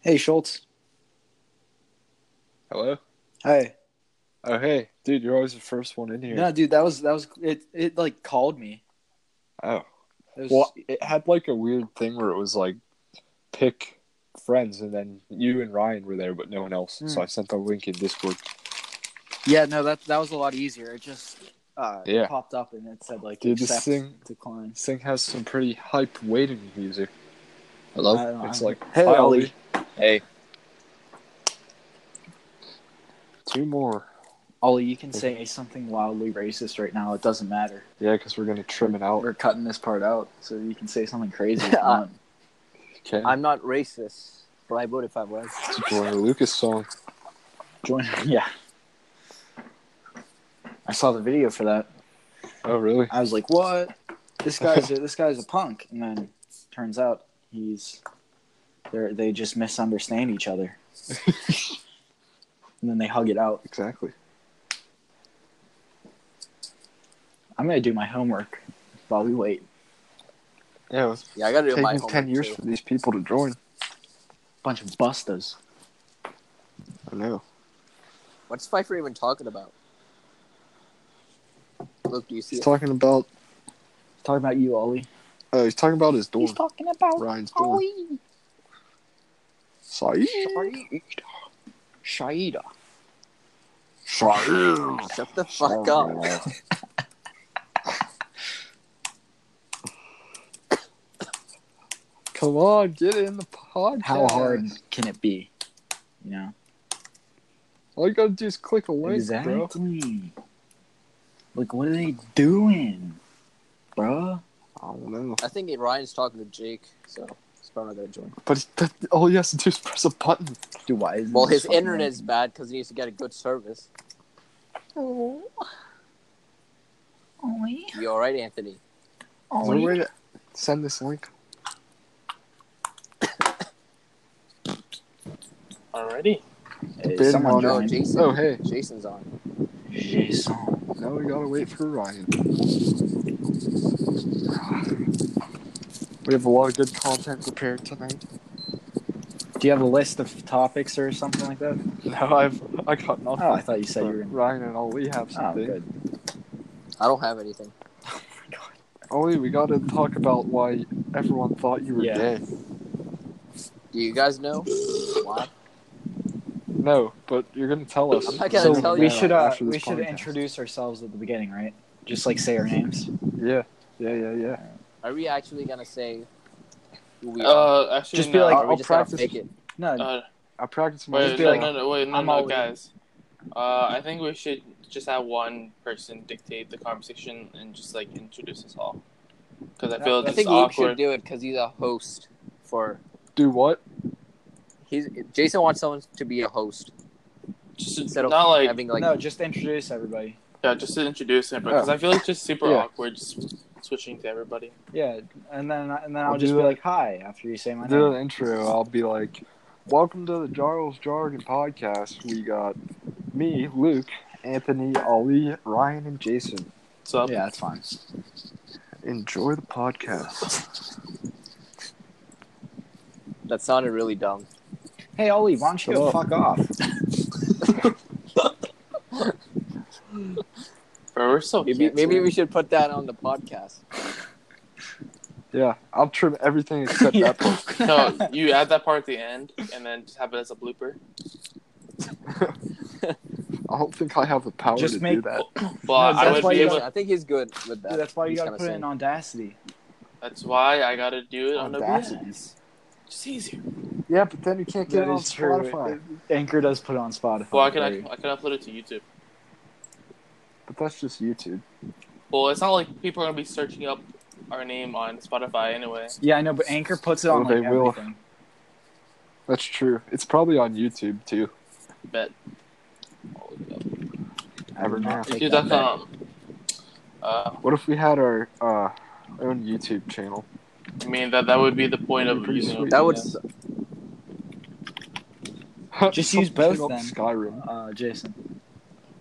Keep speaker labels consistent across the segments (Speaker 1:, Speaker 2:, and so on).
Speaker 1: Hey, Schultz.
Speaker 2: Hello.
Speaker 1: Hi.
Speaker 2: Oh hey, dude, you're always the first one in here.
Speaker 1: No, dude, that was that was it. It like called me.
Speaker 2: Oh.
Speaker 1: It was,
Speaker 2: Well, it had like a weird thing where it was like pick friends, and then you and Ryan were there, but no one else. So
Speaker 1: Hmm.
Speaker 2: I sent the link in Discord.
Speaker 1: yeah, no, that that was a lot easier. It just uh,
Speaker 2: Yeah.
Speaker 1: popped up and it said like
Speaker 2: Dude, this
Speaker 1: accept,
Speaker 2: thing-
Speaker 1: decline.
Speaker 2: This thing has some pretty hype waiting music. Hello.
Speaker 1: I don't know.
Speaker 2: It's like
Speaker 1: Hey,
Speaker 2: hi,
Speaker 1: Ollie.
Speaker 2: Hey. Two more.
Speaker 1: Ollie, you can say something wildly racist right now. It doesn't matter.
Speaker 2: Yeah, because we're gonna trim it out.
Speaker 1: We're cutting this part out, so you can say something crazy. if you want.
Speaker 2: Okay.
Speaker 3: I'm not racist, but I would if I was.
Speaker 2: It's a Joyner Lucas song.
Speaker 1: Join. Yeah. I saw the video for that.
Speaker 2: Oh really?
Speaker 1: I was like, "What? This guy's a, this guy's a punk." And then turns out he's they they just misunderstand each other, and then they hug it out.
Speaker 2: Exactly.
Speaker 1: I'm gonna do my homework while we wait.
Speaker 2: Yeah. It was
Speaker 3: Yeah, I gotta do my
Speaker 2: taking ten
Speaker 3: homework,
Speaker 2: years
Speaker 3: too.
Speaker 2: for these people to join.
Speaker 1: Bunch of bustas.
Speaker 2: I know.
Speaker 3: What's Pfeiffer even talking about? Look, do you see
Speaker 2: He's
Speaker 3: it?
Speaker 2: talking about
Speaker 1: Talk about you, Ollie.
Speaker 2: uh, he's "Oh, talking about his dorm.
Speaker 3: talking about
Speaker 2: Ryan's dorm. Saeed.
Speaker 1: Shaida.
Speaker 2: Saeed.
Speaker 3: Shut the fuck up.
Speaker 2: Come on, get in the podcast.
Speaker 1: How hard can it be? You know.
Speaker 2: All you gotta do is click a link, bro.
Speaker 1: Exactly. Like, what are they doing, bruh?
Speaker 2: I don't know.
Speaker 3: I think Ryan's talking to Jake, so he's probably not gonna join.
Speaker 2: But that, all he has to do is press a button.
Speaker 1: Dude, why is
Speaker 3: Well, his internet is bad because he needs to get a good service.
Speaker 1: Oh, Ollie.
Speaker 3: You all right, Anthony?
Speaker 2: Is there a way to send this link?
Speaker 4: Alrighty.
Speaker 2: Been
Speaker 1: someone
Speaker 2: on-
Speaker 3: No,
Speaker 1: joined.
Speaker 3: Jason.
Speaker 2: Oh, hey.
Speaker 3: Jason's on.
Speaker 1: Jason.
Speaker 2: Now we gotta wait for Ryan. We have a lot of good content prepared tonight.
Speaker 1: Do you have a list of topics or something like that?
Speaker 2: No, I've I got nothing.
Speaker 1: Oh, I thought you said you were. Gonna...
Speaker 2: Ryan and Ollie have
Speaker 1: Oh,
Speaker 2: something.
Speaker 1: good.
Speaker 3: I don't have anything.
Speaker 2: Ollie, Oh, we gotta talk about why everyone thought you were
Speaker 1: Yeah.
Speaker 2: gay.
Speaker 3: Do you guys know? Why?
Speaker 2: No, but you're gonna tell us.
Speaker 3: I'm not gonna
Speaker 1: So
Speaker 3: tell
Speaker 1: we
Speaker 3: you.
Speaker 1: should uh,
Speaker 2: after this
Speaker 1: we should
Speaker 2: podcast.
Speaker 1: introduce ourselves at the beginning, right? Just like say our names.
Speaker 2: Yeah, yeah, yeah, yeah.
Speaker 3: Are we actually gonna say who we are?
Speaker 4: Uh, actually,
Speaker 1: Just
Speaker 4: just
Speaker 1: be
Speaker 4: be
Speaker 3: Or
Speaker 1: like,
Speaker 3: are
Speaker 2: I'll
Speaker 3: we just gonna
Speaker 2: practice-
Speaker 3: make it?
Speaker 1: No,
Speaker 4: Uh,
Speaker 2: I practice my.
Speaker 4: wait,
Speaker 1: be
Speaker 4: no,
Speaker 1: like,
Speaker 4: no, no, wait, no,
Speaker 1: I'm
Speaker 4: no,
Speaker 1: always-
Speaker 4: guys. Uh, I think we should just have one person dictate the conversation and just like introduce us all. Because I feel
Speaker 1: I
Speaker 4: it's
Speaker 3: I think Luke should
Speaker 4: awkward.
Speaker 3: do it because he's a host for.
Speaker 2: Do what?
Speaker 3: He's Jason wants someone to be a host
Speaker 4: just
Speaker 3: instead
Speaker 4: not
Speaker 3: of
Speaker 4: like
Speaker 3: having like.
Speaker 1: no, just introduce everybody.
Speaker 4: yeah, just to introduce him, because I feel like it's just super
Speaker 2: Yeah.
Speaker 4: awkward just switching to everybody.
Speaker 1: Yeah, and then and then I'll,
Speaker 2: I'll
Speaker 1: just
Speaker 2: do
Speaker 1: be
Speaker 2: that.
Speaker 1: like, "Hi," after you say my
Speaker 2: Do
Speaker 1: name.
Speaker 2: an intro. I'll be like, "Welcome to the Jarls Jargon podcast." We got me, Luke, Anthony, Ollie, Ryan, and Jason.
Speaker 4: So
Speaker 1: Yeah, that's fine.
Speaker 2: Enjoy the podcast.
Speaker 3: That sounded really dumb.
Speaker 1: Hey Ollie, why don't you
Speaker 2: Shut
Speaker 1: go
Speaker 2: up.
Speaker 1: fuck off?
Speaker 4: bro, we're so
Speaker 3: Maybe
Speaker 4: canceled.
Speaker 3: maybe we should put that on the podcast.
Speaker 2: Yeah, I'll trim everything except that part.
Speaker 4: no, you add that part at the end and then just have it as a blooper.
Speaker 2: I don't think I have the power
Speaker 1: Just
Speaker 2: to
Speaker 1: make-
Speaker 2: do that.
Speaker 4: Well,
Speaker 1: No,
Speaker 4: I
Speaker 1: that's
Speaker 4: would
Speaker 1: why
Speaker 4: be
Speaker 1: you
Speaker 4: able.
Speaker 1: gotta-
Speaker 3: I think he's good with that.
Speaker 1: Dude, that's why you
Speaker 3: He's
Speaker 1: gotta
Speaker 3: kinda
Speaker 1: put it in
Speaker 3: saying.
Speaker 1: Audacity.
Speaker 4: That's why I gotta do it on OBS.
Speaker 1: Audacity.
Speaker 4: Just easier.
Speaker 2: Yeah, but then you can't get
Speaker 1: That
Speaker 2: it on
Speaker 1: is true.
Speaker 2: Spotify.
Speaker 1: Anchor does put it on Spotify.
Speaker 4: Well, I can I,
Speaker 1: Very-
Speaker 4: can- I can upload it to YouTube.
Speaker 2: But that's just YouTube.
Speaker 4: Well, it's not like people are gonna be searching up our name on Spotify anyway.
Speaker 1: Yeah, I know, but Anchor puts it on
Speaker 2: Oh,
Speaker 1: like,
Speaker 2: they will.
Speaker 1: everything.
Speaker 2: That's true. It's probably on YouTube too.
Speaker 4: I bet. I'll look it up.
Speaker 1: I would not
Speaker 4: If
Speaker 1: take
Speaker 4: you
Speaker 1: that
Speaker 4: that's
Speaker 1: bet.
Speaker 4: um, uh,
Speaker 2: What if we had our uh, own YouTube channel?
Speaker 4: I mean that that would be the point of
Speaker 2: Pretty
Speaker 4: using
Speaker 2: sweet.
Speaker 3: That
Speaker 1: uh,
Speaker 3: would.
Speaker 4: OBS.
Speaker 3: s-
Speaker 1: Just use both
Speaker 2: Someone
Speaker 1: then.
Speaker 2: Skyrim.
Speaker 1: Uh, Jason.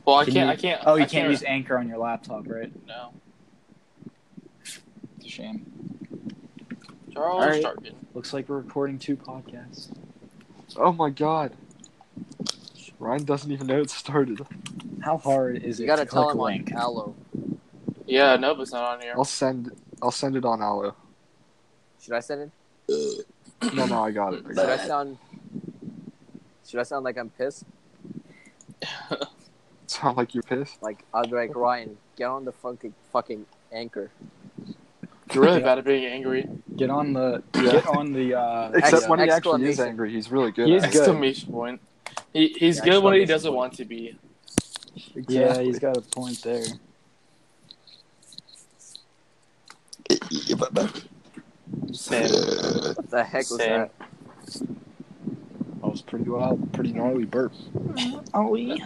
Speaker 4: Well, I
Speaker 1: Can
Speaker 4: can't.
Speaker 1: you-
Speaker 4: I can't.
Speaker 1: Oh, you
Speaker 4: I
Speaker 1: can't use Anchor on your laptop, right?
Speaker 4: No,
Speaker 1: It's a shame.
Speaker 4: Charles
Speaker 1: All right.
Speaker 4: Darkin.
Speaker 1: Looks like we're recording two podcasts.
Speaker 2: Oh my god. Ryan doesn't even know it started.
Speaker 1: How hard is
Speaker 3: You
Speaker 1: it
Speaker 3: gotta
Speaker 1: to
Speaker 3: tell
Speaker 1: click
Speaker 3: him
Speaker 1: a
Speaker 3: on
Speaker 1: link?
Speaker 3: aloe.
Speaker 4: Yeah, no, but it's not on here.
Speaker 2: I'll send I'll send it on Allo.
Speaker 3: Should I send it?
Speaker 2: No, no, I got it. I
Speaker 3: Should I
Speaker 2: got it.
Speaker 3: sound? Should I sound like I'm pissed?
Speaker 2: Sound like you're pissed.
Speaker 3: Like I'll be like Ryan, get on the fucking fucking anchor.
Speaker 4: You're really bad at being angry.
Speaker 1: Get on the
Speaker 2: Yeah.
Speaker 1: get on the uh
Speaker 2: Except
Speaker 3: Ex-
Speaker 2: when he actually is
Speaker 3: exclamation.
Speaker 2: angry, he's really good.
Speaker 1: He is
Speaker 2: at it.
Speaker 1: good.
Speaker 4: Exclamation point. He, he's
Speaker 3: Yeah,
Speaker 4: good when he
Speaker 3: exclamation
Speaker 4: doesn't
Speaker 3: point.
Speaker 4: want to be.
Speaker 1: Yeah,
Speaker 2: Exactly.
Speaker 1: he's got a point there.
Speaker 4: Same.
Speaker 3: What the heck was
Speaker 4: Same.
Speaker 3: that?
Speaker 2: That was pretty wild, pretty gnarly burp.
Speaker 1: Ollie.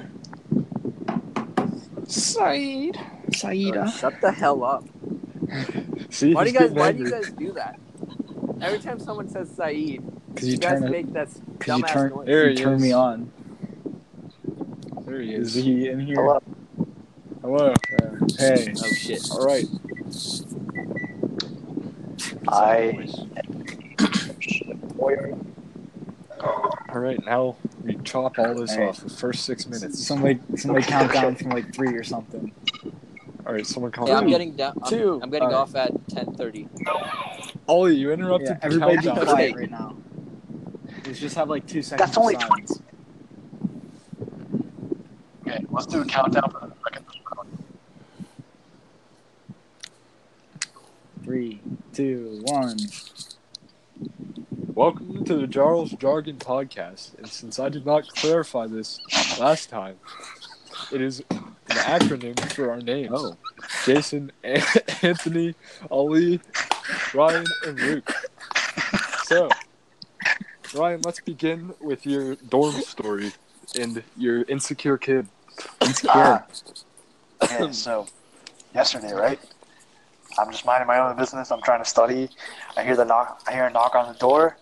Speaker 1: Said.
Speaker 3: Uh,
Speaker 1: Saida.
Speaker 3: shut the hell up.
Speaker 2: See,
Speaker 3: Why do
Speaker 2: he's
Speaker 3: you guys?
Speaker 2: getting
Speaker 3: Why do
Speaker 2: angry.
Speaker 3: you guys do that? Every time someone says Saeed,
Speaker 1: Because
Speaker 3: you,
Speaker 1: you
Speaker 3: guys
Speaker 1: turn it.
Speaker 3: make that s-
Speaker 1: Because
Speaker 3: dumbass
Speaker 1: you turn.
Speaker 3: noise.
Speaker 2: There
Speaker 1: You
Speaker 2: he
Speaker 1: turn
Speaker 2: is.
Speaker 1: me on.
Speaker 2: There he
Speaker 1: Is
Speaker 2: is.
Speaker 1: he in here?
Speaker 2: Hello.
Speaker 1: Hello. Uh, hey.
Speaker 3: Oh shit!
Speaker 2: All right.
Speaker 5: I.
Speaker 2: All right. Now we chop all this
Speaker 1: Hey.
Speaker 2: off. The first six minutes.
Speaker 1: Somebody, somebody count down from like three or something.
Speaker 2: All right. Someone call.
Speaker 3: Yeah, I'm getting down. I'm,
Speaker 1: Two.
Speaker 3: I'm getting
Speaker 1: All right.
Speaker 3: off at 10:30.
Speaker 2: Ollie, you interrupted.
Speaker 1: Yeah, everybody be
Speaker 3: countdown.
Speaker 2: countdown.
Speaker 1: quiet right now. Let's just have like two seconds
Speaker 5: That's only
Speaker 1: of silence.
Speaker 5: Okay, let's do a countdown for the second round.
Speaker 1: Three, two, one.
Speaker 2: Welcome to the Jarls Jargon Podcast. And since I did not clarify this last time, it is an acronym for our names:
Speaker 5: Oh.
Speaker 2: Jason, An- Anthony, Ali, Ryan, and Luke. So, Ryan, let's begin with your dorm story and your insecure kid.
Speaker 5: Ah. Okay, so yesterday, right? I'm just minding my own business. I'm trying to study. I hear the knock. I hear a knock on the door.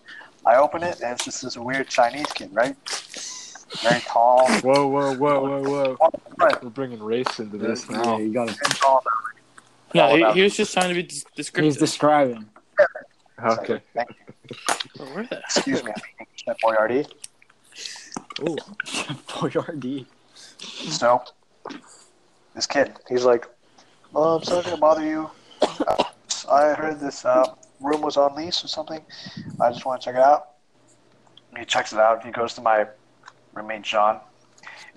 Speaker 5: I open it, and it's just this weird Chinese kid, right? Very tall. very
Speaker 2: Whoa, whoa, whoa, whoa, whoa.
Speaker 5: Right.
Speaker 2: We're bringing race into this
Speaker 1: Yeah,
Speaker 2: now.
Speaker 1: you gotta.
Speaker 5: tall.
Speaker 4: No, he, he was just trying to be des-
Speaker 1: He's
Speaker 4: descriptive.
Speaker 1: describing.
Speaker 2: Okay.
Speaker 5: Thank you.
Speaker 4: Oh, where the-
Speaker 5: Excuse me, I'm eating Chef Boyardee.
Speaker 2: Ooh.
Speaker 1: Boyardee.
Speaker 5: So, this kid, he's like, "Well, I'm sorry to bother you. Uh, I heard this uh, room was on lease or something. I just want to check it out." And he checks it out. He goes to my roommate John,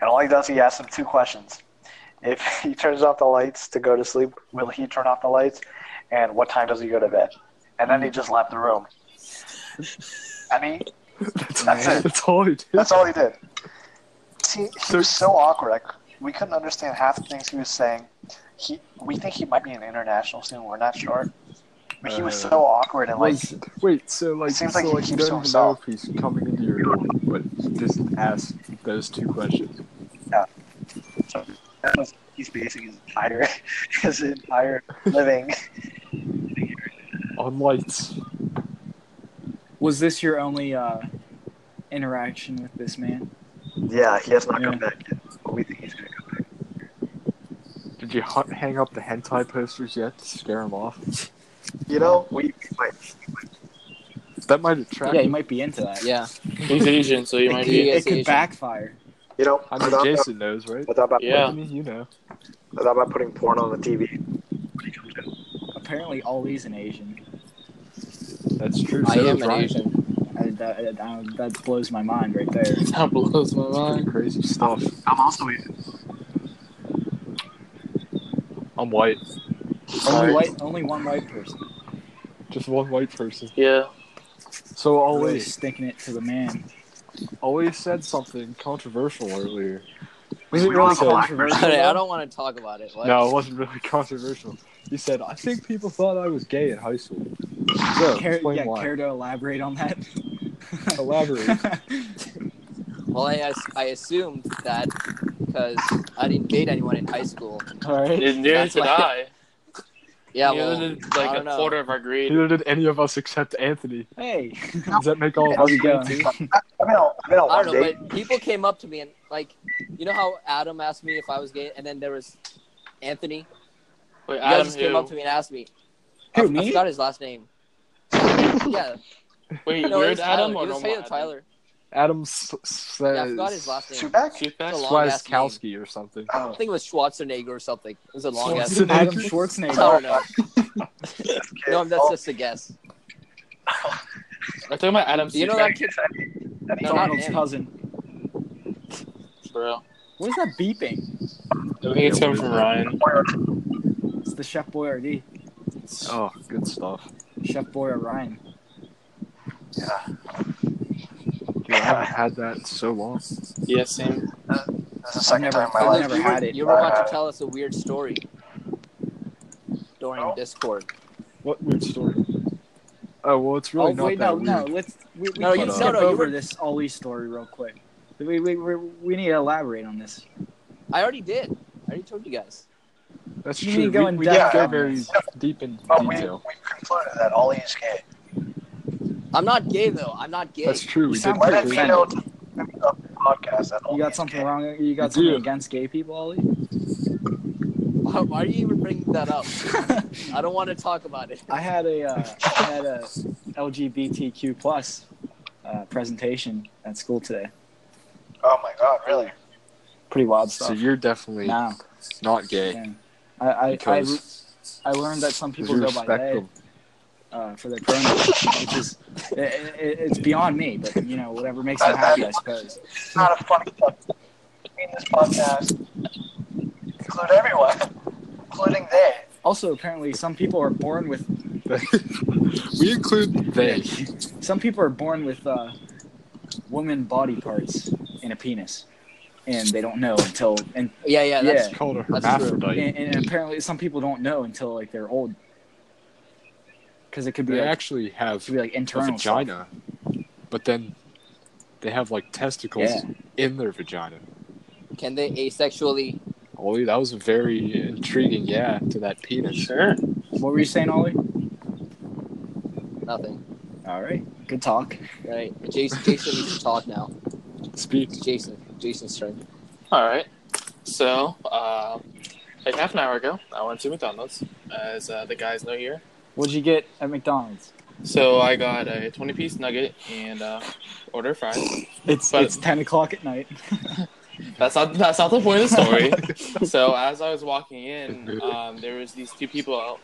Speaker 5: and all he does, he asks him two questions: If he turns off the lights to go to sleep, will he turn off the lights? And what time does he go to bed? And then he just left the room. I mean,
Speaker 2: That's,
Speaker 5: That's it.
Speaker 2: That's all he did.
Speaker 5: that's all he did. See, he was so awkward. I, c- we couldn't understand half the things he was saying. He, we think he might be an international student. We're not sure, but he was
Speaker 2: Uh,
Speaker 5: so awkward and like,
Speaker 2: Was- wait, so like,
Speaker 5: Seems
Speaker 2: so,
Speaker 5: like he
Speaker 2: like you
Speaker 5: keeps to
Speaker 2: don't even know if
Speaker 5: himself.
Speaker 2: he's coming into your room, but he just ask those two questions.
Speaker 5: that was, he's basing his entire, his entire living.
Speaker 2: On lights.
Speaker 1: Was this your only uh, interaction with this man?
Speaker 5: Yeah, he has not
Speaker 1: come
Speaker 5: back yet. But we think he's gonna come back.
Speaker 2: Did you hu- hang up the hentai posters yet to scare him off?
Speaker 5: You know, we, might.
Speaker 2: That might attract
Speaker 1: Yeah, you
Speaker 2: him.
Speaker 1: might be into that.
Speaker 3: Yeah.
Speaker 4: He's Asian, so you might be.
Speaker 3: Yeah,
Speaker 1: It
Speaker 3: Asian.
Speaker 1: could backfire.
Speaker 5: You know,
Speaker 2: I mean, Jason knows, right?
Speaker 5: without about,
Speaker 4: Yeah.
Speaker 2: I mean, you know.
Speaker 5: without about putting porn on the TV.
Speaker 1: Apparently, Ollie's an Asian.
Speaker 2: That's true.
Speaker 3: I
Speaker 2: So
Speaker 3: am
Speaker 2: is
Speaker 3: an
Speaker 2: Ryan.
Speaker 3: Asian.
Speaker 1: I, that, I, I- that blows my mind right there.
Speaker 4: That blows my
Speaker 2: It's pretty
Speaker 4: mind.
Speaker 2: crazy stuff.
Speaker 5: I'm also Asian.
Speaker 2: I'm white.
Speaker 1: Only
Speaker 5: Sorry.
Speaker 1: white, only one white person.
Speaker 2: Just one white person.
Speaker 4: Yeah.
Speaker 2: So
Speaker 1: Really
Speaker 2: Ollie,
Speaker 1: sticking it to the man.
Speaker 2: Ollie said something controversial earlier.
Speaker 1: Was it
Speaker 5: We don't
Speaker 1: really
Speaker 5: have a black
Speaker 1: controversial?
Speaker 3: Alright, I
Speaker 1: though?
Speaker 3: don't want to talk about it. What?
Speaker 2: No, it wasn't really controversial. He said, "I think people thought I was gay in high school." So
Speaker 1: Care,
Speaker 2: Oh, explain
Speaker 1: yeah,
Speaker 2: why.
Speaker 1: care to elaborate on that?
Speaker 2: Elaborate.
Speaker 3: Well, I, as- I assumed that because I didn't date anyone in high school.
Speaker 1: All right.
Speaker 4: Neither
Speaker 3: That's
Speaker 4: did
Speaker 3: why-
Speaker 4: I.
Speaker 3: Yeah,
Speaker 4: Neither
Speaker 3: well,
Speaker 4: did,
Speaker 3: I
Speaker 4: like a
Speaker 3: don't know.
Speaker 4: quarter of our grade.
Speaker 2: Neither did any of us except Anthony.
Speaker 1: Hey,
Speaker 2: Does that make all of
Speaker 1: how's
Speaker 2: us
Speaker 1: it
Speaker 2: gay?
Speaker 1: going?
Speaker 2: too?
Speaker 5: I've been on, I've been on
Speaker 3: I
Speaker 5: one
Speaker 3: don't know,
Speaker 5: date.
Speaker 3: but people came up to me and like, you know how Adam asked me if I was gay, and then there was Anthony. You
Speaker 4: Wait,
Speaker 3: guys
Speaker 4: Adam
Speaker 3: just came up to
Speaker 4: who?
Speaker 3: me and asked me.
Speaker 1: Who,
Speaker 3: I, I
Speaker 1: me?
Speaker 3: forgot his last name. yeah,
Speaker 4: Wait,
Speaker 3: no, it
Speaker 4: weird
Speaker 3: was Tyler.
Speaker 4: Adam or
Speaker 3: it was
Speaker 4: normal
Speaker 3: Taylor
Speaker 4: Adam?
Speaker 3: Tyler.
Speaker 2: Adam S- says
Speaker 3: Yeah, I forgot his last name.
Speaker 5: Subak?
Speaker 4: Shoot back.
Speaker 3: It's a long- ass name.
Speaker 2: Swaskowski or something.
Speaker 3: I
Speaker 5: Oh,
Speaker 3: think it was Schwarzenegger or something. It was a long ass.
Speaker 2: Schwarzenegger.
Speaker 1: Adam
Speaker 3: I
Speaker 1: Schwarzenegger.
Speaker 3: don't know.
Speaker 5: okay.
Speaker 3: No, that's
Speaker 5: Oh,
Speaker 3: just a guess.
Speaker 4: We're talking about Adam
Speaker 3: You know
Speaker 4: Seuss,
Speaker 3: that kid? No, not
Speaker 1: Donald's
Speaker 3: him.
Speaker 1: cousin.
Speaker 4: bro.
Speaker 1: What is that beeping?
Speaker 4: I think it's coming from Ryan.
Speaker 1: It's the Chef Boyardee.
Speaker 2: Oh, good stuff.
Speaker 1: Chef Boyardee Ryan.
Speaker 2: Dude, I haven't had that in so long.
Speaker 4: Yeah, same.
Speaker 5: That's the second
Speaker 1: never-
Speaker 5: time in my
Speaker 1: I've
Speaker 5: life.
Speaker 1: never
Speaker 3: you,
Speaker 1: had
Speaker 3: were,
Speaker 1: it.
Speaker 3: you were about to tell us a weird story during
Speaker 5: No.
Speaker 3: Discord.
Speaker 2: What weird story? Oh well, it's really
Speaker 1: oh
Speaker 2: not
Speaker 1: wait,
Speaker 2: that
Speaker 1: no,
Speaker 2: weird.
Speaker 1: no. Let's we, we
Speaker 3: No,
Speaker 1: can
Speaker 2: you-
Speaker 1: skip
Speaker 3: no, no, you
Speaker 1: over
Speaker 3: were-
Speaker 1: this Ollie story real quick. We, we, we, we need to elaborate on this.
Speaker 3: I already did. I already told you guys.
Speaker 2: That's
Speaker 1: You
Speaker 2: true.
Speaker 1: need to go
Speaker 2: we
Speaker 1: in
Speaker 2: we
Speaker 1: depth
Speaker 2: didn't go
Speaker 5: on
Speaker 2: very
Speaker 1: this.
Speaker 2: deep in
Speaker 5: But we,
Speaker 2: detail.
Speaker 5: we concluded that Ollie is gay.
Speaker 3: I'm not gay though. I'm not gay.
Speaker 2: That's true.
Speaker 1: You
Speaker 2: We
Speaker 1: sound
Speaker 2: didn't.
Speaker 5: Why
Speaker 1: pretty
Speaker 5: did
Speaker 2: Really,
Speaker 5: we know to up the podcast that Ollie
Speaker 1: You got
Speaker 5: is
Speaker 1: something
Speaker 5: gay?
Speaker 1: wrong. You
Speaker 2: I
Speaker 1: got something
Speaker 2: do.
Speaker 1: against gay people, Ollie.
Speaker 3: Why, why are you even bringing that up? I don't want to talk about it.
Speaker 1: I had a uh, I had a LGBTQ plus uh, presentation at school today.
Speaker 5: Oh my god, really?
Speaker 1: Pretty wild
Speaker 2: so
Speaker 1: stuff.
Speaker 2: you're definitely
Speaker 1: Now,
Speaker 2: not gay
Speaker 1: yeah. I I, I,
Speaker 2: because
Speaker 1: I learned that some people
Speaker 2: you
Speaker 1: go by
Speaker 2: respect
Speaker 1: they
Speaker 2: them.
Speaker 1: uh, for their pronouns, which is it, it, it's beyond me. But you know, whatever makes them
Speaker 5: That-
Speaker 1: happy, I
Speaker 5: that-
Speaker 1: suppose.
Speaker 5: It's not a funny podcast. I mean, this podcast include everyone, including they.
Speaker 1: Also, apparently, some people are born with
Speaker 2: we include they.
Speaker 1: some people are born with uh, woman body parts and a penis, and they don't know until and
Speaker 3: Yeah, yeah, that's
Speaker 1: Yeah.
Speaker 2: It's called a
Speaker 3: That's
Speaker 2: hermaphrodite.
Speaker 1: and, and apparently some people don't know until like they're old because it could be
Speaker 2: They
Speaker 1: like,
Speaker 2: actually have
Speaker 1: could be like
Speaker 2: a
Speaker 1: internal stuff.
Speaker 2: vagina, but then they have like testicles
Speaker 1: Yeah.
Speaker 2: in their vagina.
Speaker 3: Can they asexually?
Speaker 2: Ollie, that was very intriguing. Yeah, to that penis.
Speaker 4: Sure.
Speaker 1: What were you saying, Ollie?
Speaker 3: Nothing.
Speaker 1: All right, good talk.
Speaker 3: Right. Jason. Jason needs to talk now.
Speaker 2: Speak.
Speaker 3: It's Jason. Jason's turn.
Speaker 4: All right. So, uh, like half an hour ago, I went to McDonald's, as uh, the guys know here.
Speaker 1: What'd you get at McDonald's?
Speaker 4: So I got a 20 piece nugget and uh, order of fries.
Speaker 1: It's
Speaker 4: But-
Speaker 1: it's ten o'clock at night.
Speaker 4: That's not that's not the point of the story. so as I was walking in, um, there was these two people out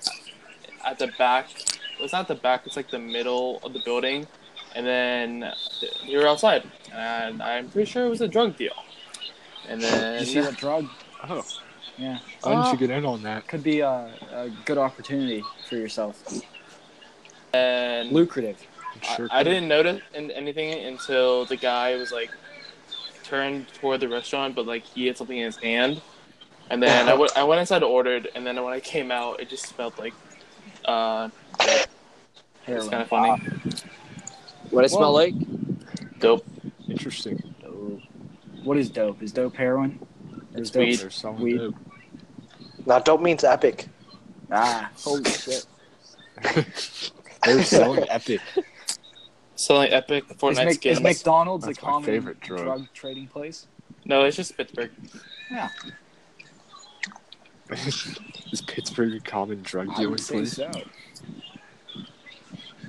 Speaker 4: at the back. Well, it's not the back. It's like the middle of the building, and then they were outside. And I'm pretty sure it was a drug deal. And
Speaker 1: Did
Speaker 4: then
Speaker 1: you see that drug?
Speaker 2: Oh,
Speaker 1: Yeah,
Speaker 2: why didn't you get in on that?
Speaker 1: could be a, a good opportunity for yourself.
Speaker 4: and
Speaker 1: Lucrative.
Speaker 4: I-
Speaker 2: Sure
Speaker 4: I,
Speaker 2: could.
Speaker 4: didn't notice an anything until the guy was like turned toward the restaurant, but like he had something in his hand. And then I went- I went inside and ordered, and then when I came out, it just smelled like uh, it's
Speaker 1: Heroin.
Speaker 4: kind of funny.
Speaker 3: What does it smell
Speaker 1: Well-
Speaker 3: like?
Speaker 4: Dope.
Speaker 2: Interesting.
Speaker 1: Dope. What is dope? Is dope heroin? Or is
Speaker 4: It's weed.
Speaker 2: There's someone
Speaker 1: Weed.
Speaker 2: dope.
Speaker 5: Now, dope means epic.
Speaker 1: Ah,
Speaker 3: Holy shit!
Speaker 2: They're selling epic.
Speaker 4: Selling epic
Speaker 1: is,
Speaker 4: Fortnite
Speaker 1: Mc- is
Speaker 4: skins.
Speaker 1: McDonald's
Speaker 2: That's
Speaker 1: a
Speaker 2: my
Speaker 1: common
Speaker 2: favorite drug.
Speaker 1: trading place?
Speaker 4: no, it's just Pittsburgh.
Speaker 2: Is Pittsburgh a common drug
Speaker 1: I
Speaker 2: dealing
Speaker 1: would say
Speaker 2: place?
Speaker 1: so.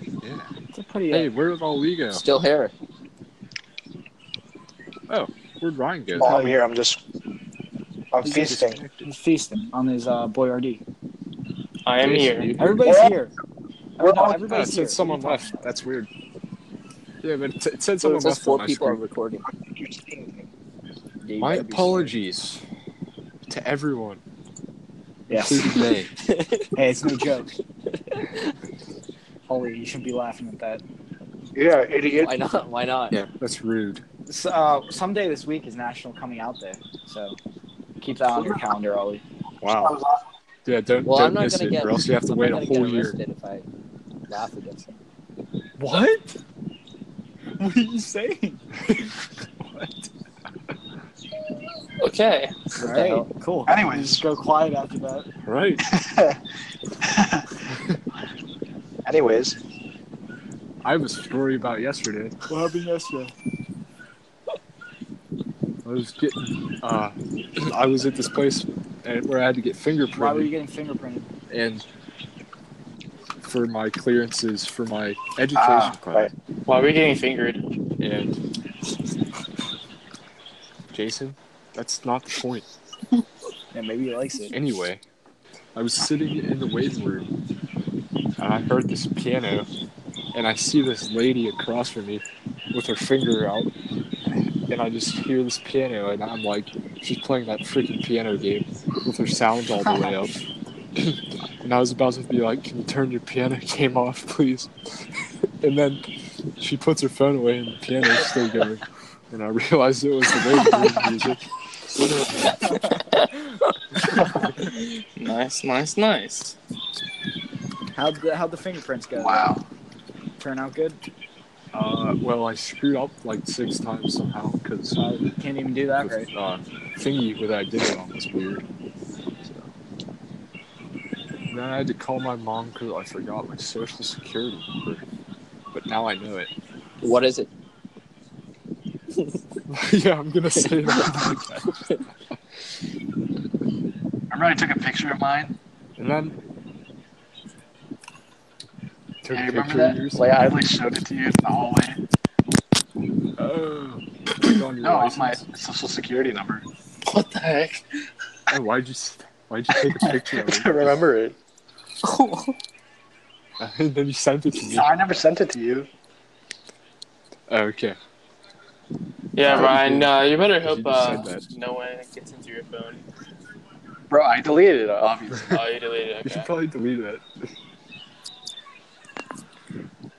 Speaker 2: Yeah.
Speaker 1: It's a pretty. uh,
Speaker 2: Hey, where did Ollie go?
Speaker 3: Still here.
Speaker 2: Where'd Ryan go?
Speaker 5: While Oh, I'm here, I'm just. I'm
Speaker 1: He's
Speaker 5: feasting.
Speaker 1: He's feasting on his uh, Boyardee.
Speaker 4: I am
Speaker 2: Jason,
Speaker 4: here.
Speaker 2: you-
Speaker 1: Everybody's
Speaker 5: Yeah.
Speaker 1: here.
Speaker 5: We're
Speaker 1: no,
Speaker 5: all-
Speaker 2: Oh, it
Speaker 1: everybody's here.
Speaker 2: said someone
Speaker 1: What are you
Speaker 2: left. That's weird. Yeah, but it, it said someone
Speaker 3: Just
Speaker 2: left. on
Speaker 3: four
Speaker 2: my
Speaker 3: people are
Speaker 2: screen.
Speaker 3: recording.
Speaker 1: talking about?
Speaker 2: My
Speaker 1: Yeah, you better be
Speaker 2: apologies to everyone,
Speaker 1: serious. Yes.
Speaker 2: including they.
Speaker 1: hey, it's no joke. Holly, you shouldn't be laughing at that.
Speaker 5: Yeah, idiot.
Speaker 3: Why not? Why not?
Speaker 2: Yeah, that's rude.
Speaker 1: So, uh, someday this week is National Coming Out Day, so keep that on your calendar, Ollie.
Speaker 5: I
Speaker 2: Wow.
Speaker 5: was off.
Speaker 2: Yeah, don't,
Speaker 3: Well, I'm
Speaker 2: don't
Speaker 3: not
Speaker 2: miss
Speaker 3: gonna
Speaker 2: it,
Speaker 3: get-
Speaker 2: or else you have to
Speaker 3: I'm
Speaker 2: wait a
Speaker 3: not gonna
Speaker 2: whole
Speaker 3: get
Speaker 2: year.
Speaker 3: arrested if I laugh against him.
Speaker 2: What?
Speaker 1: What are you saying?
Speaker 2: what?
Speaker 4: Okay.
Speaker 1: All
Speaker 3: the
Speaker 1: right,
Speaker 3: hell?
Speaker 1: cool.
Speaker 5: Anyways.
Speaker 1: You just go quiet after that.
Speaker 2: Right.
Speaker 5: Anyways,
Speaker 2: I have a story about yesterday.
Speaker 1: What happened yesterday?
Speaker 2: I was getting, uh, I was at this place and- where I had to get fingerprinted.
Speaker 1: Why were you getting fingerprinted?
Speaker 2: and for my clearances for my education
Speaker 5: Ah,
Speaker 2: class.
Speaker 4: Why are we getting fingered?
Speaker 2: And Jason, that's not the point.
Speaker 1: Yeah, maybe he likes it.
Speaker 2: Anyway, I was sitting in the waiting room and I heard this piano and I see this lady across from me with her finger out and I just hear this piano and I'm like, she's playing that freaking piano game with her sound all the way up. and I was about to be like, can you turn your piano game off, please? and then she puts her phone away and the piano is still going. And I realized it was the waiting room music.
Speaker 4: Nice, nice, nice.
Speaker 1: How'd the, how'd the fingerprints go?
Speaker 5: Wow.
Speaker 1: Turn out good?
Speaker 2: Uh, well, I screwed up like six times somehow because
Speaker 1: Uh, can't even do that right.
Speaker 2: uh, thingy that I did it on was weird. So. And Then I had to call my mom because I forgot my social security number, but now I know it.
Speaker 3: What is it?
Speaker 2: yeah, I'm gonna say that.
Speaker 5: I really took a picture of mine.
Speaker 2: And then took
Speaker 5: Yeah,
Speaker 2: a
Speaker 5: you remember
Speaker 2: picture
Speaker 5: that?
Speaker 2: of yours.
Speaker 5: Like I like showed it to you in the hallway.
Speaker 2: oh, like on your
Speaker 5: No, it's
Speaker 2: license.
Speaker 5: my social security number.
Speaker 4: What the heck?
Speaker 2: Oh, why'd you s- why'd you take a picture of it?
Speaker 5: remember it.
Speaker 2: and then you sent it to me.
Speaker 5: No, I never sent it to you.
Speaker 2: Oh, okay.
Speaker 4: Yeah, Ryan, uh, you better hope
Speaker 2: You just
Speaker 4: uh,
Speaker 2: said that.
Speaker 4: no one gets into your phone.
Speaker 5: Bro, I deleted it, obviously.
Speaker 4: Oh, you deleted
Speaker 2: You
Speaker 4: it.
Speaker 2: should
Speaker 4: Okay.
Speaker 2: probably delete it.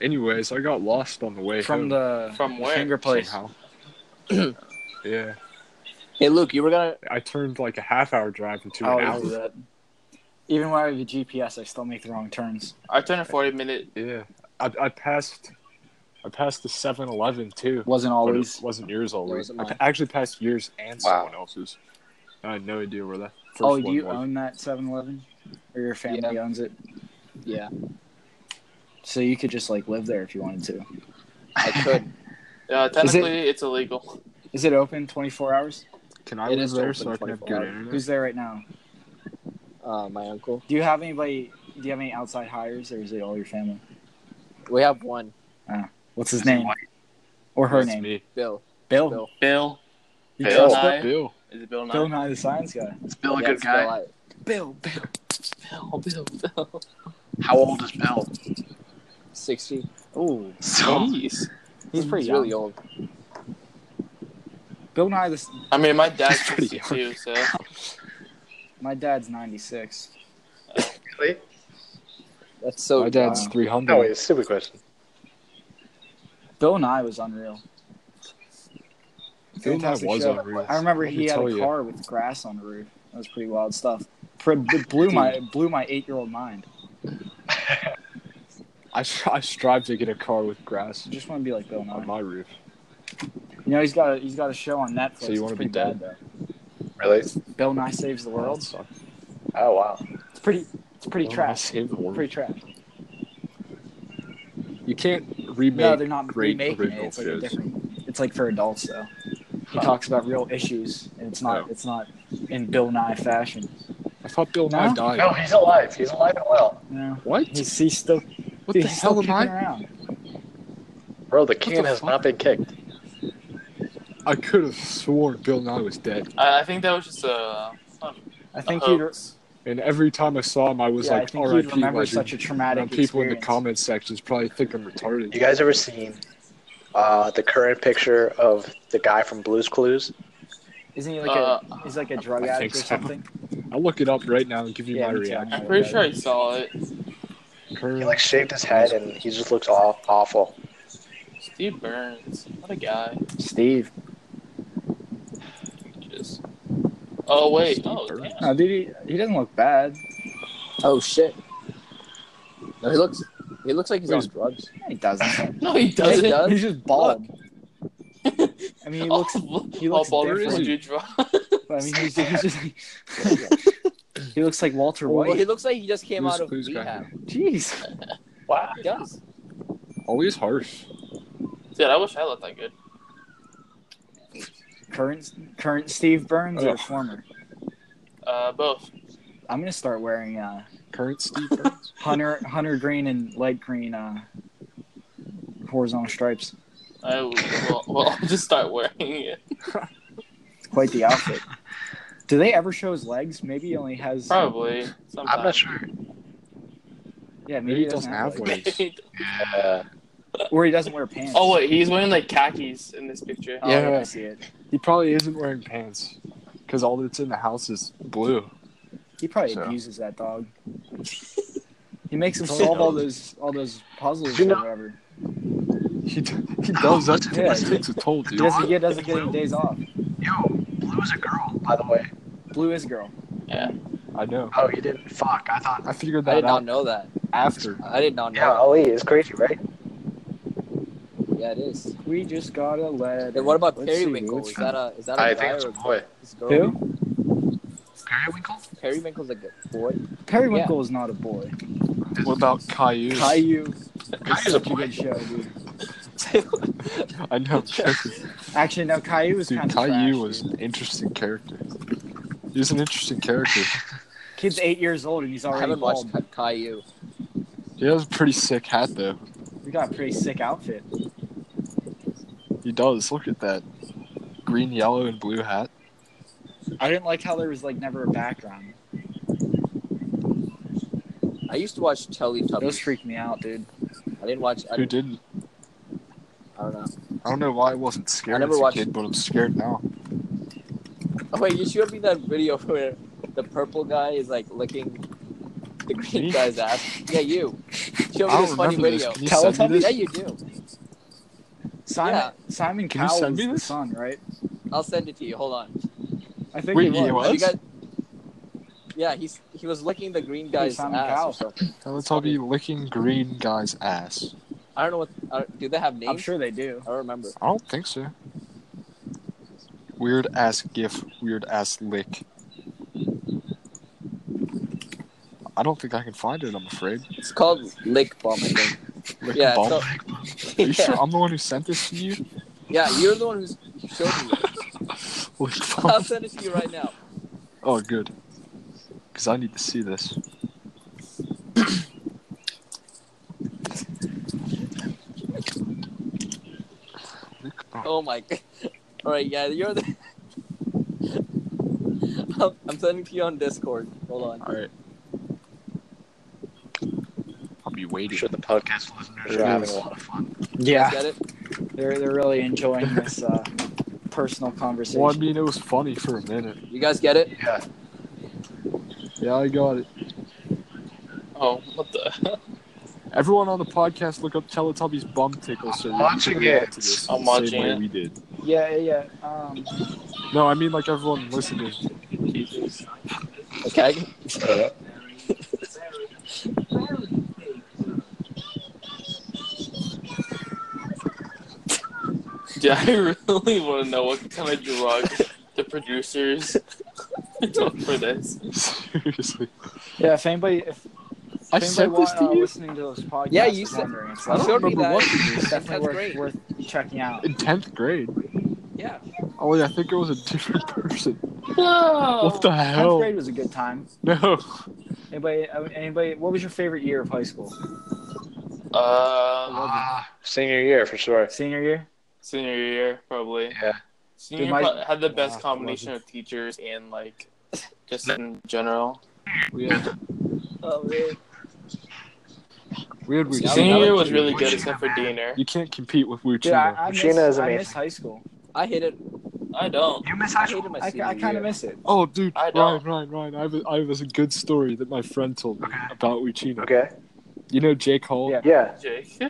Speaker 2: Anyways, I got lost on the way
Speaker 1: From
Speaker 2: home
Speaker 1: the
Speaker 4: From
Speaker 1: the
Speaker 4: where?
Speaker 1: finger place.
Speaker 2: somehow. yeah,
Speaker 3: Hey, Luke, you were gonna.
Speaker 2: I turned like a half hour drive into
Speaker 1: I
Speaker 2: an hour.
Speaker 1: always do that. Even when I have a GPS, I still make the wrong turns.
Speaker 4: I turned a 40 minute.
Speaker 2: Yeah, I, I passed, I passed the 7-Eleven too.
Speaker 1: Wasn't
Speaker 2: but
Speaker 1: always.
Speaker 2: it wasn't yours always.
Speaker 3: wasn't
Speaker 2: I
Speaker 3: mine.
Speaker 2: pa- actually passed yours and
Speaker 5: Wow.
Speaker 2: someone else's. I had no idea where that. First
Speaker 1: Oh,
Speaker 2: one
Speaker 1: do you
Speaker 2: was.
Speaker 1: own that 7-Eleven? Or your family
Speaker 3: Yeah.
Speaker 1: owns it?
Speaker 3: Yeah,
Speaker 1: So you could just like live there if you wanted to.
Speaker 3: I could.
Speaker 4: Uh, technically, it's illegal.
Speaker 1: Is it open 24 hours?
Speaker 2: Can I
Speaker 3: It
Speaker 2: live
Speaker 3: is
Speaker 2: there
Speaker 3: open
Speaker 2: so I can have
Speaker 3: 24
Speaker 2: good
Speaker 3: hours.
Speaker 2: internet?
Speaker 1: Who's there right now?
Speaker 3: Uh, my uncle.
Speaker 1: Do you have anybody? Do you have any outside hires, or is it all your family?
Speaker 3: We have one,
Speaker 1: What's his name or her
Speaker 2: That's
Speaker 1: name?
Speaker 2: me.
Speaker 3: Bill.
Speaker 5: Oh,
Speaker 1: Bill.
Speaker 3: Bill.
Speaker 4: Bill.
Speaker 1: You
Speaker 4: Bill
Speaker 1: trust
Speaker 4: Nye.
Speaker 2: Bill.
Speaker 4: Is it Bill Nye?
Speaker 1: Bill Nye the Science Guy.
Speaker 5: Is Bill a
Speaker 3: Yeah,
Speaker 5: good
Speaker 3: it's
Speaker 5: guy?
Speaker 3: Bill I-
Speaker 4: Bill, Bill, Bill, Bill, Bill.
Speaker 5: How old is Bill?
Speaker 3: Sixty.
Speaker 1: Oh,
Speaker 5: So
Speaker 4: Jeez.
Speaker 1: he's pretty
Speaker 3: He's
Speaker 1: young.
Speaker 3: really old.
Speaker 1: Bill Nye. This
Speaker 4: I mean, my dad's
Speaker 2: That's pretty
Speaker 4: 62, so.
Speaker 1: my dad's 96.
Speaker 5: really?
Speaker 3: That's so.
Speaker 2: My dad's
Speaker 1: Wow.
Speaker 2: three hundred.
Speaker 5: No, wait, it's a stupid question.
Speaker 1: Bill Nye was unreal.
Speaker 2: Bill Nye
Speaker 1: Fantastic
Speaker 2: was
Speaker 1: show.
Speaker 2: unreal.
Speaker 1: I remember
Speaker 2: Let me
Speaker 1: he had
Speaker 2: tell
Speaker 1: a
Speaker 2: you.
Speaker 1: car with grass on the roof. That was pretty wild stuff. Pre- It blew my it blew my eight year old mind.
Speaker 2: I, stri- I strive to get a car with grass
Speaker 1: I just want to be like Bill Nye.
Speaker 2: on my roof.
Speaker 1: You know he's got a, he's got a show on Netflix.
Speaker 2: So you wanna
Speaker 1: It's
Speaker 2: be
Speaker 1: pretty bad,
Speaker 5: Really?
Speaker 1: though. Bill Nye saves the
Speaker 2: Well,
Speaker 1: world.
Speaker 2: sucks.
Speaker 5: Oh wow.
Speaker 1: It's pretty it's pretty
Speaker 2: Well,
Speaker 1: trash.
Speaker 2: save the world.
Speaker 1: Pretty trash.
Speaker 2: You can't remake.
Speaker 1: No, they're not
Speaker 2: great
Speaker 1: remaking it.
Speaker 2: original
Speaker 1: It's like a
Speaker 2: shows.
Speaker 1: different. It's like for adults though. He
Speaker 5: Huh.
Speaker 1: talks about real issues, and it's not.
Speaker 2: Oh.
Speaker 1: It's not in Bill Nye fashion.
Speaker 2: I thought Bill
Speaker 1: No?
Speaker 2: Nye died.
Speaker 5: No, he's alive. He's alive and well.
Speaker 1: You know,
Speaker 2: What?
Speaker 1: he's, he's still.
Speaker 2: What
Speaker 1: dude,
Speaker 2: the
Speaker 1: he's still
Speaker 2: hell am
Speaker 1: kicking
Speaker 2: I?
Speaker 1: Around.
Speaker 5: Bro, the
Speaker 2: What
Speaker 5: can
Speaker 2: the
Speaker 5: has
Speaker 2: fuck?
Speaker 5: not been kicked.
Speaker 2: I could have sworn Bill Nye was dead.
Speaker 4: I, I think that was just a.
Speaker 1: I think
Speaker 4: a
Speaker 1: you'd.
Speaker 4: hoax.
Speaker 2: And every time I saw him, I was
Speaker 1: yeah, I
Speaker 2: like,
Speaker 1: think
Speaker 2: "R.I.P."
Speaker 1: you'd remember
Speaker 2: legend."
Speaker 1: such a traumatic.
Speaker 2: and people in the
Speaker 1: experience.
Speaker 2: comment sections probably think I'm retarded.
Speaker 5: You guys ever seen uh, the current picture of the guy from Blue's Clues?
Speaker 1: Isn't he like
Speaker 4: Uh,
Speaker 1: a? He's like a drug
Speaker 2: I
Speaker 1: addict
Speaker 2: think
Speaker 1: or
Speaker 2: so.
Speaker 1: something.
Speaker 2: I'll look it up right now and give you
Speaker 1: Yeah,
Speaker 2: my
Speaker 1: me too.
Speaker 2: reaction.
Speaker 4: I'm pretty sure I saw it.
Speaker 5: He
Speaker 2: Current-
Speaker 5: like shaved his head and he just looks aw- awful.
Speaker 4: Steve Burns. What a guy.
Speaker 1: Steve.
Speaker 4: Just. Oh, wait.
Speaker 2: Steve
Speaker 4: Oh,
Speaker 2: Burns.
Speaker 4: damn.
Speaker 1: No, dude, he, he doesn't look bad.
Speaker 3: Oh shit. No, he looks. He looks like he's on drugs.
Speaker 1: No, He doesn't.
Speaker 4: No, he
Speaker 3: Does
Speaker 4: doesn't.
Speaker 3: it?
Speaker 1: He's just bald. I mean, he looks.
Speaker 4: oh,
Speaker 1: he looks
Speaker 4: oh, Baldur's
Speaker 1: different.
Speaker 4: Gate drunk.
Speaker 1: I mean, he's, he's just. he looks like Walter
Speaker 3: Well, he
Speaker 1: White.
Speaker 3: looks like he just came
Speaker 2: Blue's
Speaker 3: out of
Speaker 2: Clues guy.
Speaker 3: rehab.
Speaker 1: Jeez.
Speaker 5: Wow.
Speaker 3: He does.
Speaker 2: Always harsh.
Speaker 4: Dude, I wish I looked that good.
Speaker 1: Current current Steve Burns or
Speaker 2: Ugh.
Speaker 1: former?
Speaker 4: Uh, both.
Speaker 1: I'm gonna start wearing uh,
Speaker 2: Current Steve Burns.
Speaker 1: hunter hunter green and light green uh, horizontal stripes.
Speaker 4: I will, well, I'll just start wearing it.
Speaker 1: Quite the outfit. Do they ever show his legs? Maybe he only has.
Speaker 4: Probably. Sometime.
Speaker 5: I'm not sure.
Speaker 1: Yeah, maybe,
Speaker 2: Maybe he doesn't have
Speaker 1: legs.
Speaker 2: one.
Speaker 5: Yeah.
Speaker 1: Or he doesn't wear pants.
Speaker 4: oh wait, he's wearing like khakis in this picture.
Speaker 1: Oh,
Speaker 2: Yeah.
Speaker 1: I see it.
Speaker 2: He probably isn't wearing pants because all that's in the house is blue.
Speaker 1: He probably
Speaker 5: So.
Speaker 1: abuses that dog. He makes him
Speaker 2: Probably
Speaker 1: solve all
Speaker 2: does.
Speaker 1: those all those puzzles
Speaker 5: You
Speaker 1: or
Speaker 5: know-
Speaker 1: whatever.
Speaker 2: He, d- he does. That
Speaker 1: Yeah.
Speaker 2: that takes a toll,
Speaker 1: He
Speaker 2: dude.
Speaker 1: doesn't get doesn't get any days off.
Speaker 5: Yo, Blue is a girl, by the way.
Speaker 1: Blue is a girl.
Speaker 2: I know.
Speaker 5: Oh, you didn't? Fuck, I thought.
Speaker 2: I figured that
Speaker 3: I did
Speaker 2: out
Speaker 3: not know that.
Speaker 2: after.
Speaker 3: I did not know.
Speaker 5: Yeah, Ali is crazy, right?
Speaker 3: that. Yeah, it is.
Speaker 1: We just got a letter.
Speaker 3: And what about
Speaker 1: Let's see,
Speaker 3: Periwinkle?
Speaker 1: which
Speaker 3: Is that a is that a
Speaker 5: I
Speaker 3: guy
Speaker 5: think it's
Speaker 3: or
Speaker 5: a
Speaker 3: a
Speaker 5: boy.
Speaker 3: It's a
Speaker 1: one?
Speaker 3: girl?
Speaker 1: Who?
Speaker 5: Periwinkle?
Speaker 3: Periwinkle's a good boy.
Speaker 1: Periwinkle is not a boy.
Speaker 2: What about Caillou?
Speaker 1: Caillou.
Speaker 5: Caillou's a
Speaker 1: such
Speaker 5: boy.
Speaker 1: good show, dude.
Speaker 2: I know.
Speaker 1: Actually, no, Caillou was
Speaker 2: Dude,
Speaker 1: kind of
Speaker 2: Caillou
Speaker 1: trash,
Speaker 2: was
Speaker 1: dude.
Speaker 2: an interesting character. He was an interesting character.
Speaker 1: Kid's eight years old and he's
Speaker 3: I
Speaker 1: already
Speaker 3: haven't watched
Speaker 1: bald.
Speaker 3: Ca- Caillou.
Speaker 2: He has a pretty sick hat, though.
Speaker 1: We got a pretty sick outfit.
Speaker 2: He does. Look at that green, yellow, and blue hat.
Speaker 1: I didn't like how there was like never a background.
Speaker 3: I used to watch Teletubbies.
Speaker 1: Those freaked me out, dude.
Speaker 3: I didn't watch. I,
Speaker 2: Who
Speaker 3: didn't,
Speaker 2: didn't?
Speaker 3: I don't know.
Speaker 2: I don't know why I wasn't scared
Speaker 3: I never
Speaker 2: as a
Speaker 3: watched-
Speaker 2: kid, but I'm scared now.
Speaker 3: Oh wait, you showed me that video where the purple guy is like licking the green
Speaker 2: Me?
Speaker 3: guy's ass. Yeah, you. Show
Speaker 2: I
Speaker 3: me
Speaker 2: don't
Speaker 3: this funny
Speaker 2: remember this.
Speaker 3: video.
Speaker 2: Can you send me
Speaker 1: Teletubbies?
Speaker 3: Yeah,
Speaker 2: this?
Speaker 3: you do.
Speaker 1: Simon
Speaker 3: Yeah.
Speaker 1: Simon
Speaker 2: Can you
Speaker 1: Cowell
Speaker 2: send
Speaker 1: was
Speaker 2: me
Speaker 1: the
Speaker 2: this?
Speaker 1: son, right?
Speaker 3: I'll send it to you. Hold on.
Speaker 1: I think
Speaker 2: Wait,
Speaker 1: he was.
Speaker 2: yeah, what?
Speaker 3: Have you guys- Yeah, he's he was licking the green guy's
Speaker 1: Simon
Speaker 3: ass.
Speaker 1: Cowell.
Speaker 3: or something.
Speaker 2: Teletubby licking green guy's ass.
Speaker 3: I don't know what. I don't- do they have names?
Speaker 1: I'm sure they do.
Speaker 3: I don't remember.
Speaker 2: I don't think so. Weird ass gif, weird ass lick. I don't think I can find it, I'm afraid.
Speaker 3: It's called lick bomb. I think.
Speaker 2: Lick
Speaker 3: Yeah,
Speaker 2: bomb.
Speaker 3: so-
Speaker 2: Are you sure
Speaker 3: yeah.
Speaker 2: I'm the one who sent this to you?
Speaker 3: yeah, you're the one who's who showed me. This.
Speaker 2: Lick
Speaker 3: I'll
Speaker 2: bomb.
Speaker 3: send it to you right now.
Speaker 2: Oh, good. Because I need to see this. Lick bomb.
Speaker 3: Oh my. g- All right, yeah, you're the. I'm- I'm sending to you on Discord. Hold on.
Speaker 2: Alright. I'll be waiting.
Speaker 5: the podcast listeners
Speaker 2: are having a
Speaker 5: lot of fun.
Speaker 3: You
Speaker 1: Yeah,
Speaker 3: Get it?
Speaker 1: they're they're really enjoying this uh, personal conversation.
Speaker 2: Well, I mean, it was funny for a minute.
Speaker 3: You guys get it?
Speaker 5: Yeah.
Speaker 2: Yeah, I got it.
Speaker 4: Oh, what the?
Speaker 2: Everyone on the podcast, look up Teletubby's bum tickle so you
Speaker 5: Watching
Speaker 2: can react
Speaker 5: it.
Speaker 2: to this
Speaker 4: I'm
Speaker 2: the
Speaker 4: watching
Speaker 2: same way
Speaker 4: it.
Speaker 2: we did.
Speaker 1: Yeah, yeah, yeah. Um,
Speaker 2: No, I mean like everyone listening.
Speaker 4: Jesus.
Speaker 3: Okay.
Speaker 4: Yeah, I really want to know what kind of drug the producers took for this.
Speaker 2: Seriously,
Speaker 1: yeah. If anybody, if, if
Speaker 2: I
Speaker 1: anybody
Speaker 2: sent this
Speaker 1: wa-
Speaker 2: to
Speaker 1: uh,
Speaker 2: you.
Speaker 1: listening to this podcast,
Speaker 3: Yeah, you
Speaker 1: is
Speaker 3: said-
Speaker 1: wondering, it's
Speaker 3: I
Speaker 1: like,
Speaker 3: don't showed me
Speaker 2: remember
Speaker 3: that.
Speaker 2: watching this.
Speaker 1: it's
Speaker 3: That's
Speaker 1: definitely worth,
Speaker 3: great.
Speaker 1: worth checking out.
Speaker 2: In tenth grade,
Speaker 3: Yeah.
Speaker 2: Ollie, I think it was a different person.
Speaker 4: No.
Speaker 2: What the
Speaker 1: Tenth
Speaker 2: hell?
Speaker 1: grade was a good time.
Speaker 2: No,
Speaker 1: Anybody, uh, anybody, what was your favorite year of high school?
Speaker 4: Uh,
Speaker 5: Uh, senior year, for sure.
Speaker 1: Senior year?
Speaker 4: senior year probably.
Speaker 5: Yeah.
Speaker 4: Senior
Speaker 1: Dude, my-
Speaker 4: pro- had the best
Speaker 2: Yeah,
Speaker 4: combination of teachers and like just in general.
Speaker 2: we had
Speaker 3: Oh, man.
Speaker 2: we had
Speaker 3: Yeah,
Speaker 4: senior
Speaker 3: I
Speaker 4: year
Speaker 2: Wuxi.
Speaker 3: like
Speaker 4: was
Speaker 3: you.
Speaker 4: really good except for Diener.
Speaker 2: You can't compete with
Speaker 1: Dude, I,
Speaker 2: Wuchina.
Speaker 1: I, miss,
Speaker 5: Sheena is
Speaker 1: I
Speaker 5: amazing.
Speaker 1: miss high school.
Speaker 3: I hated.
Speaker 4: I don't.
Speaker 5: You miss
Speaker 3: I
Speaker 5: high school?
Speaker 3: hated my
Speaker 1: I,
Speaker 3: senior
Speaker 1: kind
Speaker 3: year.
Speaker 1: of miss it.
Speaker 2: Oh, dude,
Speaker 4: I
Speaker 2: Ryan,
Speaker 4: don't.
Speaker 2: Ryan, Ryan! I have, a, I have a good story that my friend told me
Speaker 5: Okay.
Speaker 2: about Wuchina.
Speaker 5: Okay.
Speaker 2: You know Jake Hall?
Speaker 1: Yeah.
Speaker 5: Yeah.
Speaker 4: Jake.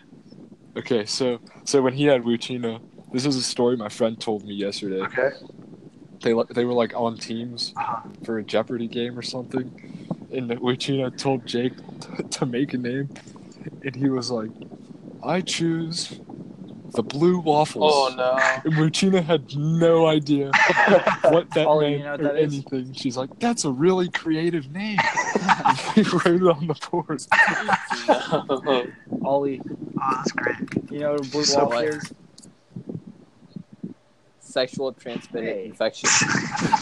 Speaker 2: Okay, so so when he had Wuchina, this is a story my friend told me yesterday.
Speaker 5: Okay.
Speaker 2: They le- they were like on teams
Speaker 5: Uh-huh.
Speaker 2: for a Jeopardy game or something, and Wuchina told Jake t- to make a name, and he was like, "I choose the blue waffles."
Speaker 4: Oh no.
Speaker 2: And Wuchina had no idea what that
Speaker 1: Ollie,
Speaker 2: meant
Speaker 1: you know what
Speaker 2: or
Speaker 1: that is?
Speaker 2: anything. She's like, "That's a really creative name." And he wrote it on the board.
Speaker 4: no.
Speaker 1: Ollie,
Speaker 5: Oh, that's great.
Speaker 1: you know, blue
Speaker 5: So
Speaker 1: waffle
Speaker 3: what?
Speaker 1: is?
Speaker 3: Sexual transmitted
Speaker 1: Hey.
Speaker 3: infection.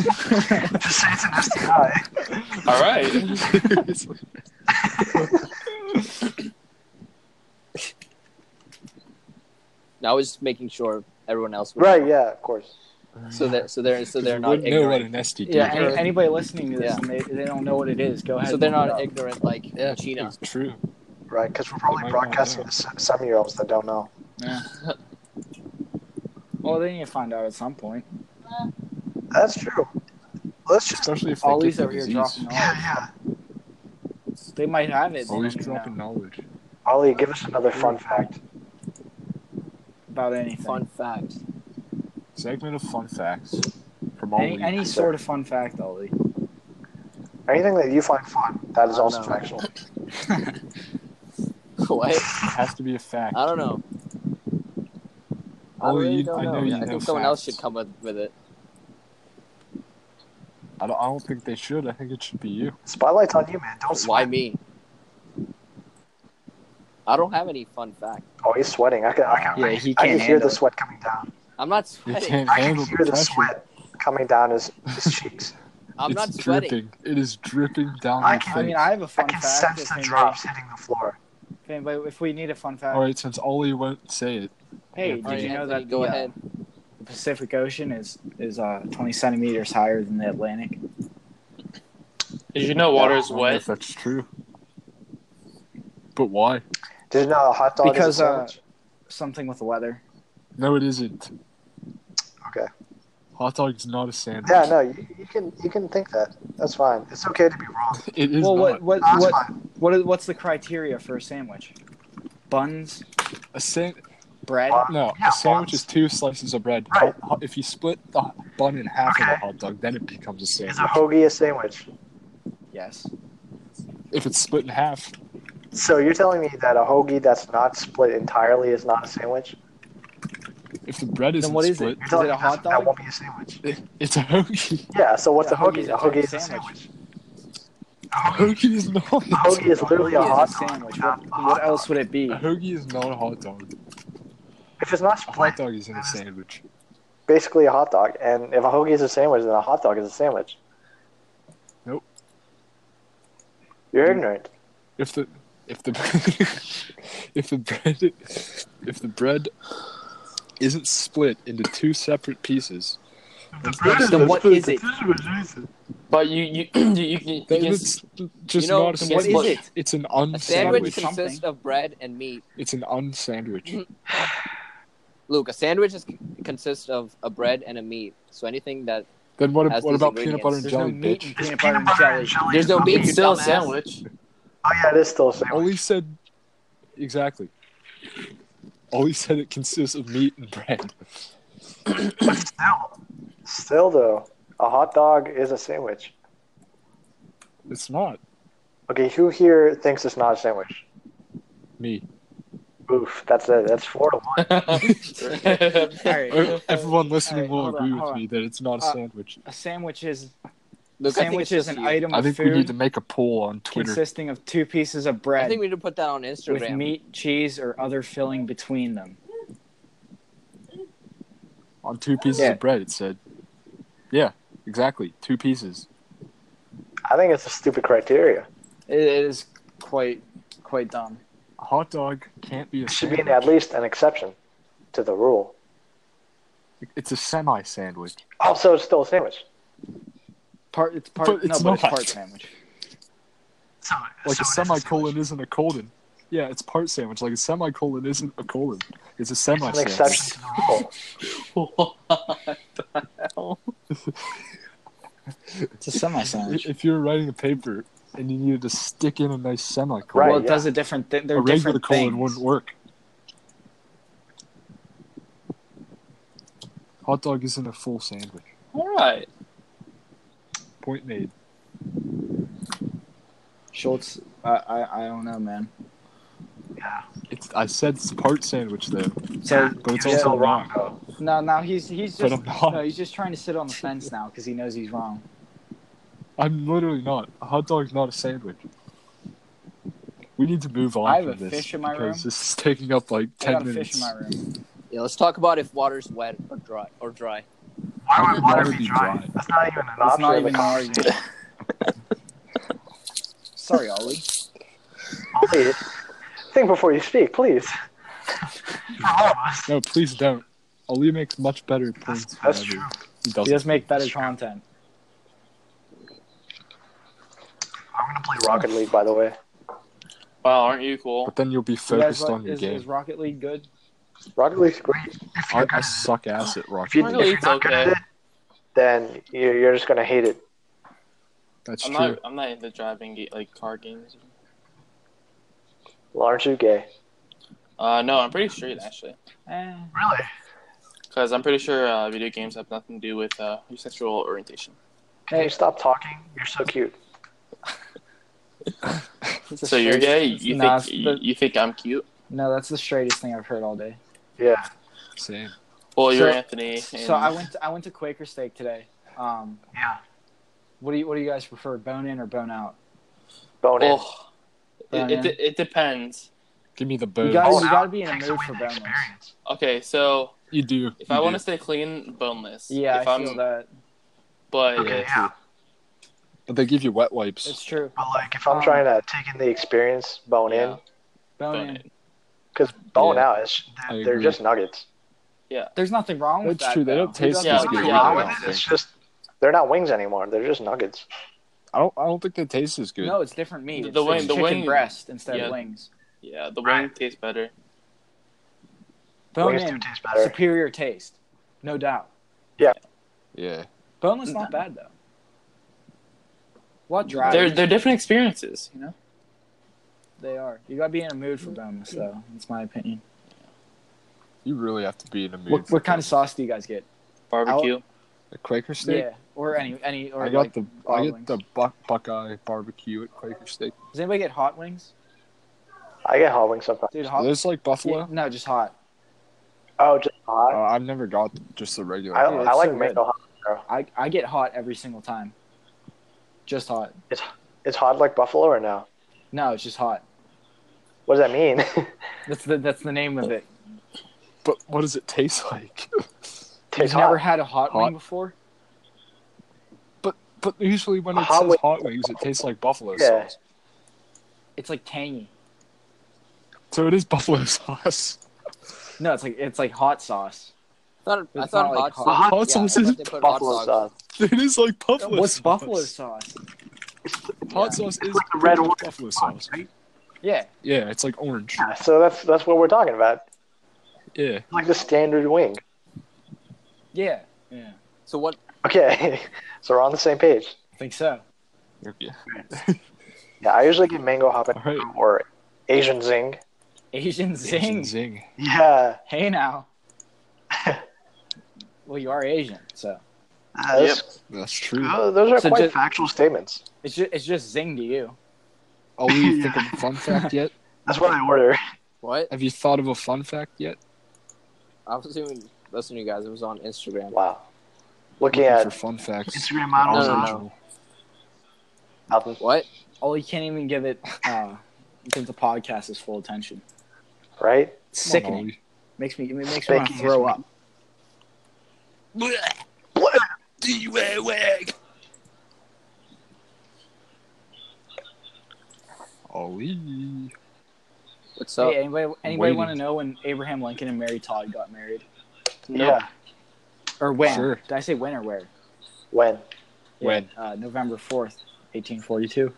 Speaker 5: Just say it's an STI.
Speaker 4: All right.
Speaker 2: Seriously.
Speaker 3: Now I was just making sure everyone else. Was
Speaker 5: Right, yeah, of course.
Speaker 3: So that so they're so they're
Speaker 2: You
Speaker 3: not
Speaker 2: wouldn't know what
Speaker 3: ignorant.
Speaker 2: an STD
Speaker 1: Yeah,
Speaker 2: is.
Speaker 1: any, anybody listening to this
Speaker 3: Yeah.
Speaker 1: and they, they don't know what it is, go ahead.
Speaker 3: So they're
Speaker 1: and look
Speaker 3: not
Speaker 1: it up.
Speaker 3: ignorant like
Speaker 2: Yeah,
Speaker 3: Gina.
Speaker 2: It's true.
Speaker 5: right? Because we're
Speaker 2: They
Speaker 5: probably
Speaker 2: might
Speaker 5: broadcasting
Speaker 2: not
Speaker 5: to some year olds that don't know.
Speaker 1: Well, they need to find out at some point.
Speaker 5: That's true. Let's just
Speaker 2: Especially if they
Speaker 1: Ollie's
Speaker 2: get the
Speaker 1: over here
Speaker 2: disease.
Speaker 1: dropping
Speaker 5: yeah
Speaker 1: knowledge.
Speaker 5: yeah.
Speaker 1: They might have it. They
Speaker 2: Ollie's
Speaker 1: don't even
Speaker 2: dropping
Speaker 1: know
Speaker 2: knowledge.
Speaker 5: Ollie, give us another fun fact.
Speaker 1: about anything.
Speaker 3: Fun fact.
Speaker 2: Segment of fun facts from Ollie.
Speaker 1: Any, any sort of fun fact, Ollie.
Speaker 5: Anything that you find fun, that is
Speaker 3: I
Speaker 5: also
Speaker 3: know.
Speaker 5: factual.
Speaker 3: What?
Speaker 2: has to be a fact.
Speaker 3: I don't know. I
Speaker 2: Oh,
Speaker 3: really
Speaker 2: you-
Speaker 3: don't
Speaker 2: I
Speaker 3: know.
Speaker 2: know
Speaker 3: Yeah,
Speaker 2: you
Speaker 3: I think
Speaker 2: know
Speaker 3: someone else should
Speaker 2: facts.
Speaker 3: come up with it.
Speaker 2: I don't, I don't think they should. I think it should be you.
Speaker 5: Spotlight's on you, man. Don't
Speaker 3: Why
Speaker 5: sweat.
Speaker 3: me? I don't have any fun fact.
Speaker 5: Oh, he's sweating. I can, I can,
Speaker 1: Yeah,
Speaker 5: I,
Speaker 1: he
Speaker 5: I
Speaker 1: can't
Speaker 5: can hear the
Speaker 1: handle it.
Speaker 5: sweat coming down.
Speaker 3: I'm not
Speaker 2: You
Speaker 3: sweating.
Speaker 2: can't
Speaker 5: I can
Speaker 2: handle
Speaker 5: hear
Speaker 2: the
Speaker 5: the
Speaker 2: pressure.
Speaker 5: sweat coming down his, his cheeks.
Speaker 3: I'm
Speaker 2: it's
Speaker 3: not sweating.
Speaker 2: dripping. It is dripping down
Speaker 5: I
Speaker 2: your
Speaker 5: can-
Speaker 1: I
Speaker 2: face.
Speaker 1: mean, I have a
Speaker 5: I
Speaker 1: fun
Speaker 5: can
Speaker 1: fact.
Speaker 5: sense
Speaker 1: If
Speaker 5: the
Speaker 1: anybody-
Speaker 5: drops hitting the floor.
Speaker 1: if anybody, if we need a fun fact,
Speaker 2: All right, since Ollie won't say it,
Speaker 1: hey,
Speaker 2: All
Speaker 1: did
Speaker 3: Alright,
Speaker 1: you know
Speaker 3: Anthony,
Speaker 1: that
Speaker 3: Go
Speaker 1: the, uh,
Speaker 3: ahead.
Speaker 1: the Pacific Ocean is is uh, 20 centimeters higher than the Atlantic?
Speaker 4: Did you know water
Speaker 2: I
Speaker 4: is
Speaker 2: don't know if
Speaker 4: wet?
Speaker 2: that's true. But why?
Speaker 5: Did you know a hot dog
Speaker 1: Because, uh,
Speaker 5: is a sandwich?
Speaker 1: Something with the weather.
Speaker 2: No, it isn't.
Speaker 5: Okay.
Speaker 2: Hot dog is not a sandwich.
Speaker 5: Yeah, no, you, you can you can think that. That's fine. It's okay to be wrong.
Speaker 2: It is
Speaker 1: well,
Speaker 2: not.
Speaker 1: what what
Speaker 5: That's
Speaker 1: what,
Speaker 5: fine.
Speaker 1: what is, what's the criteria for a sandwich? Buns,
Speaker 2: A san-
Speaker 1: bread.
Speaker 5: Bun.
Speaker 2: No,
Speaker 5: Yeah,
Speaker 2: a sandwich
Speaker 5: buns.
Speaker 2: is two slices of bread.
Speaker 5: Right.
Speaker 2: Ho- ho- If you split the bun in half of a
Speaker 5: Okay.
Speaker 2: hot dog, then it becomes a
Speaker 5: Is
Speaker 2: sandwich.
Speaker 5: a hoagie a sandwich?
Speaker 1: Yes.
Speaker 2: If it's split in half,
Speaker 5: So you're telling me that a hoagie that's not split entirely is not a sandwich?
Speaker 2: if the bread isn't
Speaker 1: what is
Speaker 2: split,
Speaker 5: You're telling
Speaker 1: it a
Speaker 5: me that's-
Speaker 1: hot dog?
Speaker 5: that won't be a sandwich?
Speaker 2: it's a hoagie.
Speaker 5: Yeah. So what's
Speaker 1: Yeah,
Speaker 5: a hoagie?
Speaker 1: hoagie's
Speaker 5: A
Speaker 1: a type
Speaker 5: hoagie
Speaker 1: of
Speaker 5: is a
Speaker 1: sandwich.
Speaker 5: sandwich.
Speaker 2: A hoagie is not.
Speaker 5: A hoagie is literally a
Speaker 1: Hoagie is
Speaker 5: hot dog.
Speaker 1: sandwich.
Speaker 5: without
Speaker 1: What,
Speaker 5: a hot
Speaker 1: what
Speaker 5: dog.
Speaker 1: else would it be?
Speaker 2: A hoagie is not a hot dog.
Speaker 5: If it's not
Speaker 2: A hot
Speaker 5: split,
Speaker 2: dog isn't a sandwich.
Speaker 5: basically a hot dog. And if a hoagie is a sandwich, then a hot dog is a sandwich.
Speaker 2: Nope.
Speaker 5: You're ignorant.
Speaker 2: If the if the if the bread if the bread isn't split into two separate pieces,
Speaker 3: Then what is it?
Speaker 4: But you you you, you, you
Speaker 2: then
Speaker 4: can
Speaker 2: it's just
Speaker 3: know,
Speaker 2: not a
Speaker 4: then
Speaker 2: sandwich.
Speaker 4: what is
Speaker 1: it?
Speaker 2: It's an
Speaker 3: A
Speaker 2: unsandwich.
Speaker 3: sandwich
Speaker 1: Sandwich.
Speaker 3: consists of bread and meat.
Speaker 2: It's an unsandwich.
Speaker 3: Luke, a sandwich is, consists of a bread and a meat. So anything that
Speaker 2: then what,
Speaker 3: Has
Speaker 2: what
Speaker 3: these
Speaker 2: about peanut butter and
Speaker 1: There's
Speaker 3: ingredients.
Speaker 2: jelly,
Speaker 1: no meat
Speaker 2: bitch?
Speaker 1: in peanut butter and jelly.
Speaker 3: there's no meat,
Speaker 4: it's still a
Speaker 3: dumbass.
Speaker 4: sandwich.
Speaker 5: Oh yeah, it is still a sandwich.
Speaker 2: Ollie said exactly. Ollie said it consists of meat and bread.
Speaker 5: Still, still though, a hot dog is a sandwich.
Speaker 2: It's not
Speaker 5: Okay, who here thinks it's not a sandwich?
Speaker 2: me.
Speaker 5: Oof, that's it. That's four to one.
Speaker 1: All right.
Speaker 2: Oh, Everyone
Speaker 1: Alright,
Speaker 2: listening will
Speaker 1: hold on,
Speaker 2: agree with
Speaker 1: hold
Speaker 2: me that it's not a
Speaker 1: Uh,
Speaker 2: sandwich.
Speaker 1: A sandwich is a
Speaker 3: Luke, I think
Speaker 1: sandwich
Speaker 3: it's
Speaker 1: is
Speaker 3: just
Speaker 1: an
Speaker 3: you.
Speaker 1: item
Speaker 2: I
Speaker 1: of
Speaker 2: think we need
Speaker 1: food
Speaker 2: to make a poll on Twitter.
Speaker 1: consisting of two pieces of
Speaker 3: I
Speaker 1: bread
Speaker 3: think we need to put that on Instagram.
Speaker 1: with meat, cheese, or other filling between them.
Speaker 2: On two pieces
Speaker 1: Yeah.
Speaker 2: of bread, it said. Yeah, exactly. Two pieces.
Speaker 5: I think it's a stupid criteria.
Speaker 1: It is quite quite dumb.
Speaker 2: A hot dog can't be a
Speaker 5: It should be
Speaker 2: sandwich.
Speaker 5: an, at least an exception to the rule.
Speaker 2: It's a semi sandwich.
Speaker 5: Also, it's still a sandwich.
Speaker 1: Part it's part
Speaker 2: But
Speaker 1: no,
Speaker 2: it's
Speaker 1: but it's
Speaker 2: not.
Speaker 1: part sandwich.
Speaker 5: So,
Speaker 2: Like
Speaker 5: so
Speaker 2: a
Speaker 5: it is sandwich.
Speaker 2: semicolon isn't a colon. Yeah, it's part sandwich. Like a semicolon isn't a colon. It's a semi
Speaker 5: It's an
Speaker 2: sandwich.
Speaker 5: exception to the rule.
Speaker 1: It's a semi sandwich.
Speaker 2: If you were writing a paper and you needed to stick in a nice semicolon,
Speaker 5: Right,
Speaker 1: well, it
Speaker 5: yeah.
Speaker 1: does a different thing. They're
Speaker 2: a regular
Speaker 1: different
Speaker 2: colon
Speaker 1: things.
Speaker 2: wouldn't work. Hot dog isn't a full sandwich.
Speaker 4: All right.
Speaker 2: Point made.
Speaker 1: Schultz, I, I I don't know, man.
Speaker 5: Yeah.
Speaker 2: It's, I said it's part sandwich though,
Speaker 1: So
Speaker 2: but it's
Speaker 5: You're
Speaker 2: also
Speaker 5: still wrong,
Speaker 2: wrong.
Speaker 5: though.
Speaker 1: no, no, he's he's
Speaker 2: But
Speaker 1: just
Speaker 2: I'm not.
Speaker 1: no, he's just trying to sit on the fence now because he knows he's wrong.
Speaker 2: I'm literally not. A hot dog's not a sandwich. We need to move on
Speaker 1: I have
Speaker 2: from
Speaker 1: a
Speaker 2: this
Speaker 1: fish in my
Speaker 2: because
Speaker 1: room.
Speaker 2: this is taking up like
Speaker 1: I
Speaker 2: ten
Speaker 1: got a
Speaker 2: minutes.
Speaker 1: fish in my room.
Speaker 3: Yeah, let's talk about if water's wet or dry or dry.
Speaker 5: Why would water
Speaker 2: would
Speaker 5: be
Speaker 2: be
Speaker 5: dry?
Speaker 2: dry?
Speaker 5: That's not even an
Speaker 1: It's
Speaker 5: option.
Speaker 1: not
Speaker 5: in
Speaker 1: even
Speaker 5: the
Speaker 1: an
Speaker 5: conversation.
Speaker 1: argument. Sorry, Ollie.
Speaker 5: Please, think before you speak, please. For all of us.
Speaker 2: No, please don't. Ali makes much better points.
Speaker 5: That's
Speaker 2: than I do.
Speaker 5: true.
Speaker 1: He
Speaker 2: doesn't.
Speaker 1: does make better content.
Speaker 5: I'm gonna play Rocket League, by the way.
Speaker 4: Wow, aren't you cool?
Speaker 2: But then you'll be
Speaker 1: You guys
Speaker 2: focused
Speaker 1: like-
Speaker 2: on your
Speaker 1: is,
Speaker 2: game.
Speaker 1: is Rocket League good?
Speaker 5: Rocket League's great. If
Speaker 2: I,
Speaker 5: you're,
Speaker 2: I
Speaker 5: good,
Speaker 2: suck ass at
Speaker 5: if
Speaker 2: Rocket
Speaker 5: you,
Speaker 2: League.
Speaker 4: Rocket
Speaker 5: if you're
Speaker 4: League's
Speaker 5: not good at
Speaker 4: okay.
Speaker 5: it, then you're, you're just gonna hate it.
Speaker 2: That's
Speaker 4: I'm
Speaker 2: true.
Speaker 4: not. I'm not into driving ga- like car games.
Speaker 5: Well, aren't you gay?
Speaker 4: Uh, no, I'm pretty straight actually,
Speaker 1: Eh,
Speaker 5: Really?
Speaker 4: because I'm pretty sure uh, video games have nothing to do with uh, your sexual orientation.
Speaker 5: Can
Speaker 1: Hey.
Speaker 5: you stop talking? You're so cute.
Speaker 1: it's the
Speaker 4: So you're
Speaker 1: straightest-
Speaker 4: gay. You
Speaker 1: Nah,
Speaker 4: think
Speaker 1: it's
Speaker 4: you,
Speaker 1: the-
Speaker 4: you think I'm cute?
Speaker 1: no, that's the straightest thing I've heard all day.
Speaker 5: Yeah.
Speaker 2: Same.
Speaker 4: Well,
Speaker 1: So-
Speaker 4: you're Anthony. And
Speaker 1: So I went. To, I went to Quaker Steak today. Um,
Speaker 5: Yeah.
Speaker 1: what do you What do you guys prefer, bone in or bone out?
Speaker 5: Bone in.
Speaker 4: Oh,
Speaker 1: Bone
Speaker 4: it, it,
Speaker 1: in.
Speaker 4: de- it depends.
Speaker 2: Give me the
Speaker 1: You
Speaker 2: bone. Oh,
Speaker 1: guys,
Speaker 5: Bone
Speaker 1: you
Speaker 5: out
Speaker 1: gotta be in a
Speaker 5: takes
Speaker 1: mood
Speaker 5: away
Speaker 1: for
Speaker 5: the
Speaker 1: boneless.
Speaker 5: experience.
Speaker 4: Okay, so
Speaker 2: you do.
Speaker 4: if I want to stay clean, boneless.
Speaker 1: Yeah,
Speaker 4: if
Speaker 1: I
Speaker 4: am
Speaker 1: feel that.
Speaker 4: But
Speaker 5: Okay,
Speaker 4: if-
Speaker 5: yeah.
Speaker 2: to, they give you wet
Speaker 1: It's
Speaker 2: wipes.
Speaker 1: true.
Speaker 5: But like, if I'm
Speaker 1: Um,
Speaker 5: trying to take in the experience, bone in.
Speaker 4: yeah,
Speaker 5: 'Cause
Speaker 1: Bone,
Speaker 4: bone
Speaker 1: in.
Speaker 4: in.
Speaker 5: because bone
Speaker 2: Yeah.
Speaker 5: out is
Speaker 2: I
Speaker 5: they're, they're
Speaker 2: agree.
Speaker 5: just nuggets.
Speaker 1: There's nothing wrong with
Speaker 2: That's
Speaker 1: that.
Speaker 2: true, they
Speaker 1: though.
Speaker 2: don't
Speaker 1: Who
Speaker 2: taste
Speaker 1: doesn't
Speaker 4: as
Speaker 1: like
Speaker 4: good
Speaker 5: Nothing
Speaker 1: bone
Speaker 4: yeah,
Speaker 5: wrong
Speaker 1: out?
Speaker 5: with
Speaker 2: I
Speaker 5: it.
Speaker 2: don't
Speaker 5: It's
Speaker 2: think.
Speaker 5: just they're not wings anymore. They're just nuggets.
Speaker 2: I don't. I don't think they taste as good.
Speaker 1: No, it's different meat.
Speaker 4: The
Speaker 1: It's the
Speaker 4: wing- the
Speaker 1: chicken
Speaker 4: wing-
Speaker 1: breast instead
Speaker 4: yeah.
Speaker 1: of wings.
Speaker 4: Yeah, the
Speaker 5: Right.
Speaker 4: wing tastes better.
Speaker 1: Bone
Speaker 5: wings do
Speaker 1: in,
Speaker 5: taste better.
Speaker 1: superior taste, no doubt.
Speaker 2: Yeah.
Speaker 1: Boneless not bad though. What drive?
Speaker 4: They're they're different experiences, you know.
Speaker 1: They are. You gotta be in a mood for boneless though. That's my opinion.
Speaker 2: You really have to be in a mood.
Speaker 1: What,
Speaker 2: for
Speaker 1: what kind
Speaker 2: that.
Speaker 1: of sauce do you guys get?
Speaker 4: Barbecue.
Speaker 2: A Quaker steak.
Speaker 1: Yeah, or any any or
Speaker 2: I got
Speaker 1: like.
Speaker 2: the. I
Speaker 1: wild
Speaker 2: get
Speaker 1: wings.
Speaker 2: the Buck Buckeye barbecue at Quaker steak.
Speaker 1: Does anybody get hot wings?
Speaker 5: I get hot wings sometimes.
Speaker 1: Dude,
Speaker 2: Are
Speaker 1: hot.
Speaker 2: those like buffalo?
Speaker 1: Yeah, no, just hot.
Speaker 5: Oh, just hot.
Speaker 2: Uh, I've never got th- just the regular.
Speaker 5: I,
Speaker 2: hot.
Speaker 1: Oh, it's
Speaker 5: I like
Speaker 1: so
Speaker 5: mango
Speaker 1: good.
Speaker 5: hot.
Speaker 1: I I get hot every single time. Just hot.
Speaker 5: It's hot like buffalo or no?
Speaker 1: No, it's just hot.
Speaker 5: What does that mean?
Speaker 1: That's the that's the name of it.
Speaker 2: but what does it taste like?
Speaker 1: You've
Speaker 5: Tastes
Speaker 1: never
Speaker 5: hot.
Speaker 1: had a hot,
Speaker 2: Hot.
Speaker 1: wing before?
Speaker 2: but but usually when it
Speaker 5: Hot
Speaker 2: says
Speaker 5: wings.
Speaker 2: hot wings, it tastes like buffalo
Speaker 5: Yeah.
Speaker 2: sauce.
Speaker 1: It's like tangy.
Speaker 2: So it is buffalo sauce.
Speaker 1: No, it's like it's like hot sauce.
Speaker 3: I thought, I
Speaker 1: It's
Speaker 3: thought
Speaker 1: not like
Speaker 3: hot,
Speaker 1: hot-
Speaker 3: sauce.
Speaker 2: Hot
Speaker 3: yeah,
Speaker 2: sauce
Speaker 3: they
Speaker 2: is
Speaker 3: put- they put
Speaker 5: buffalo
Speaker 3: hot
Speaker 5: sauce.
Speaker 2: It is like buffalo.
Speaker 1: What's
Speaker 2: sauce.
Speaker 1: buffalo sauce?
Speaker 2: Hot sauce is
Speaker 5: like the red
Speaker 2: pink
Speaker 5: one.
Speaker 2: buffalo sauce.
Speaker 5: Right?
Speaker 1: Yeah,
Speaker 2: Yeah, it's like orange.
Speaker 5: Yeah, so that's that's what we're talking about.
Speaker 2: Yeah,
Speaker 5: Like the standard wing.
Speaker 1: yeah, yeah.
Speaker 3: So what?
Speaker 5: Okay, so we're on the same page.
Speaker 1: I think so.
Speaker 2: yeah.
Speaker 5: Yeah, I usually get mango hopping
Speaker 2: All right.
Speaker 5: or Asian zing.
Speaker 1: Asian
Speaker 2: Asian
Speaker 1: zing.
Speaker 2: zing.
Speaker 5: Yeah,
Speaker 1: Hey now. well, you are Asian, so
Speaker 5: uh, that's-
Speaker 2: That's true.
Speaker 5: uh, those are
Speaker 1: So
Speaker 5: quite
Speaker 1: ju-
Speaker 5: factual statements.
Speaker 1: it's just it's just zing to you.
Speaker 2: Oh, you think of a fun fact yet?
Speaker 5: That's what I order.
Speaker 3: What?
Speaker 2: Have you thought of a fun fact yet?
Speaker 3: I was even listening to you guys. It was on Instagram.
Speaker 5: Wow, looking
Speaker 2: Looking For
Speaker 5: at
Speaker 2: fun facts.
Speaker 5: Instagram models.
Speaker 3: No, no,
Speaker 5: No,
Speaker 3: no. What?
Speaker 1: Oh, you can't even give it. uh Give the podcast his full attention.
Speaker 5: Right?
Speaker 1: Sickening. Makes me. It makes me
Speaker 5: Thank
Speaker 1: want to
Speaker 5: you.
Speaker 1: throw up.
Speaker 2: Do you wear wig? Ollie.
Speaker 3: What's up?
Speaker 1: hey, anybody, anybody
Speaker 2: Waiting.
Speaker 1: want to know when Abraham Lincoln and Mary Todd got married,
Speaker 5: Yeah.
Speaker 1: or when?
Speaker 2: Sure.
Speaker 1: Did I say when or where?
Speaker 5: When?
Speaker 2: When?
Speaker 1: Yeah, uh, November fourth, eighteen forty-two.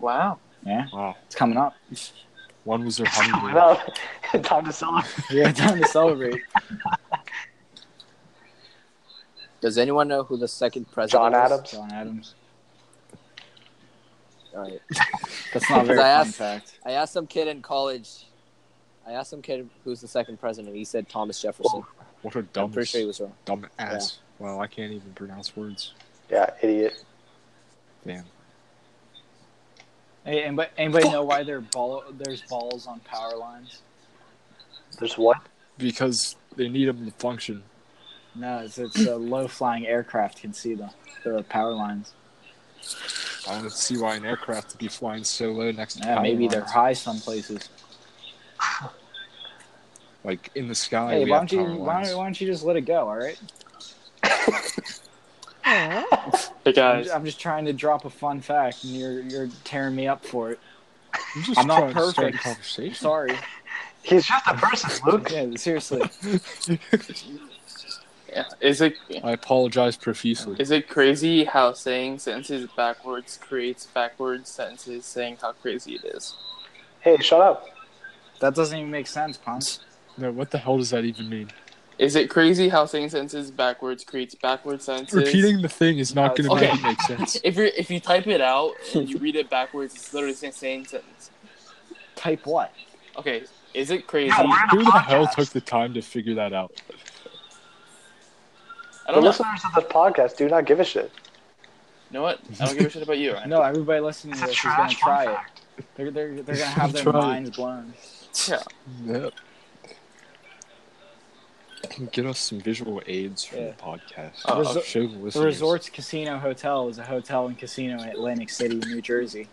Speaker 4: Wow.
Speaker 1: Yeah,
Speaker 2: Wow.
Speaker 1: it's coming up.
Speaker 2: One was their
Speaker 5: Coming
Speaker 2: honeymoon.
Speaker 5: up. Time to celebrate.
Speaker 1: Yeah, time to celebrate.
Speaker 3: Does anyone know who the second president
Speaker 5: John
Speaker 3: is?
Speaker 5: Adams.
Speaker 1: John Adams.
Speaker 3: All right.
Speaker 1: That's not a very
Speaker 3: I
Speaker 1: fun
Speaker 3: asked-
Speaker 1: fact.
Speaker 3: I asked some kid in college. I asked some kid who's the second president. He said Thomas Jefferson.
Speaker 1: Oh,
Speaker 2: What a
Speaker 3: I'm
Speaker 2: dumb,
Speaker 3: pretty sure he was wrong.
Speaker 2: dumb ass. Wow, I can't even pronounce words.
Speaker 5: Yeah, idiot.
Speaker 2: Damn.
Speaker 1: Hey, anybody, anybody know why there ball, there's balls on power lines?
Speaker 5: There's what?
Speaker 2: Because they need them to function.
Speaker 1: No, it's, it's a low-flying aircraft can see the the power lines.
Speaker 2: I don't see why an aircraft would be flying so low next to
Speaker 1: Yeah,
Speaker 2: power
Speaker 1: maybe they're
Speaker 2: lines.
Speaker 1: high some places.
Speaker 2: like in the sky.
Speaker 1: Hey,
Speaker 2: we
Speaker 1: why
Speaker 2: have
Speaker 1: don't you
Speaker 2: Oh, power
Speaker 1: why,
Speaker 2: lines.
Speaker 1: why don't you just let it go? All right.
Speaker 4: Hey
Speaker 1: I'm
Speaker 4: guys.
Speaker 1: just, I'm just trying to drop a fun fact, and you're you're tearing me up for it.
Speaker 2: I'm, just
Speaker 1: I'm not
Speaker 2: trying to start a
Speaker 1: perfect.
Speaker 2: conversation.
Speaker 1: Sorry.
Speaker 5: He's just a person, Luke.
Speaker 1: Yeah, seriously.
Speaker 4: Yeah. Is it
Speaker 2: I apologize profusely.
Speaker 4: is it crazy how saying sentences backwards creates backwards sentences saying how crazy it is?
Speaker 5: Hey, shut up.
Speaker 1: That doesn't even make sense, punk.
Speaker 2: No, what the hell does that even mean?
Speaker 4: Is it crazy how saying sentences backwards creates backward sentences?
Speaker 2: Repeating the thing is not going to
Speaker 4: Okay.
Speaker 2: make it make sense.
Speaker 4: If you if you type it out and you read it backwards, it's literally the same sentence.
Speaker 1: Type what?
Speaker 4: Okay, is it crazy?
Speaker 5: Yeah, we're-
Speaker 2: Who the hell took the time to figure that out?
Speaker 4: I
Speaker 5: The
Speaker 4: don't know.
Speaker 5: listeners of this podcast do not give a shit.
Speaker 4: You know what? I don't give a shit about you, Ryan.
Speaker 1: No, everybody listening to
Speaker 5: It's a
Speaker 1: this is gonna
Speaker 5: trash
Speaker 1: try
Speaker 5: fun
Speaker 1: it. They're they're, they're gonna have their
Speaker 2: Try it.
Speaker 1: minds blown.
Speaker 4: Yeah.
Speaker 2: Yeah. Can get us some visual aids for
Speaker 1: Yeah.
Speaker 2: the podcast.
Speaker 4: Uh,
Speaker 2: I'll
Speaker 1: resor-
Speaker 2: show the
Speaker 1: The
Speaker 2: listeners.
Speaker 1: Resorts Casino Hotel is a hotel and casino in Atlantic City, New Jersey.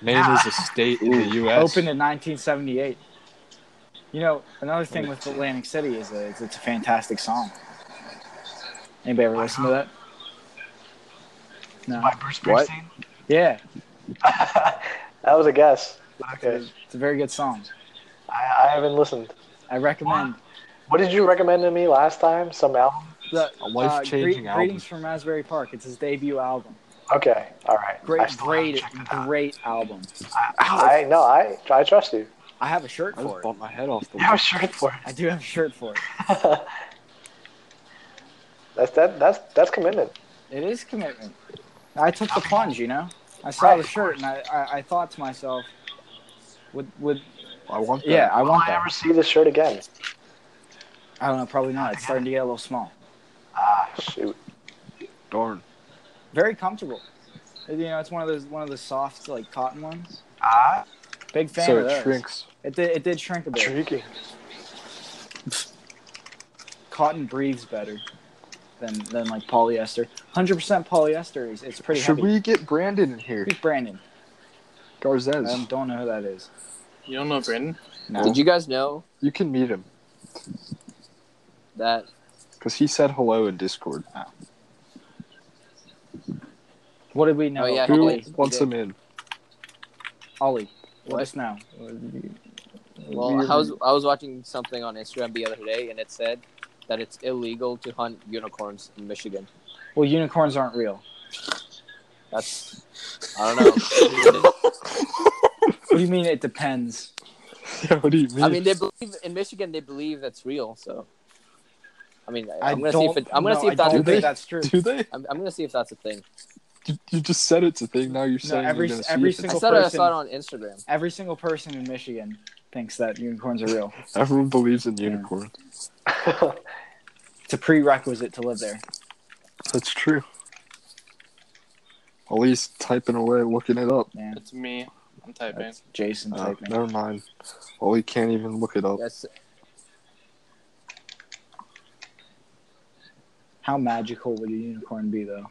Speaker 2: Man is a state in the U.S.
Speaker 1: Opened in 1978. You know, another thing with Atlantic City is that it's, it's a fantastic song. Anybody ever listen to that? No.
Speaker 5: By Bruce
Speaker 2: What?
Speaker 5: Springsteen.
Speaker 1: Yeah,
Speaker 5: that was a guess. Okay.
Speaker 1: it's a very good song.
Speaker 5: I, I haven't listened.
Speaker 1: I recommend
Speaker 5: What did you recommend to me last time? Some album?
Speaker 1: the uh,
Speaker 2: A life-changing album.
Speaker 1: Greetings from Raspberry Park. It's his debut album.
Speaker 5: Okay. All right. I
Speaker 1: Great,
Speaker 5: still haven't
Speaker 1: great,
Speaker 5: checked it out.
Speaker 1: great album.
Speaker 5: I, I no, I I trust you.
Speaker 1: I have a shirt for
Speaker 2: I just
Speaker 1: it.
Speaker 2: bumped my head off the
Speaker 5: Yeah,
Speaker 2: wall.
Speaker 5: I'm sure for
Speaker 1: I do have a shirt for it.
Speaker 5: it. that's that that's that's commitment.
Speaker 1: It is commitment. I took the plunge, you know. I saw
Speaker 5: Right,
Speaker 1: the
Speaker 5: of
Speaker 1: shirt and I, I, I thought to myself, would would
Speaker 2: I want that.
Speaker 1: yeah, I
Speaker 5: Will
Speaker 1: want
Speaker 5: I ever
Speaker 1: that.
Speaker 5: see this shirt again?
Speaker 1: I don't know, probably not. It's starting to get a little small.
Speaker 5: Ah, shoot.
Speaker 2: Darn.
Speaker 1: Very comfortable. You know, it's one of those one of the soft like cotton ones.
Speaker 5: Ah,
Speaker 1: Big fan
Speaker 2: So
Speaker 1: of those.
Speaker 2: it shrinks.
Speaker 1: It did it did shrink a bit.
Speaker 5: intriguing.
Speaker 1: Cotton breathes better than than like polyester. 100% polyester is it's pretty
Speaker 2: Should
Speaker 1: heavy.
Speaker 2: we get Brandon in here?
Speaker 1: Who's Brandon?
Speaker 2: Garzez.
Speaker 1: I don't know who that is.
Speaker 4: You don't know Brandon?
Speaker 1: No.
Speaker 3: Did you guys know
Speaker 2: you can meet him
Speaker 3: that?
Speaker 2: because he said hello in Discord.
Speaker 1: what did we know?
Speaker 3: Oh, yeah,
Speaker 2: Who
Speaker 3: Ollie.
Speaker 2: wants
Speaker 3: Yeah.
Speaker 2: him in?
Speaker 1: Ollie. Let
Speaker 3: What?
Speaker 1: us know.
Speaker 3: Well, I was I was watching something on Instagram the other day, and it said that it's illegal to hunt unicorns in Michigan.
Speaker 1: Well, unicorns aren't real.
Speaker 3: That's I don't know.
Speaker 1: What do you mean? It depends.
Speaker 2: Yeah, what do you mean?
Speaker 3: I mean, they believe in Michigan. They believe that's real. So, I mean, I,
Speaker 1: I
Speaker 3: I'm gonna see if
Speaker 1: don't
Speaker 3: it, I'm gonna
Speaker 1: know.
Speaker 3: see
Speaker 1: I
Speaker 3: if that's a
Speaker 1: don't think
Speaker 3: thing.
Speaker 1: that's true.
Speaker 2: do they?
Speaker 3: I'm, I'm gonna see if that's a thing.
Speaker 2: You, you just said it's a thing. Now you're saying
Speaker 1: every-
Speaker 2: you're gonna
Speaker 1: every
Speaker 2: see if
Speaker 3: I
Speaker 1: single-
Speaker 2: it's-
Speaker 3: saw it. I
Speaker 1: person-
Speaker 3: saw it on Instagram.
Speaker 1: Every single person in Michigan thinks that unicorns are real.
Speaker 2: Everyone believes in unicorns.
Speaker 1: It's a prerequisite to live there.
Speaker 2: That's true. Ollie's typing away, looking it up.
Speaker 1: Yeah,
Speaker 4: It's me. I'm typing.
Speaker 1: that's Jason
Speaker 2: Uh,
Speaker 1: typing.
Speaker 2: never mind. Ollie can't even look it up.
Speaker 3: Yes,
Speaker 1: How magical would a unicorn be, though?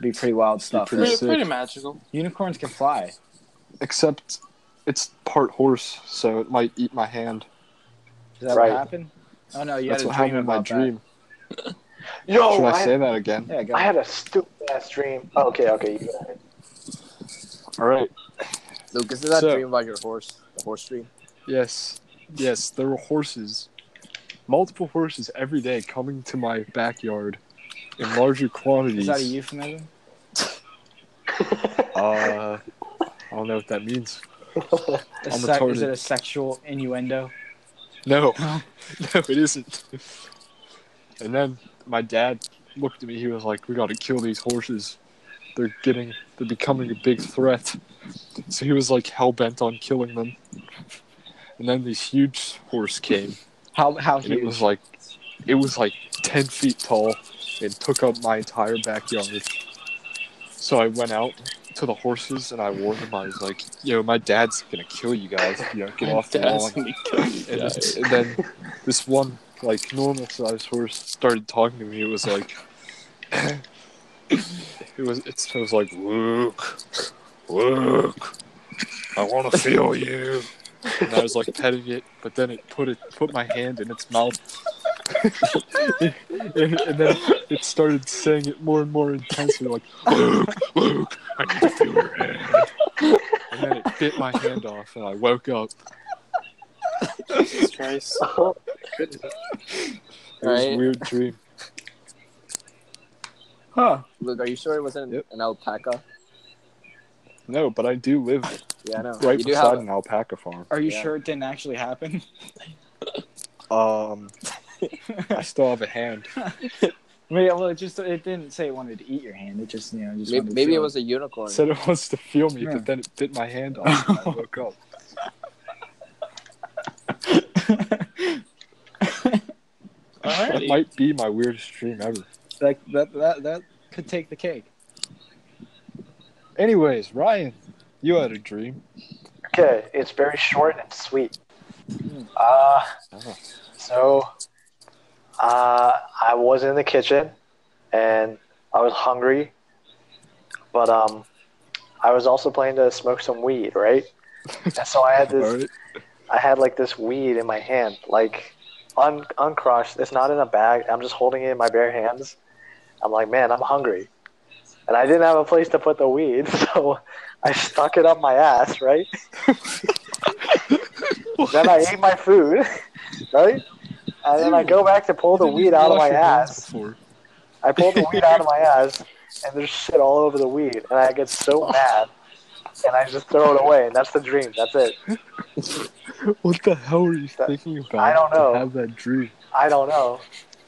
Speaker 1: Be pretty wild stuff.
Speaker 2: pretty
Speaker 4: Pretty,
Speaker 2: sick.
Speaker 4: pretty magical.
Speaker 1: Unicorns can fly.
Speaker 2: Except it's part horse, so it might eat my hand.
Speaker 1: Is that
Speaker 5: Right.
Speaker 1: what happened? Oh no, you
Speaker 2: That's
Speaker 1: had a dream
Speaker 2: what happened in my
Speaker 1: about
Speaker 2: dream.
Speaker 5: Yo,
Speaker 2: Should I,
Speaker 5: I,
Speaker 2: say that again?
Speaker 1: that. Yeah, go.
Speaker 5: I had a stupid ass dream. Oh, okay, okay, you got it.
Speaker 2: All right.
Speaker 3: Lucas, is that
Speaker 2: So-
Speaker 3: dream about your horse? The horse dream.
Speaker 2: Yes. Yes, there were horses. Multiple horses every day coming to my backyard in larger
Speaker 1: Is
Speaker 2: quantities.
Speaker 1: that a euphemism?
Speaker 2: Uh, I don't know what that means.
Speaker 1: A
Speaker 2: I'm
Speaker 1: sec- is
Speaker 2: retarded.
Speaker 1: it a sexual innuendo?
Speaker 2: No, no, it isn't. And then my dad looked at me. He was like, "We got to kill these horses. They're getting, they're becoming a big threat." So he was like hell bent on killing them. And then this huge horse came,
Speaker 1: How how
Speaker 2: and it
Speaker 1: huge?
Speaker 2: was like, it was like ten feet tall, and took up my entire backyard. So I went out to the horses and I warned them. I was like, "Yo, my dad's gonna kill you guys if you don't get off the
Speaker 4: Dad's
Speaker 2: lawn."
Speaker 4: gonna kill you
Speaker 2: And,
Speaker 4: guys.
Speaker 2: th- and then this one, like, normal sized horse started talking to me. It was like, it was, it was like, look, look, I want to feel you. And I was like petting it, but then it put it put my hand in its mouth, and, and then it started saying it more and more intensely, like "Luke, Luke, I need to feel your hand." And then it bit my hand off, and I woke up.
Speaker 4: Jesus Christ. goodness.
Speaker 2: It was a
Speaker 3: Right.
Speaker 2: weird dream. Huh.
Speaker 3: Luke, are you sure it wasn't
Speaker 2: Yep.
Speaker 3: an alpaca?
Speaker 2: No, but I do live
Speaker 3: Yeah, I know.
Speaker 2: right
Speaker 3: you do
Speaker 2: beside
Speaker 3: have.
Speaker 2: an alpaca farm.
Speaker 1: Are you
Speaker 3: Yeah.
Speaker 1: sure it didn't actually happen?
Speaker 2: Um, I still have a hand.
Speaker 1: Maybe, well, it just it didn't say it wanted to eat your hand. It just you know just
Speaker 3: Maybe,
Speaker 1: wanted to
Speaker 3: maybe it
Speaker 1: feel
Speaker 3: was a unicorn.
Speaker 2: It said it wants to feel me,
Speaker 1: Yeah.
Speaker 2: but then it bit my hand off when I woke up. That
Speaker 4: Alrighty.
Speaker 2: might be my weirdest dream ever.
Speaker 1: like that that that could take the cake.
Speaker 2: Anyways, Ryan, you had a dream.
Speaker 5: Okay, it's very short and sweet. Uh, so uh, I was in the kitchen and I was hungry, but um, I was also planning to smoke some weed, right? And so I had
Speaker 2: All
Speaker 5: this,
Speaker 2: right.
Speaker 5: I had like this weed in my hand, like un- uncrushed. It's not in a bag. I'm just holding it in my bare hands. I'm like, man, I'm hungry, and I didn't have a place to put the weed, so I stuck it up my ass, right? then I ate my food, right? And then I go back to pull the weed out of my ass. I pulled the weed out of my ass, and there's shit all over the weed, and I get so mad, and I just throw it away, and that's the dream. That's it.
Speaker 2: What the hell are you
Speaker 5: That-
Speaker 2: thinking about?
Speaker 5: I don't
Speaker 2: to
Speaker 5: know.
Speaker 2: Have that dream.
Speaker 5: I don't know,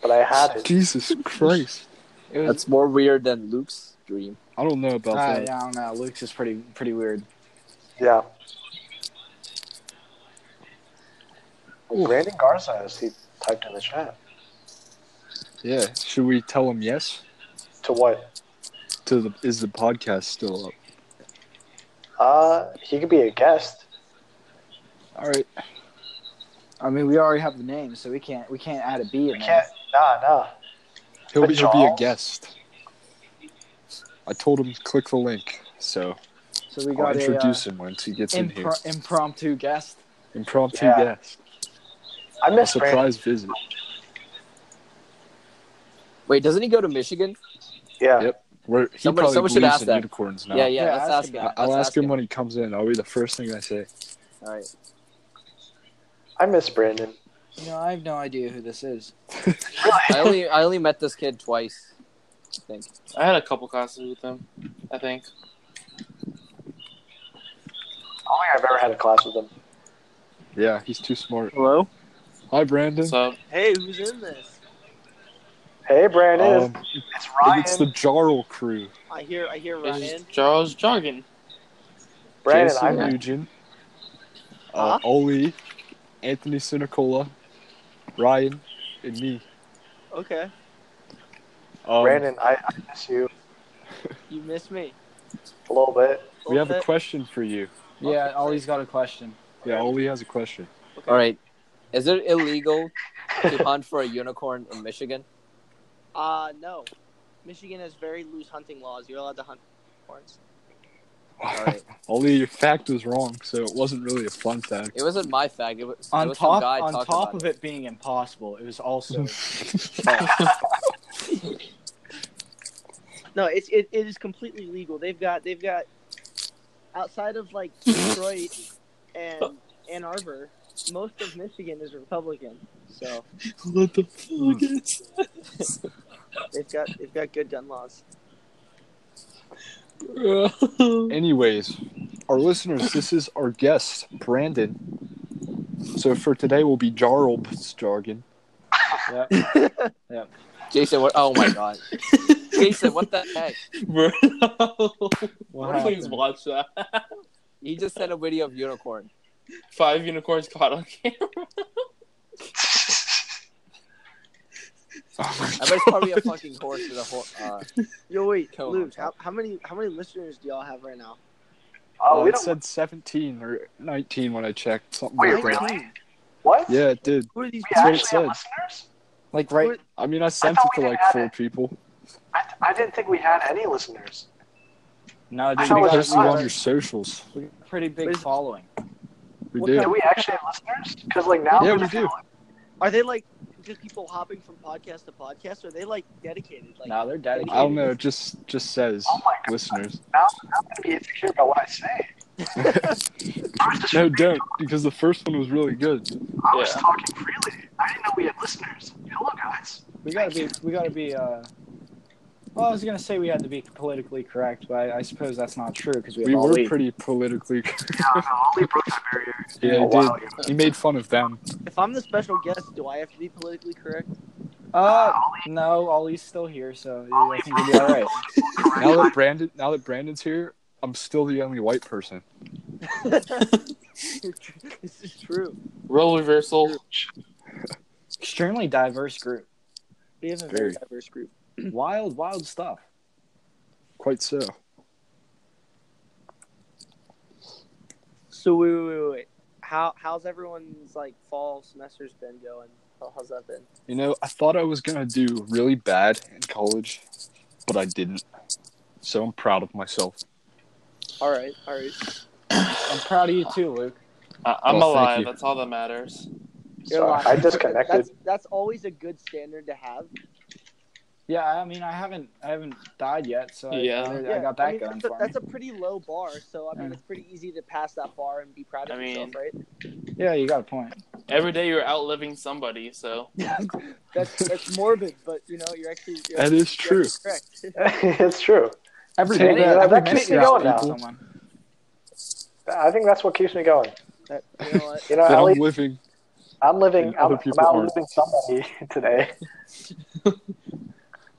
Speaker 5: but I had it.
Speaker 2: Jesus Christ.
Speaker 1: It was
Speaker 3: That's more weird than Luke's dream.
Speaker 2: I don't know about
Speaker 1: uh,
Speaker 2: that.
Speaker 1: yeah, I don't know. Luke's is pretty pretty weird.
Speaker 5: Yeah. Brandon Garza, as he typed in the chat.
Speaker 2: Yeah. Should we tell him yes?
Speaker 5: To what?
Speaker 2: To the is the podcast still up?
Speaker 5: Uh, he could be a guest.
Speaker 2: All right.
Speaker 1: I mean, we already have the name, so we can't we can't add a B
Speaker 5: We
Speaker 1: in
Speaker 5: can't.
Speaker 1: there.
Speaker 5: Nah, nah.
Speaker 2: He'll be, he'll be a
Speaker 5: Charles?
Speaker 2: guest. I told him to click the link, so
Speaker 1: So we
Speaker 2: I'll
Speaker 1: got a uh,
Speaker 2: introduce him once he gets in here.
Speaker 1: impro- impromptu guest.
Speaker 2: Impromptu
Speaker 5: Yeah.
Speaker 2: guest,
Speaker 5: I
Speaker 2: a
Speaker 5: miss Brandon.
Speaker 2: surprise visit.
Speaker 3: Wait, doesn't he go to Michigan?
Speaker 5: Yeah.
Speaker 2: Yep. Where he
Speaker 3: Someone-
Speaker 2: probably
Speaker 3: someone should
Speaker 2: believes
Speaker 3: ask
Speaker 2: in
Speaker 3: that.
Speaker 2: unicorns now.
Speaker 3: Yeah, yeah.
Speaker 1: Yeah,
Speaker 3: let's
Speaker 1: ask
Speaker 3: ask
Speaker 1: him
Speaker 3: him.
Speaker 2: I- I'll
Speaker 3: Let's
Speaker 2: ask him when he comes in. I'll be the first thing I say.
Speaker 3: All right.
Speaker 5: I miss Brandon.
Speaker 1: You know, I have no idea who this is.
Speaker 3: I only I only met this kid twice. I think.
Speaker 4: I had a couple classes with them, I think.
Speaker 5: I don't think I've ever had a class with him.
Speaker 2: Yeah, he's too smart.
Speaker 6: Hello?
Speaker 2: Hi, Brandon.
Speaker 4: So
Speaker 6: Hey, who's in this?
Speaker 5: Hey, Brandon.
Speaker 2: Um,
Speaker 5: it's
Speaker 2: I
Speaker 5: Ryan.
Speaker 2: think it's the Jarl crew.
Speaker 6: I hear I hear
Speaker 4: it's
Speaker 6: Ryan.
Speaker 4: just Charles Jargon.
Speaker 5: Brandon,
Speaker 2: Jason
Speaker 5: I'm,
Speaker 2: Nugent,
Speaker 6: Huh?
Speaker 2: uh, Oli, Anthony Sinicola, Ryan, and me.
Speaker 6: Okay.
Speaker 2: Um,
Speaker 5: Brandon, I, I miss you
Speaker 6: You missed me.
Speaker 5: a little bit. Uh,
Speaker 2: we have a
Speaker 6: Okay.
Speaker 2: question for you.
Speaker 1: Yeah, Ollie's got a question.
Speaker 2: Yeah, Oli has a question.
Speaker 3: All right. Is it illegal to hunt for a unicorn in Michigan?
Speaker 6: Uh no. Michigan has very loose hunting laws. You're allowed to hunt horns.
Speaker 2: Oli, your fact was wrong, so it wasn't really a fun fact.
Speaker 3: It wasn't my fact. It was it
Speaker 1: On
Speaker 3: was
Speaker 1: top,
Speaker 3: some guy
Speaker 1: on
Speaker 3: talked
Speaker 1: top
Speaker 3: about
Speaker 1: of it being impossible, it was also
Speaker 6: No, it's it, it is completely legal. They've got they've got outside of like Detroit and Ann Arbor, most of Michigan is Republican. So Hmm.
Speaker 4: What the fuck is
Speaker 6: they've got they've got good gun laws.
Speaker 2: Anyways, our listeners, this is our guest, Brandon. So for today, we'll be Jarl's jargon.
Speaker 1: yep.
Speaker 3: it. Jason, what? Oh my god. Jason, what the heck?
Speaker 4: Bro,
Speaker 1: What
Speaker 4: please
Speaker 1: happened?
Speaker 4: watch that.
Speaker 3: He just sent a video of unicorn.
Speaker 4: Five unicorns caught on camera.
Speaker 2: Oh my
Speaker 3: I bet it's probably a fucking horse with a horse. Uh,
Speaker 6: Yo wait,
Speaker 3: Come on,
Speaker 6: Luke,
Speaker 3: Tom.
Speaker 6: how, how many how many listeners do y'all have right now?
Speaker 5: Oh,
Speaker 2: Uh,
Speaker 5: we
Speaker 2: it
Speaker 5: don't.
Speaker 2: said 17 or 19 when I checked. Something
Speaker 5: Wait,
Speaker 2: like that.
Speaker 5: really? what?
Speaker 2: Yeah, it did.
Speaker 6: Who are
Speaker 5: We
Speaker 6: these
Speaker 2: what it
Speaker 6: people?
Speaker 5: actually have
Speaker 2: said.
Speaker 5: listeners?
Speaker 1: Like right,
Speaker 6: What-
Speaker 2: I mean, I sent
Speaker 5: thought
Speaker 2: it
Speaker 5: we
Speaker 2: to like
Speaker 5: had
Speaker 2: four
Speaker 5: it.
Speaker 2: people.
Speaker 5: I, th- I didn't think we had any listeners.
Speaker 1: no, dude,
Speaker 5: I
Speaker 1: we
Speaker 5: thought it
Speaker 2: We
Speaker 5: was
Speaker 1: got,
Speaker 5: just
Speaker 2: posted
Speaker 1: we got
Speaker 2: on
Speaker 5: us.
Speaker 2: your socials.
Speaker 1: a pretty big
Speaker 6: What is-
Speaker 1: following.
Speaker 2: We
Speaker 6: What
Speaker 2: did.
Speaker 5: Do we actually have listeners? Because like now
Speaker 2: Yeah,
Speaker 5: we're
Speaker 2: we
Speaker 5: just
Speaker 2: do.
Speaker 6: Are they like just people hopping from podcast to podcast? Or are they like dedicated? Like
Speaker 1: No, they're dedicated.
Speaker 2: I don't know. It just just says
Speaker 5: Oh my God.
Speaker 2: listeners.
Speaker 5: now I'm gonna be insecure about what I say.
Speaker 2: No, don't because the first one was really good.
Speaker 5: I was
Speaker 4: Yeah.
Speaker 5: talking freely. I I didn't know we had listeners. Hello, guys.
Speaker 1: We gotta be. We gotta be. Uh, well, I was gonna say we had to be politically correct, but I, I suppose that's not true because we have
Speaker 2: We
Speaker 1: all
Speaker 2: were
Speaker 1: leave.
Speaker 2: pretty politically. correct.
Speaker 5: Yeah, no, Ollie broke that barrier.
Speaker 2: Yeah,
Speaker 5: oh,
Speaker 2: he
Speaker 5: wow.
Speaker 2: He made fun of them.
Speaker 6: If I'm the special guest, do I have to be politically correct?
Speaker 1: Uh,
Speaker 5: Ollie,
Speaker 1: no, Ollie's still here, so yeah, I think we'll be all right.
Speaker 2: Now that Brandon, now that Brandon's here, I'm still the only white person.
Speaker 6: this is true.
Speaker 4: Role reversal.
Speaker 1: Extremely diverse group.
Speaker 6: We have a very
Speaker 2: Very.
Speaker 6: diverse group.
Speaker 1: Wild, wild stuff.
Speaker 2: Quite so.
Speaker 6: So wait, wait, wait, wait. How how's everyone's like fall semester's been going? How, how's that been?
Speaker 2: You know, I thought I was gonna do really bad in college, but I didn't. So I'm proud of myself.
Speaker 6: All right, all right.
Speaker 1: I'm proud of you too, Luke.
Speaker 4: I- Uh, I'm
Speaker 2: Well, thank
Speaker 4: alive.
Speaker 2: you.
Speaker 4: That's all that matters.
Speaker 6: You're
Speaker 5: Sorry,
Speaker 6: alive.
Speaker 5: I disconnected.
Speaker 6: That's, that's always a good standard to have.
Speaker 1: Yeah, I mean, I haven't, I haven't died yet, so I,
Speaker 4: Yeah.
Speaker 1: I,
Speaker 6: Yeah,
Speaker 1: got that
Speaker 6: mean,
Speaker 1: going
Speaker 6: that's,
Speaker 1: for
Speaker 6: a,
Speaker 1: me.
Speaker 6: that's a pretty low bar, so I mean,
Speaker 1: Yeah.
Speaker 6: it's pretty easy to pass that bar and be proud of
Speaker 4: I
Speaker 6: yourself,
Speaker 4: mean-
Speaker 6: right?
Speaker 1: Yeah, you got a point.
Speaker 4: Every day you're outliving somebody, so
Speaker 6: That's that's morbid, but you know, you're actually you're
Speaker 2: That is
Speaker 6: you're
Speaker 2: true.
Speaker 6: actually correct.
Speaker 5: it's true.
Speaker 1: Every
Speaker 5: See,
Speaker 1: day,
Speaker 5: that-
Speaker 1: every
Speaker 5: that keeps
Speaker 1: minute
Speaker 5: me
Speaker 1: you're
Speaker 5: going
Speaker 1: out
Speaker 5: now.
Speaker 1: someone.
Speaker 5: I think that's what keeps me going.
Speaker 6: That, you know what?
Speaker 5: You know,
Speaker 2: That
Speaker 5: at
Speaker 2: I'm
Speaker 5: least
Speaker 2: living.
Speaker 5: I'm living.
Speaker 2: And
Speaker 5: I'm,
Speaker 2: other
Speaker 5: I'm
Speaker 2: people aren't.
Speaker 5: outliving somebody today,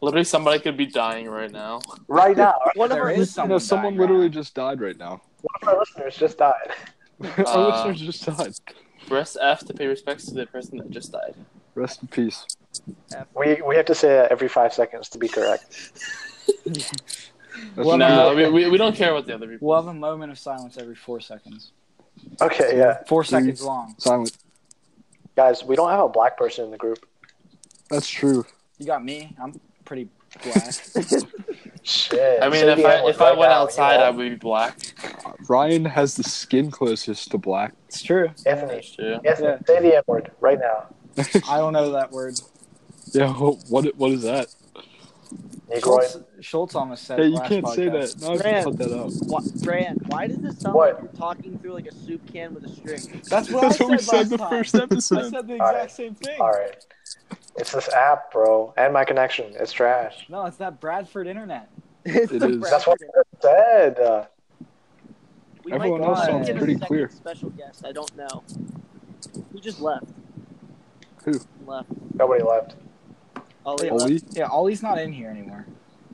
Speaker 4: literally somebody could be dying right now.
Speaker 5: right now.
Speaker 6: One of
Speaker 1: There
Speaker 6: our
Speaker 1: is
Speaker 2: You
Speaker 1: someone.
Speaker 2: know, someone
Speaker 1: dying
Speaker 2: literally
Speaker 1: now.
Speaker 2: just died right now.
Speaker 5: One of our listeners just died.
Speaker 2: Our
Speaker 4: Uh,
Speaker 2: listeners just died.
Speaker 4: Press F to pay respects to the person that just died.
Speaker 2: Rest in peace.
Speaker 5: We we have to say that every five seconds to be correct.
Speaker 2: That's
Speaker 1: Well,
Speaker 4: no, we, we, we don't care about the other people.
Speaker 1: We'll have a moment of silence every four seconds.
Speaker 5: Okay, yeah,
Speaker 1: Four
Speaker 2: Please.
Speaker 1: seconds long.
Speaker 2: silent.
Speaker 5: guys, we don't have a black person in the group.
Speaker 2: That's true.
Speaker 1: You got me. I'm pretty black.
Speaker 5: Shit.
Speaker 4: I mean,
Speaker 5: say
Speaker 4: if
Speaker 5: the
Speaker 4: I
Speaker 5: N-word
Speaker 4: if I
Speaker 5: right
Speaker 4: went
Speaker 5: now,
Speaker 4: outside,
Speaker 5: you
Speaker 4: I
Speaker 5: know?
Speaker 4: would be black.
Speaker 2: Ryan has the skin closest to black.
Speaker 1: it's true.
Speaker 5: Anthony,
Speaker 4: That's true.
Speaker 5: Anthony, say the N word right now.
Speaker 1: I don't know that word.
Speaker 2: Yeah, what what is that?
Speaker 5: Negroid.
Speaker 1: Schultz, Schultz almost said.
Speaker 2: Hey,
Speaker 1: it
Speaker 2: you
Speaker 1: last
Speaker 2: can't say
Speaker 1: podcast.
Speaker 2: that. No, I
Speaker 6: Man.
Speaker 2: can cut that out.
Speaker 6: Why, Brand, why does this sound
Speaker 5: What?
Speaker 6: like you're talking through like a soup can with a string?
Speaker 1: That's what I
Speaker 2: we
Speaker 1: said
Speaker 2: said
Speaker 1: last
Speaker 2: the
Speaker 1: time.
Speaker 2: first
Speaker 1: I
Speaker 2: episode.
Speaker 1: said the
Speaker 5: All
Speaker 1: exact
Speaker 5: right.
Speaker 1: same thing.
Speaker 5: All right. It's this app, bro, and my connection. It's trash.
Speaker 1: No, it's that Bradford internet.
Speaker 6: it's
Speaker 2: It
Speaker 6: the
Speaker 2: is.
Speaker 5: That's what I said. Uh,
Speaker 6: We
Speaker 2: Everyone
Speaker 6: might
Speaker 1: else
Speaker 6: get
Speaker 1: sounds
Speaker 6: a
Speaker 2: pretty
Speaker 6: second
Speaker 2: clear.
Speaker 6: Special guest, I don't know. Who just left?
Speaker 2: Who?
Speaker 6: Left.
Speaker 5: nobody left.
Speaker 6: Ollie. left.
Speaker 2: Ollie?
Speaker 1: Oh, Yeah, Ollie's not in here anymore.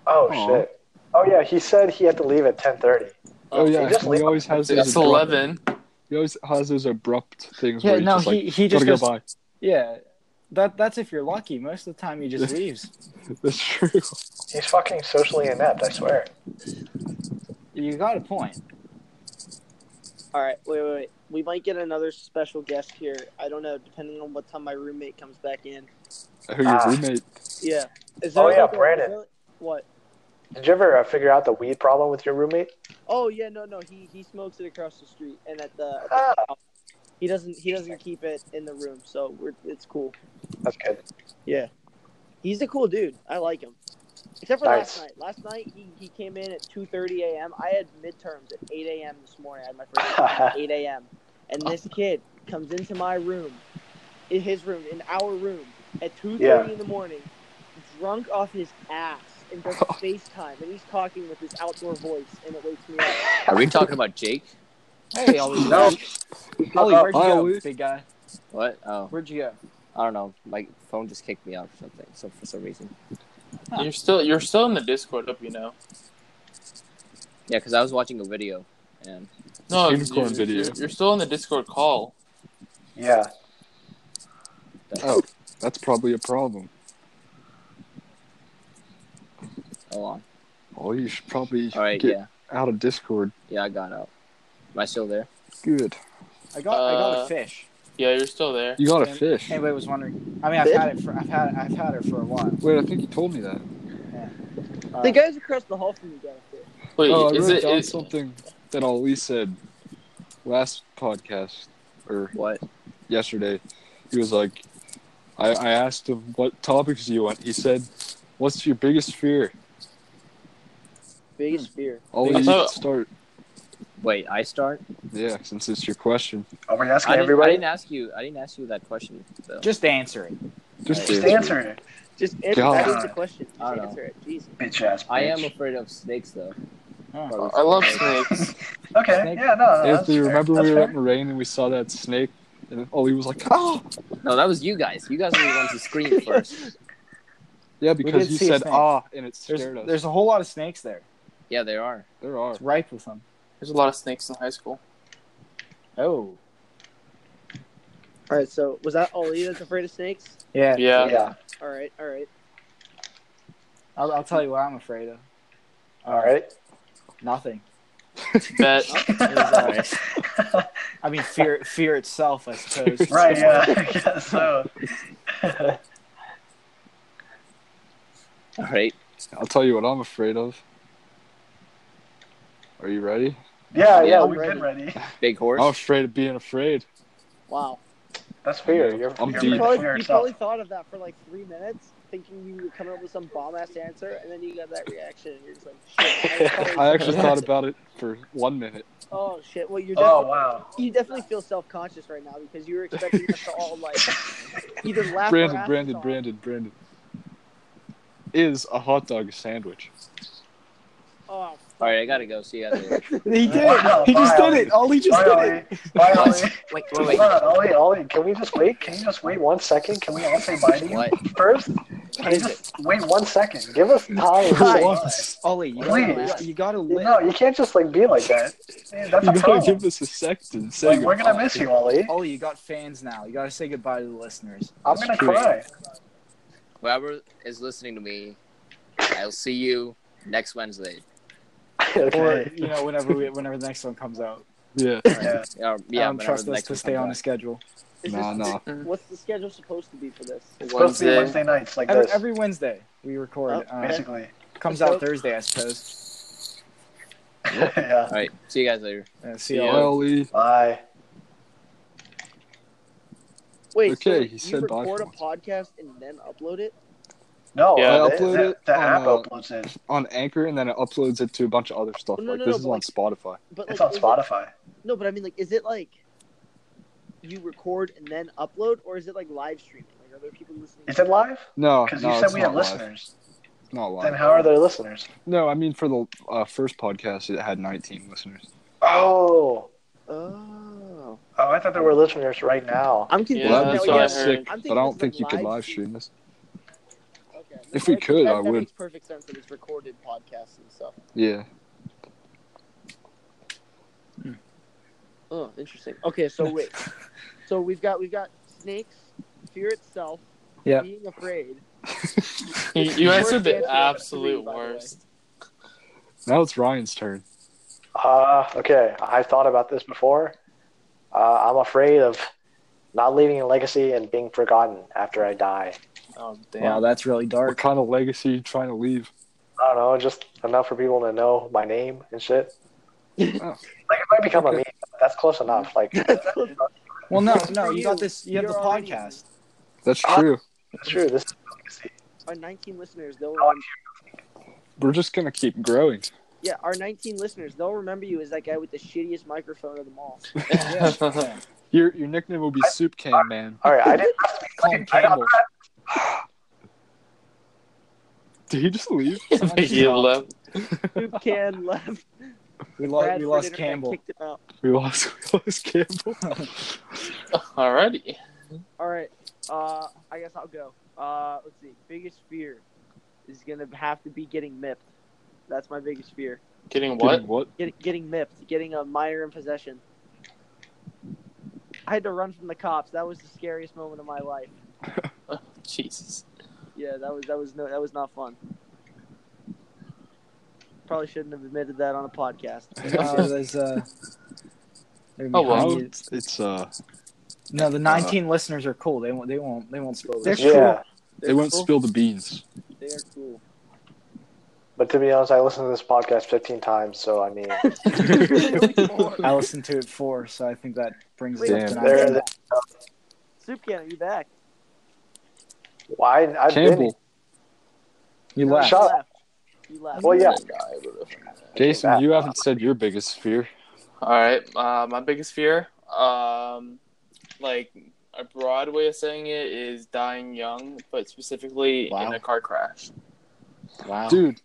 Speaker 5: Oh
Speaker 2: Aw.
Speaker 5: shit. Oh yeah, he said he had to leave at 10:30.
Speaker 2: Oh
Speaker 5: he
Speaker 2: yeah,
Speaker 5: just
Speaker 2: he
Speaker 5: leave-
Speaker 2: always has those.
Speaker 4: It's
Speaker 2: abrupt-
Speaker 4: eleven.
Speaker 2: He always has those abrupt things
Speaker 1: Yeah,
Speaker 2: where he's
Speaker 1: no,
Speaker 2: just like,
Speaker 1: he he just
Speaker 2: gotta
Speaker 1: goes,
Speaker 2: go by.
Speaker 1: yeah. That that's if you're lucky. Most of the time, he just leaves.
Speaker 2: That's true.
Speaker 5: He's fucking socially inept. I swear.
Speaker 1: You got a point.
Speaker 6: All right, wait, wait, wait. We might get another special guest here. I don't know, depending on what time my roommate comes back in.
Speaker 2: Who your
Speaker 5: Ah.
Speaker 2: roommate?
Speaker 6: Yeah. Is
Speaker 5: Oh, yeah,
Speaker 6: a-
Speaker 5: Brandon.
Speaker 6: what?
Speaker 5: Did you ever uh, figure out the weed problem with your roommate?
Speaker 6: Oh yeah, no, no. He he smokes it across the street, and at the, at the
Speaker 5: Ah,
Speaker 6: he doesn't he doesn't keep it in the room, so we're it's cool.
Speaker 5: that's good.
Speaker 6: He's a cool dude. I like him. Except for
Speaker 5: Nice.
Speaker 6: last night. Last night he, he came in at two thirty a.m. I had midterms at eight a.m. this morning. I had my first midterm at eight a.m. And this kid comes into my room, in his room, in our room, at two thirty
Speaker 5: Yeah.
Speaker 6: in the morning, drunk off his ass, and does FaceTime, and he's talking with his outdoor voice, and it wakes me up.
Speaker 3: Are we talking about Jake?
Speaker 1: Hey, Ollie.
Speaker 5: No.
Speaker 1: Ollie, where'd you
Speaker 2: Hi,
Speaker 1: go,
Speaker 2: Ollie.
Speaker 1: big guy?
Speaker 3: What? Oh,
Speaker 1: Where'd you go?
Speaker 3: I don't know. My phone just kicked me out or something. So for some reason.
Speaker 1: Huh.
Speaker 4: You're still you're still in the Discord, up you know.
Speaker 3: Yeah, because I was watching a video and
Speaker 4: No,
Speaker 2: Unicorn
Speaker 4: you're,
Speaker 2: video.
Speaker 4: You're, you're still in the Discord call.
Speaker 5: Yeah.
Speaker 2: Oh, that's probably a problem.
Speaker 3: hold on.
Speaker 2: Oh, you should probably
Speaker 3: All right,
Speaker 2: get
Speaker 3: yeah,
Speaker 2: out of Discord.
Speaker 3: yeah, I got out. Am I still there?
Speaker 2: Good.
Speaker 1: I got I got a
Speaker 4: Uh,
Speaker 1: fish.
Speaker 4: Yeah, you're still there.
Speaker 2: You got a
Speaker 1: And-
Speaker 2: fish.
Speaker 1: Anybody was wondering. I mean, I've
Speaker 6: Fish?
Speaker 1: had it for I've had I've had her for a while.
Speaker 2: Wait, I think you told me that.
Speaker 1: Uh,
Speaker 6: the guys across the hall from you got it.
Speaker 4: Wait,
Speaker 2: oh, I
Speaker 4: is
Speaker 2: wrote
Speaker 4: it?
Speaker 2: down
Speaker 4: is-
Speaker 2: something that Ali said last podcast or
Speaker 3: What?
Speaker 2: yesterday. He was like, I, I asked him what topics do you want. He said, "What's your biggest fear?"
Speaker 6: Biggest fear.
Speaker 2: Ali,
Speaker 4: I
Speaker 2: you
Speaker 4: thought-
Speaker 2: start.
Speaker 3: Wait, I start.
Speaker 2: Yeah, since it's your question.
Speaker 5: Are we asking
Speaker 3: I didn't, I
Speaker 5: everybody?
Speaker 3: didn't ask you. I didn't ask you that question. So.
Speaker 1: Just answer it.
Speaker 2: Just
Speaker 5: Just
Speaker 2: do it.
Speaker 5: answer it,
Speaker 6: Just answer
Speaker 2: God.
Speaker 6: that is the question. Just
Speaker 3: I don't know.
Speaker 6: answer it. Jeez.
Speaker 5: bitch ass.
Speaker 3: I am afraid of snakes, though.
Speaker 1: Oh.
Speaker 4: I love snakes.
Speaker 5: Okay.
Speaker 1: Snake-
Speaker 5: Yeah. No. no that's
Speaker 2: Anthony,
Speaker 5: fair.
Speaker 2: remember
Speaker 5: That's
Speaker 2: we were
Speaker 5: fair.
Speaker 2: at Moraine and we saw that snake? And Ollie was like, oh!
Speaker 3: No, that was you guys. You guys were the ones who screamed first.
Speaker 2: Yeah,
Speaker 1: did
Speaker 2: because you
Speaker 1: see a
Speaker 2: said,
Speaker 1: snake.
Speaker 2: ah, and it
Speaker 1: There's,
Speaker 2: scared us.
Speaker 1: there's a whole lot of snakes there.
Speaker 3: Yeah, there are.
Speaker 2: there are.
Speaker 1: It's ripe with them.
Speaker 4: There's a lot of snakes in high school.
Speaker 1: Oh.
Speaker 6: All right. So was that Ollie that's afraid of snakes?
Speaker 1: Yeah.
Speaker 4: Yeah.
Speaker 5: Yeah.
Speaker 6: All right. All right.
Speaker 1: I'll, I'll tell you what I'm afraid of.
Speaker 5: All right.
Speaker 1: Nothing.
Speaker 4: Bet.
Speaker 3: uh,
Speaker 1: I mean, fear fear itself, I suppose.
Speaker 5: right. Yeah. I guess so.
Speaker 3: All right.
Speaker 2: I'll tell you what I'm afraid of. Are you ready?
Speaker 5: Yeah.
Speaker 3: Yeah,
Speaker 5: Yeah.
Speaker 6: I'm
Speaker 5: We've been ready.
Speaker 3: Big horse.
Speaker 2: I'm afraid of being afraid.
Speaker 6: Wow.
Speaker 5: That's fair. You're,
Speaker 2: I'm
Speaker 5: you're
Speaker 2: deep.
Speaker 6: You
Speaker 5: afraid
Speaker 2: Dude.
Speaker 6: probably,
Speaker 5: for
Speaker 6: you
Speaker 5: yourself.
Speaker 6: probably thought of that for like three minutes, thinking you were coming up with some bomb ass answer, and then you got that reaction, and you're just like, shit. was
Speaker 2: I actually
Speaker 6: probably-
Speaker 2: thought about it for one minute.
Speaker 6: Oh shit! Well, you're
Speaker 5: Oh
Speaker 6: definitely,
Speaker 5: wow.
Speaker 6: you definitely feel self conscious right now because you were expecting us to all like either laugh or
Speaker 2: Brandon,
Speaker 6: ask
Speaker 2: Brandon,
Speaker 6: us
Speaker 2: Brandon, Brandon. Is a hot dog a sandwich?
Speaker 6: off.
Speaker 3: All right, I gotta go. See you guys later.
Speaker 1: He did
Speaker 5: Wow,
Speaker 1: it. He just did
Speaker 5: finally.
Speaker 1: it. Ollie just
Speaker 5: Bye,
Speaker 1: did it.
Speaker 5: Ollie. Bye, Ollie.
Speaker 3: What? Wait, wait,
Speaker 5: Hold
Speaker 3: wait.
Speaker 5: on, Ollie, Ollie, can we just wait? Can you just wait one second? Can we all say bye to you
Speaker 3: What?
Speaker 5: first? Can you just wait one second? Give us time.
Speaker 1: Hi.
Speaker 5: Why?
Speaker 1: Ollie, you
Speaker 5: Please.
Speaker 1: gotta, you gotta live.
Speaker 5: No, you can't just like be like that. Man, that's
Speaker 2: You
Speaker 5: a
Speaker 2: gotta
Speaker 5: problem.
Speaker 2: give us a second. Say
Speaker 5: Like, we're
Speaker 2: goodbye.
Speaker 5: gonna miss you, Ollie.
Speaker 1: Ollie, Oh, you got fans now. You gotta say goodbye to the listeners.
Speaker 5: I'm
Speaker 2: That's
Speaker 5: gonna
Speaker 2: true.
Speaker 5: cry.
Speaker 3: Whoever is listening to me, I'll see you next Wednesday.
Speaker 1: Or
Speaker 5: okay.
Speaker 1: you know, whenever we, whenever the next one comes out.
Speaker 2: Yeah.
Speaker 3: Or,
Speaker 5: Yeah.
Speaker 1: Yeah, I
Speaker 3: yeah,
Speaker 1: don't
Speaker 3: whenever
Speaker 1: Um, trust
Speaker 3: the
Speaker 1: us
Speaker 3: next
Speaker 1: to
Speaker 3: one
Speaker 1: stay
Speaker 3: comes
Speaker 1: on
Speaker 3: out.
Speaker 1: a schedule.
Speaker 6: Is
Speaker 2: Nah,
Speaker 6: this,
Speaker 2: nah.
Speaker 6: What's the schedule supposed to be for this?
Speaker 5: It's supposed to be
Speaker 4: Wednesday.
Speaker 5: Wednesday nights like
Speaker 1: Every,
Speaker 5: this,
Speaker 1: every Wednesday we record.
Speaker 6: Oh,
Speaker 1: uh,
Speaker 5: basically.
Speaker 1: comes out Thursday, I suppose.
Speaker 5: yeah.
Speaker 3: All right. See you guys later.
Speaker 1: Uh, see
Speaker 2: Yeah.
Speaker 1: you. all.
Speaker 2: Ollie.
Speaker 5: Bye.
Speaker 6: Wait,
Speaker 2: Okay,
Speaker 6: so
Speaker 2: he said
Speaker 6: you
Speaker 2: bye
Speaker 6: record
Speaker 2: for
Speaker 6: a podcast and then upload it?
Speaker 5: No,
Speaker 4: Yeah,
Speaker 5: uh,
Speaker 2: I
Speaker 5: the,
Speaker 2: upload
Speaker 5: the,
Speaker 2: it
Speaker 5: the
Speaker 2: on,
Speaker 5: app
Speaker 2: uh,
Speaker 5: uploads it.
Speaker 2: on Anchor and then it uploads it to a bunch of other stuff.
Speaker 6: No,
Speaker 2: like
Speaker 6: no,
Speaker 2: this
Speaker 6: no,
Speaker 2: is
Speaker 6: but
Speaker 2: on
Speaker 6: like-
Speaker 2: Spotify.
Speaker 6: But
Speaker 5: It's
Speaker 6: like,
Speaker 5: on
Speaker 6: is it-
Speaker 5: Spotify.
Speaker 6: no, but I mean, like, is it like you record and then upload, or is it like live streaming? Like, are there people listening?
Speaker 5: Is it live?
Speaker 2: No,
Speaker 5: Because
Speaker 2: Oh, no,
Speaker 5: you said
Speaker 2: it's
Speaker 5: we
Speaker 2: not
Speaker 5: had
Speaker 2: live.
Speaker 5: listeners.
Speaker 2: It's not live.
Speaker 5: Then how are there listeners?
Speaker 2: No, I mean for the uh, first podcast, it had 19 listeners.
Speaker 5: Oh.
Speaker 6: Oh,
Speaker 5: Oh, I thought there were listeners right now.
Speaker 6: I'm confused.
Speaker 4: Yeah,
Speaker 2: well,
Speaker 6: now
Speaker 2: that'd be
Speaker 4: that's
Speaker 6: we
Speaker 4: what I
Speaker 2: kind
Speaker 6: have-
Speaker 2: of sick,
Speaker 6: I'm
Speaker 2: but I
Speaker 6: thinking this
Speaker 2: don't
Speaker 6: is
Speaker 2: think you could live
Speaker 6: live
Speaker 2: stream this.
Speaker 6: Okay.
Speaker 2: If we
Speaker 6: That-
Speaker 2: could,
Speaker 6: that,
Speaker 2: I
Speaker 6: that
Speaker 2: would.
Speaker 6: Makes perfect sense that it's recorded podcasts and stuff.
Speaker 2: Yeah,
Speaker 6: Oh, interesting. Okay, so wait. so we've got we've got snakes, fear itself,
Speaker 1: Yep.
Speaker 6: being afraid.
Speaker 4: You, you guys are
Speaker 6: Worst answer
Speaker 4: the
Speaker 6: out of three,
Speaker 4: absolute
Speaker 6: by the way.
Speaker 4: worst.
Speaker 2: now it's Ryan's turn.
Speaker 5: Uh, okay. I thought about this before. Uh, I'm afraid of not leaving a legacy and being forgotten after I die.
Speaker 4: Oh
Speaker 1: Wow,
Speaker 4: damn.
Speaker 1: that's really
Speaker 2: What
Speaker 1: dark.
Speaker 2: kind of legacy you trying to leave?
Speaker 5: I don't know, just enough for people to know my name and shit.
Speaker 2: Oh.
Speaker 5: Like, it might become a meme. but That's close enough. Like, that's
Speaker 1: Well, no,
Speaker 6: For
Speaker 1: no, you got
Speaker 6: you,
Speaker 1: this. You have the
Speaker 6: you're already-
Speaker 1: podcast.
Speaker 2: That's
Speaker 5: Uh,
Speaker 2: true.
Speaker 5: true. This is a legacy.
Speaker 6: Our 19 listeners, they'll
Speaker 5: Oh,
Speaker 6: remember,
Speaker 2: We're just gonna keep growing.
Speaker 6: yeah, our 19 listeners, they'll remember you as that guy with the shittiest microphone of them all.
Speaker 1: Yeah.
Speaker 2: Your your nickname will be Soup Can Man.
Speaker 5: All right. I didn't.
Speaker 1: Call him Campbell.
Speaker 2: Did he just leave?
Speaker 4: you left.
Speaker 6: Who can left?
Speaker 1: We lost. We
Speaker 6: Bradford
Speaker 1: lost
Speaker 6: Internet
Speaker 1: Campbell.
Speaker 6: Kicked him out.
Speaker 2: We lost. We lost Campbell.
Speaker 4: Alrighty.
Speaker 6: All right. Uh, I guess I'll go. Uh, let's see. Biggest fear is gonna have to be getting mipped. That's my biggest fear.
Speaker 4: Getting what?
Speaker 2: Getting What?
Speaker 6: Get, getting mipped. Getting a minor in possession. I had to run from the cops. That was the scariest moment of my life.
Speaker 4: Jesus.
Speaker 6: Yeah, that was that was no that was not fun. Probably shouldn't have admitted that on a podcast.
Speaker 1: Uh, there's, uh, they're
Speaker 4: Oh,
Speaker 1: behind
Speaker 2: well.
Speaker 1: you.
Speaker 2: It's uh.
Speaker 1: No, the 19 listeners are cool. They won't. They won't. They won't spoil this.
Speaker 2: They're
Speaker 5: Yeah.
Speaker 2: They won't spill the beans.
Speaker 6: They are cool.
Speaker 5: But to be honest, I listened to this podcast 15 times, so I mean,
Speaker 1: I listened to it four, so I think that brings it
Speaker 2: Damn.
Speaker 1: up to
Speaker 5: There-
Speaker 1: 19.
Speaker 6: Soup can, are you back?
Speaker 5: why? I've
Speaker 2: Campbell,
Speaker 1: You
Speaker 6: No,
Speaker 1: left.
Speaker 5: Shut-
Speaker 6: You left.
Speaker 5: Well, yeah.
Speaker 2: Jason, you haven't said your biggest fear.
Speaker 4: All right. Uh, my biggest fear, um, like a broad way of saying it, is dying young, but specifically
Speaker 1: Wow.
Speaker 4: in a car crash.
Speaker 1: Wow.
Speaker 2: Dude,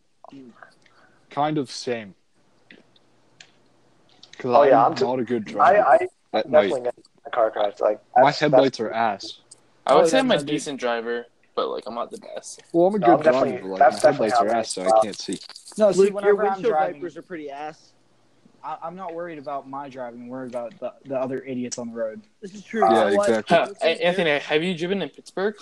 Speaker 2: kind of same. Because
Speaker 5: Oh,
Speaker 2: I'm
Speaker 5: yeah, I'm
Speaker 2: not
Speaker 5: too-
Speaker 2: a good
Speaker 5: I,
Speaker 2: driver.
Speaker 5: I
Speaker 2: my
Speaker 5: definitely got a car crash. Like
Speaker 2: my
Speaker 5: that's- that's-
Speaker 2: headlights are ass.
Speaker 4: I
Speaker 2: Oh,
Speaker 4: would say
Speaker 2: yeah,
Speaker 4: I'm a
Speaker 2: no, dude.
Speaker 4: decent driver, but like I'm not the best.
Speaker 2: Well, I'm a
Speaker 5: No,
Speaker 2: good
Speaker 5: I'm definitely-
Speaker 2: driver, but like, my
Speaker 5: that's definitely
Speaker 2: headlights are
Speaker 5: how
Speaker 2: ass, so
Speaker 5: they-
Speaker 2: I can't see.
Speaker 1: No, see,
Speaker 6: Luke, your
Speaker 1: whenever I'm
Speaker 6: windshield
Speaker 1: driving,
Speaker 6: wipers are pretty ass.
Speaker 1: I, I'm not worried about my driving. I'm worried about the, the other idiots on the road.
Speaker 6: This is true.
Speaker 5: Yeah,
Speaker 6: You know what?
Speaker 2: exactly.
Speaker 6: Luke's
Speaker 4: Hey,
Speaker 6: in
Speaker 4: Anthony, have you driven in Pittsburgh?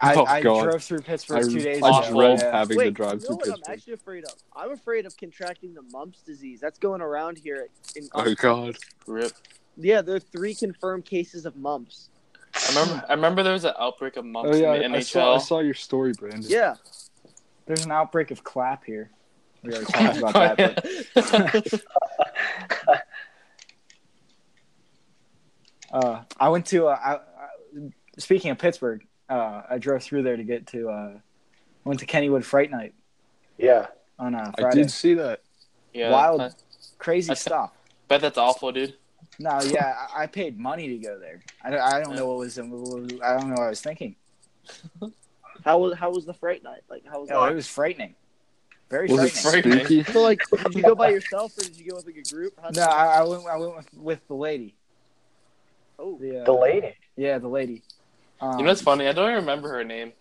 Speaker 1: I,
Speaker 2: Oh,
Speaker 1: I
Speaker 2: God.
Speaker 1: drove through Pittsburgh
Speaker 2: I,
Speaker 1: two days
Speaker 2: I
Speaker 1: ago.
Speaker 2: dread
Speaker 1: Yeah.
Speaker 2: having to
Speaker 6: Wait,
Speaker 2: drive
Speaker 6: you know
Speaker 2: through
Speaker 6: what I'm
Speaker 2: Pittsburgh.
Speaker 6: actually afraid of? I'm afraid of contracting the mumps disease. That's going around here. In,
Speaker 2: Oh god.
Speaker 4: Rip.
Speaker 6: yeah, there are three confirmed cases of mumps.
Speaker 4: I remember. I remember there was an outbreak of mumps
Speaker 2: Oh yeah,
Speaker 4: in the
Speaker 2: I, I
Speaker 4: NHL.
Speaker 2: saw, I saw your story, Brandon.
Speaker 6: Yeah,
Speaker 1: There's an outbreak of clap here. We already talked about that. But Uh, I went to. Uh, I, I, speaking of Pittsburgh, uh, I drove through there to get to. Uh, I went to Kennywood Fright Night
Speaker 5: yeah.
Speaker 1: on uh,
Speaker 2: I
Speaker 1: Friday.
Speaker 2: did see that.
Speaker 4: yeah,
Speaker 1: Wild.
Speaker 4: I
Speaker 1: Crazy
Speaker 4: That's-
Speaker 1: stuff.
Speaker 4: bet that's awful, dude.
Speaker 1: No, yeah, I, I paid money to go there. I don't, I don't know what was. in- I don't know what I was thinking.
Speaker 6: how was how was the fright night? Like how was
Speaker 1: No,
Speaker 6: that?
Speaker 1: Oh, it was frightening. Very
Speaker 2: Was it
Speaker 1: frightening.
Speaker 4: frightening.
Speaker 2: spooky?
Speaker 6: So like, did you go by yourself or did you go with like a group? How'd
Speaker 1: no,
Speaker 6: that-
Speaker 1: I, I went. I went with, with the lady.
Speaker 6: oh,
Speaker 1: The, uh,
Speaker 5: The lady,
Speaker 1: yeah, the lady. Um,
Speaker 4: You know what's funny? I don't even remember her name.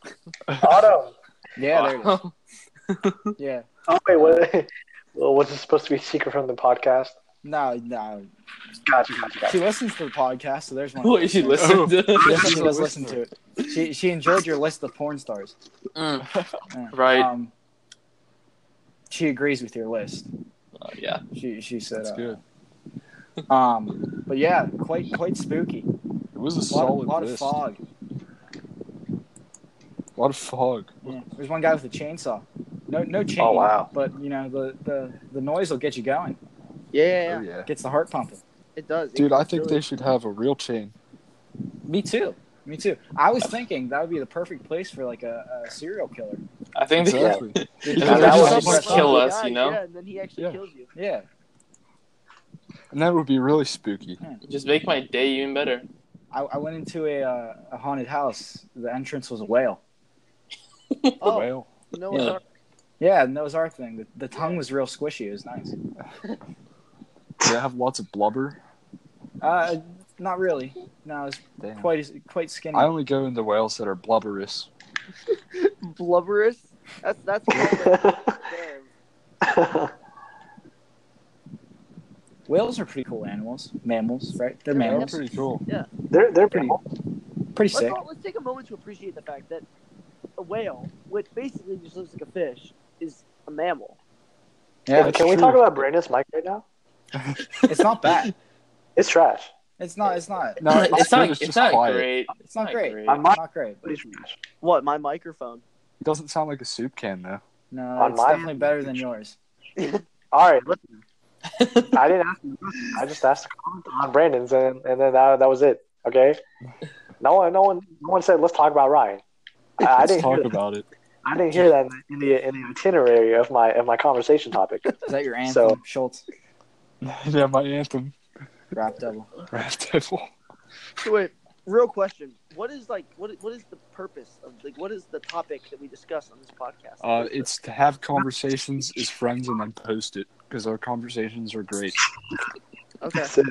Speaker 5: autumn.
Speaker 1: yeah, there it is. yeah.
Speaker 5: Oh wait, what? Well, was it supposed to be secret from the podcast?
Speaker 1: No, no.
Speaker 5: Gotcha, gotcha,
Speaker 1: She
Speaker 5: gotcha.
Speaker 1: listens to the podcast, so there's one.
Speaker 4: Wait, she listened. to-
Speaker 1: Yeah, she does listen to it. She she enjoyed your list of porn stars. Yeah.
Speaker 4: Mm, Right.
Speaker 1: Um, she agrees with your list.
Speaker 4: Uh, yeah.
Speaker 1: She she said.
Speaker 2: That's
Speaker 1: uh,
Speaker 2: good.
Speaker 1: Um, but yeah, quite quite spooky.
Speaker 2: It was
Speaker 1: A
Speaker 2: a
Speaker 1: lot, of,
Speaker 2: solid
Speaker 1: lot of
Speaker 2: list.
Speaker 1: fog.
Speaker 2: A lot of fog.
Speaker 1: Yeah. There's one guy with a chainsaw. No no chain.
Speaker 5: Oh, wow.
Speaker 1: But you know the the the noise will get you going.
Speaker 2: Oh
Speaker 6: yeah, yeah, yeah,
Speaker 2: yeah.
Speaker 1: Gets the heart pumping.
Speaker 6: it does. It
Speaker 2: Dude, I
Speaker 6: does
Speaker 2: think
Speaker 6: do
Speaker 2: they
Speaker 6: it.
Speaker 2: should have a real chain.
Speaker 1: Me too. Me too. I was thinking that would be the perfect place for like a, a serial killer.
Speaker 4: I think they,
Speaker 2: Exactly.
Speaker 4: Yeah,
Speaker 5: that
Speaker 4: just someone
Speaker 5: was-
Speaker 1: Yeah.
Speaker 4: kill
Speaker 6: Yeah,
Speaker 4: us, you know?
Speaker 6: oh Yeah, and then he actually
Speaker 2: Yeah.
Speaker 6: kills you.
Speaker 1: Yeah.
Speaker 2: and that would be really spooky.
Speaker 4: Just make my day even better.
Speaker 1: I, I went into a, uh, a haunted house. The entrance was a whale.
Speaker 6: Oh,
Speaker 2: Well,
Speaker 6: no,
Speaker 4: Yeah.
Speaker 6: it's not.
Speaker 1: Yeah, and that was our thing. The, the tongue was real squishy. It was nice.
Speaker 2: they have lots of blubber.
Speaker 1: Uh, not really. No, it was
Speaker 2: Damn.
Speaker 1: quite quite skinny.
Speaker 2: I only go in the whales that are blubberous.
Speaker 6: blubberous. That's that's blubber. Damn.
Speaker 1: Whales are pretty cool animals. Mammals, right? They're
Speaker 6: Yeah,
Speaker 2: They're
Speaker 1: mammals.
Speaker 2: pretty cool.
Speaker 5: they're they're pretty.
Speaker 1: Pretty- Pretty
Speaker 6: Let's,
Speaker 1: sick.
Speaker 6: all, let's take a moment to appreciate the fact that a whale, which basically just looks like a fish, is a mammal.
Speaker 1: Yeah,
Speaker 5: can can we talk about Brandon's mic right now?
Speaker 1: it's not bad.
Speaker 5: It's trash.
Speaker 1: It's not. It's not.
Speaker 2: No,
Speaker 4: it's,
Speaker 2: it's
Speaker 4: not.
Speaker 2: good, it's
Speaker 4: It's
Speaker 2: just
Speaker 4: not
Speaker 2: quiet.
Speaker 4: great.
Speaker 1: It's not great.
Speaker 5: I'm not-
Speaker 1: It's not great.
Speaker 5: It's trash.
Speaker 6: What? My microphone.
Speaker 2: It doesn't sound like a soup can though.
Speaker 1: No,
Speaker 5: On
Speaker 1: it's
Speaker 5: my-
Speaker 1: definitely better than yours.
Speaker 5: All right, listen. I didn't ask. him. I just asked a comment on Brandon's, and and then that, that was it. Okay. No one, no one, no one said let's talk about Ryan. I, I
Speaker 2: Let's
Speaker 5: didn't hear
Speaker 2: talk
Speaker 5: that.
Speaker 2: about it.
Speaker 5: I didn't hear that in the, in the itinerary of my of my conversation topic.
Speaker 1: Is that your anthem,
Speaker 5: So-
Speaker 1: Schultz?
Speaker 2: yeah, my anthem.
Speaker 1: Rap double.
Speaker 2: Rap devil.
Speaker 6: So wait, real question. What is like? What what is the purpose of like? What is the topic that we discuss on this podcast?
Speaker 2: Uh, it's to have conversations as friends and then post it because our conversations are great.
Speaker 6: okay.
Speaker 5: So,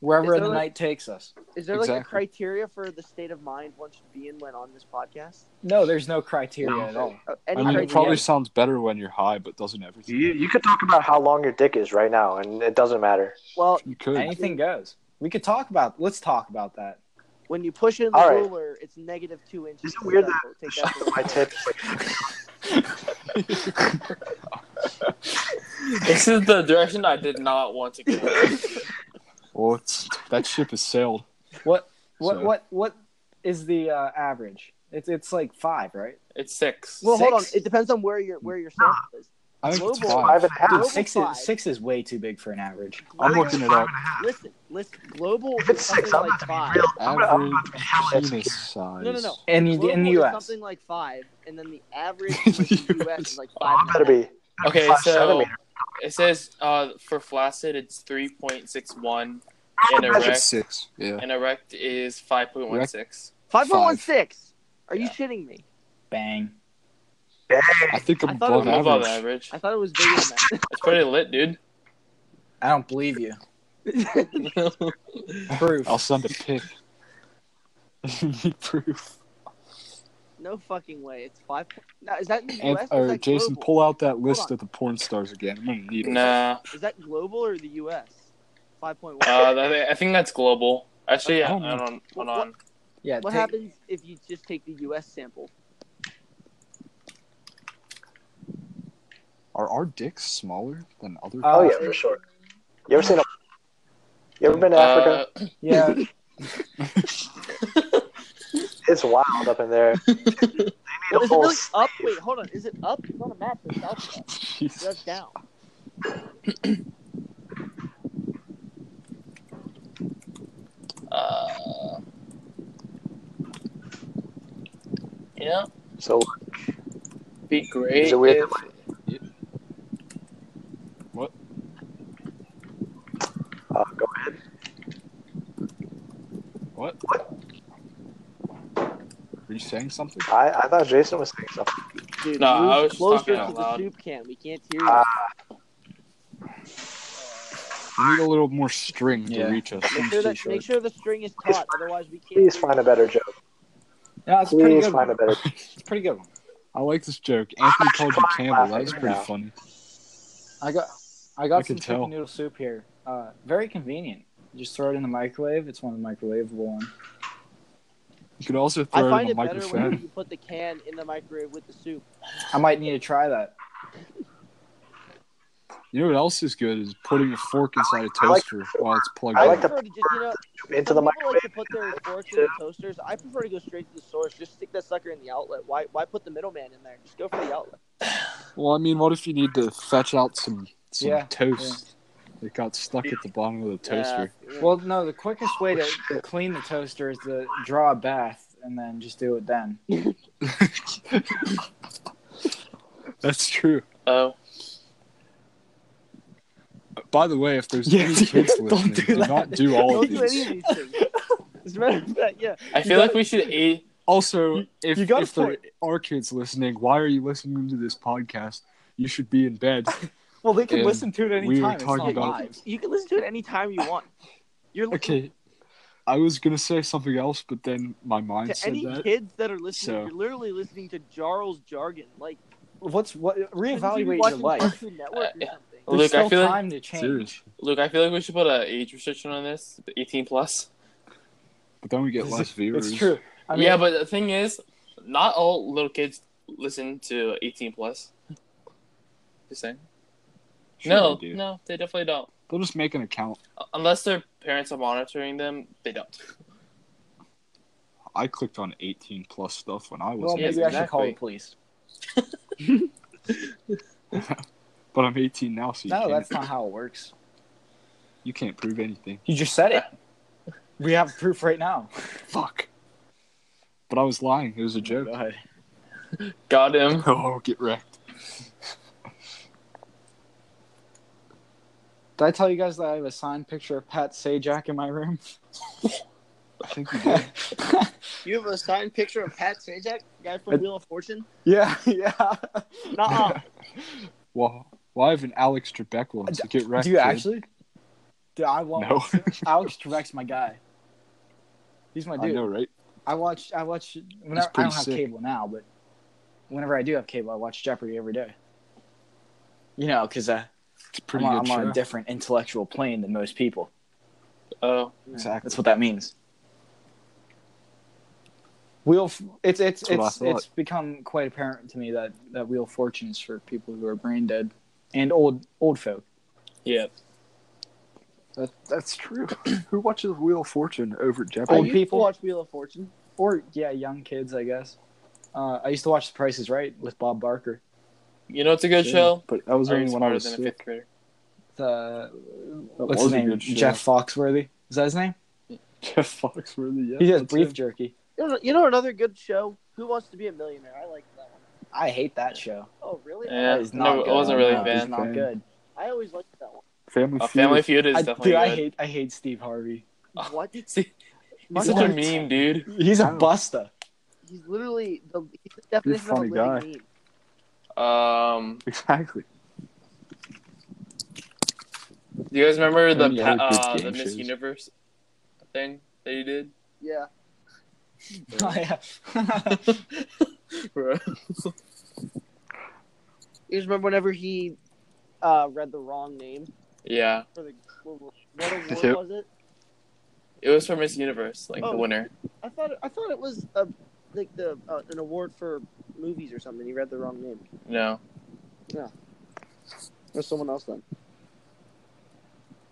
Speaker 1: Wherever the
Speaker 6: Is there, like-
Speaker 1: night takes us.
Speaker 6: Is there like a
Speaker 2: Exactly.
Speaker 6: criteria for the state of mind one should be in when on this podcast?
Speaker 1: No, there's no criteria at all.
Speaker 6: Uh,
Speaker 2: I mean,
Speaker 6: any
Speaker 2: it
Speaker 6: criteria?
Speaker 2: probably sounds better when you're high, but doesn't everything?
Speaker 5: you you could talk about how long your dick is right now, and it doesn't matter.
Speaker 6: Well,
Speaker 2: You could.
Speaker 1: Anything goes. We could talk about. Let's talk about that.
Speaker 6: when you push in the
Speaker 5: All right.
Speaker 6: ruler, it's negative two inches.
Speaker 5: Is it weird
Speaker 6: That's- take that for
Speaker 5: My
Speaker 6: what
Speaker 5: tip.
Speaker 6: it is.
Speaker 5: is Like,
Speaker 4: This is the direction I did not want to go.
Speaker 2: Well, it's, that ship has sailed.
Speaker 1: What? What?
Speaker 2: So-
Speaker 1: What? What is the uh, average? It's it's like five, right?
Speaker 4: It's six.
Speaker 6: Well, hold on.
Speaker 1: Six?
Speaker 6: It depends on where your where your sample is.
Speaker 2: I think it's
Speaker 6: Global-
Speaker 2: five.
Speaker 5: five and a half.
Speaker 6: Global
Speaker 1: Six
Speaker 6: five.
Speaker 1: is six is way too big for an average.
Speaker 2: I'm
Speaker 6: Global-
Speaker 2: looking it up.
Speaker 6: Listen, listen. Global
Speaker 5: If it's
Speaker 6: is
Speaker 5: six,
Speaker 6: something
Speaker 5: I'm
Speaker 6: like
Speaker 5: about to
Speaker 6: five.
Speaker 5: be real. I'm gonna, I'm about to be hella
Speaker 2: average
Speaker 5: insecure.
Speaker 2: penis size.
Speaker 6: No, no, no.
Speaker 1: In
Speaker 6: Global
Speaker 1: in the
Speaker 6: is
Speaker 1: U.S.
Speaker 6: something like five, and then the average in like, the U.S. is like
Speaker 5: Oh,
Speaker 6: five.
Speaker 5: I better be.
Speaker 4: Okay,
Speaker 5: Five
Speaker 4: so
Speaker 5: centimeter.
Speaker 4: It says uh, for flaccid, it's 3.61, and
Speaker 5: That's
Speaker 4: erect,
Speaker 2: Six. Yeah.
Speaker 4: and erect is 5.16.
Speaker 6: Five point one six. Are you shitting me?
Speaker 1: Bang.
Speaker 2: I think I'm
Speaker 6: I thought it
Speaker 2: above
Speaker 4: I'm above
Speaker 2: average.
Speaker 4: average.
Speaker 6: I thought it was bigger than
Speaker 4: It's pretty lit, dude.
Speaker 1: I don't believe you.
Speaker 6: that.
Speaker 1: Proof.
Speaker 2: I'll send a pic. Need proof.
Speaker 6: no fucking way. It's five. po- Now is that in the
Speaker 2: And,
Speaker 6: U.S. Is
Speaker 2: or
Speaker 6: that
Speaker 2: Jason,
Speaker 6: global?
Speaker 2: pull out that list
Speaker 6: Hold on.
Speaker 2: of the porn stars again. I'm gonna need it.
Speaker 4: Nah,
Speaker 6: Is that global or the U.S.? Five point one.
Speaker 4: uh, that, I think that's global. Actually,
Speaker 2: I
Speaker 4: I
Speaker 2: don't
Speaker 4: don't.
Speaker 2: know.
Speaker 4: Hold on.
Speaker 1: Yeah.
Speaker 6: what
Speaker 1: take-
Speaker 6: happens if you just take the U.S. sample?
Speaker 2: Are our dicks smaller than other?
Speaker 1: Uh,
Speaker 5: Oh yeah, for sure. You ever seen a? You ever been to Africa?
Speaker 4: Uh,
Speaker 1: Yeah.
Speaker 5: It's wild up in there. they need
Speaker 6: Well,
Speaker 5: a
Speaker 6: Oh, is it
Speaker 5: whole.
Speaker 6: really up? Wait, hold on. Is it up? It's on a map. It's south. of that.
Speaker 2: Jesus.
Speaker 6: That's down.
Speaker 4: uh, yeah,
Speaker 5: So
Speaker 4: be great.
Speaker 5: Is it weird
Speaker 4: if-
Speaker 5: uh, go ahead.
Speaker 2: What? Were you saying something?
Speaker 5: I, I thought Jason was saying something.
Speaker 6: Dude,
Speaker 4: No,
Speaker 6: move
Speaker 4: I was just talking
Speaker 6: closer to
Speaker 4: out
Speaker 6: the
Speaker 4: loud.
Speaker 6: soup can. We can't hear you.
Speaker 5: Ah.
Speaker 2: We need a little more string
Speaker 1: Yeah.
Speaker 2: to reach us.
Speaker 6: make, sure that, make sure the string is
Speaker 5: Please-
Speaker 6: taut. Otherwise, we can't.
Speaker 5: Please
Speaker 6: hear
Speaker 5: find a better joke.
Speaker 1: No, it's a pretty
Speaker 5: Please
Speaker 1: good.
Speaker 5: find
Speaker 1: One.
Speaker 5: a better.
Speaker 1: It's a pretty good one.
Speaker 2: I like this joke. Anthony called you Campbell. That was
Speaker 5: Right
Speaker 2: pretty
Speaker 5: now.
Speaker 2: funny.
Speaker 1: I got, I
Speaker 2: I
Speaker 1: got
Speaker 2: can
Speaker 1: some chicken
Speaker 2: tell.
Speaker 1: noodle soup here. Uh, very convenient. Just throw it in the microwave. It's one of the microwavable one.
Speaker 2: You could also
Speaker 6: I
Speaker 2: throw it
Speaker 6: find
Speaker 2: in a
Speaker 6: it better when
Speaker 2: microphone.
Speaker 6: you put the can in the microwave with the soup.
Speaker 1: I might need to try that.
Speaker 2: You know what else is good is putting a fork inside a
Speaker 5: I like-
Speaker 2: toaster while it's plugged
Speaker 5: I
Speaker 6: I
Speaker 5: like
Speaker 2: in.
Speaker 5: the-
Speaker 6: prefer to just, you know,
Speaker 5: Into the
Speaker 6: some people
Speaker 5: microwave.
Speaker 6: like to put their forks in the toasters. I prefer to go straight to the source. Just stick that sucker in the outlet. Why, why put the middleman in there? Just go for the outlet.
Speaker 2: Well, I mean, what if you need to fetch out some some
Speaker 1: Yeah,
Speaker 2: toast that got stuck at the bottom of the toaster?
Speaker 6: Yeah.
Speaker 1: Well, no, the quickest way to clean the toaster is to draw a bath and then just do it then.
Speaker 2: That's true.
Speaker 4: Oh,
Speaker 2: By the way, if there's
Speaker 1: Yeah,
Speaker 2: any kids
Speaker 1: don't
Speaker 2: listening,
Speaker 1: do
Speaker 2: do,
Speaker 1: that.
Speaker 2: not do all
Speaker 6: don't
Speaker 2: of
Speaker 6: do any
Speaker 2: these.
Speaker 6: of these things. As a matter of fact, yeah.
Speaker 4: I feel like we should a
Speaker 2: Also, if,
Speaker 1: you got a
Speaker 2: if there are kids listening, why are you listening to this podcast? You should be in bed.
Speaker 1: Well, they can
Speaker 2: And
Speaker 1: listen to it any
Speaker 2: we were
Speaker 1: time. It's
Speaker 2: talking
Speaker 1: not
Speaker 2: about-
Speaker 1: live.
Speaker 6: You can listen to it anytime you want. You're listening
Speaker 2: Okay, I was gonna say something else, but then my mind
Speaker 6: to
Speaker 2: said
Speaker 6: any
Speaker 2: that.
Speaker 6: kids that are listening.
Speaker 2: so-
Speaker 6: You're literally listening to Charles Jargon. Like,
Speaker 1: What's what?
Speaker 6: shouldn't you be
Speaker 1: Reevaluate your
Speaker 6: watching
Speaker 1: life.
Speaker 6: Cartoon Network or
Speaker 4: Uh,
Speaker 6: something?
Speaker 1: There's
Speaker 4: Luke, I
Speaker 1: still
Speaker 4: feel like-
Speaker 1: time to change.
Speaker 2: Serious,
Speaker 4: Luke. I feel like we should put a age restriction on this, 18 plus.
Speaker 2: but then we get
Speaker 1: It's-
Speaker 2: less viewers.
Speaker 1: It's true. I mean,
Speaker 4: yeah, but the thing is, not all little kids listen to 18 plus. Just saying.
Speaker 2: Sure
Speaker 4: no,
Speaker 2: they do.
Speaker 4: no, they definitely don't.
Speaker 2: They'll just make an account.
Speaker 4: Unless their parents are monitoring them, they don't.
Speaker 2: I clicked on 18 plus stuff when I was,
Speaker 1: well,
Speaker 4: Yes,
Speaker 1: maybe I should call the
Speaker 4: exactly.
Speaker 1: police.
Speaker 2: but I'm 18 now, so you,
Speaker 1: No,
Speaker 2: can't,
Speaker 1: that's not how it works.
Speaker 2: you can't prove anything.
Speaker 1: You just said it. We have proof right now.
Speaker 2: Fuck. But I was lying. It was a joke.
Speaker 1: God.
Speaker 4: Got him.
Speaker 2: Oh, get wrecked.
Speaker 1: Did I tell you guys that I have a signed picture of Pat Sajak in my room?
Speaker 2: I think you did.
Speaker 6: You have a signed picture of Pat Sajak, guy from
Speaker 1: It-
Speaker 6: Wheel of Fortune.
Speaker 1: Yeah, yeah.
Speaker 6: Nah,
Speaker 2: well, well, I have an Alex Trebek one, so get wrecked.
Speaker 1: Do you
Speaker 2: kid.
Speaker 1: actually? Dude, I want
Speaker 2: No.
Speaker 1: Alex Trebek's my guy. He's my
Speaker 2: I
Speaker 1: dude.
Speaker 2: know, right?
Speaker 1: I, watch. I watch. Whenever I
Speaker 2: pretty
Speaker 1: don't have
Speaker 2: sick.
Speaker 1: cable now, but whenever I do have cable, I watch Jeopardy every day. You know, because uh,
Speaker 2: It's a
Speaker 1: I'm,
Speaker 2: pretty
Speaker 1: on,
Speaker 2: good
Speaker 1: I'm on
Speaker 2: show.
Speaker 1: a different intellectual plane than most people.
Speaker 4: Oh,
Speaker 1: Exactly. That's what that means. Wheel. F- It's it's
Speaker 2: That's what I
Speaker 1: it's
Speaker 2: thought.
Speaker 1: it's become quite apparent to me that that Wheel of Fortune is for people who are brain dead and old old folk.
Speaker 4: yeah.
Speaker 2: That, that's true. Who watches Wheel of Fortune over
Speaker 1: Old
Speaker 6: I
Speaker 2: Jeopardy?
Speaker 6: used
Speaker 1: people.
Speaker 6: to watch Wheel of Fortune.
Speaker 1: or yeah, young kids, I guess. Uh, I used to watch The Price is Right with Bob Barker.
Speaker 4: You know it's a good show?
Speaker 2: But that was
Speaker 4: Are you
Speaker 2: only when I
Speaker 4: smarter
Speaker 2: was
Speaker 4: than a fifth
Speaker 2: sick.
Speaker 4: grader?
Speaker 1: The
Speaker 2: That
Speaker 1: what's
Speaker 2: was
Speaker 1: his
Speaker 2: a
Speaker 1: name?
Speaker 2: good show.
Speaker 1: Jeff Foxworthy. Is that his name?
Speaker 2: Jeff Foxworthy. Yeah,
Speaker 1: He does
Speaker 2: that's
Speaker 1: Beef
Speaker 2: him.
Speaker 1: Jerky.
Speaker 6: You know, you know another good show? Who Wants to Be a Millionaire? I like that one.
Speaker 1: I hate that show.
Speaker 6: Oh, really?
Speaker 4: Yeah.
Speaker 1: that is
Speaker 4: no,
Speaker 1: not
Speaker 4: it
Speaker 1: good.
Speaker 4: wasn't really a
Speaker 1: No, it's
Speaker 4: fan.
Speaker 1: Not good.
Speaker 6: I always liked that one.
Speaker 2: Family Feud.
Speaker 4: A Uh, Family Feud is
Speaker 1: I,
Speaker 4: definitely
Speaker 1: dude, I
Speaker 4: good.
Speaker 1: hate I hate Steve Harvey.
Speaker 4: Oh.
Speaker 6: What?
Speaker 4: See,
Speaker 6: My-
Speaker 4: he's such a
Speaker 1: What?
Speaker 4: meme, dude.
Speaker 1: He's a
Speaker 2: Oh.
Speaker 1: buster.
Speaker 6: He's literally the, he's the definition
Speaker 2: a funny
Speaker 6: of a living
Speaker 2: guy.
Speaker 6: meme.
Speaker 4: Um,
Speaker 2: Exactly.
Speaker 4: do you guys remember the
Speaker 2: Any
Speaker 4: pa-
Speaker 2: other good
Speaker 4: uh, the
Speaker 2: game
Speaker 4: Miss
Speaker 2: shows?
Speaker 4: Universe thing that you did?
Speaker 6: Yeah.
Speaker 1: Oh, yeah.
Speaker 4: Bro.
Speaker 6: You just remember whenever he uh, read the wrong name
Speaker 4: yeah,
Speaker 6: for the what award
Speaker 2: Yep.
Speaker 6: was it?
Speaker 4: it was for Miss Universe, like
Speaker 6: Oh.
Speaker 4: the winner.
Speaker 6: I thought I thought it was a, like the uh, an award for movies or something. He read the wrong name.
Speaker 4: No,
Speaker 6: It was someone else then.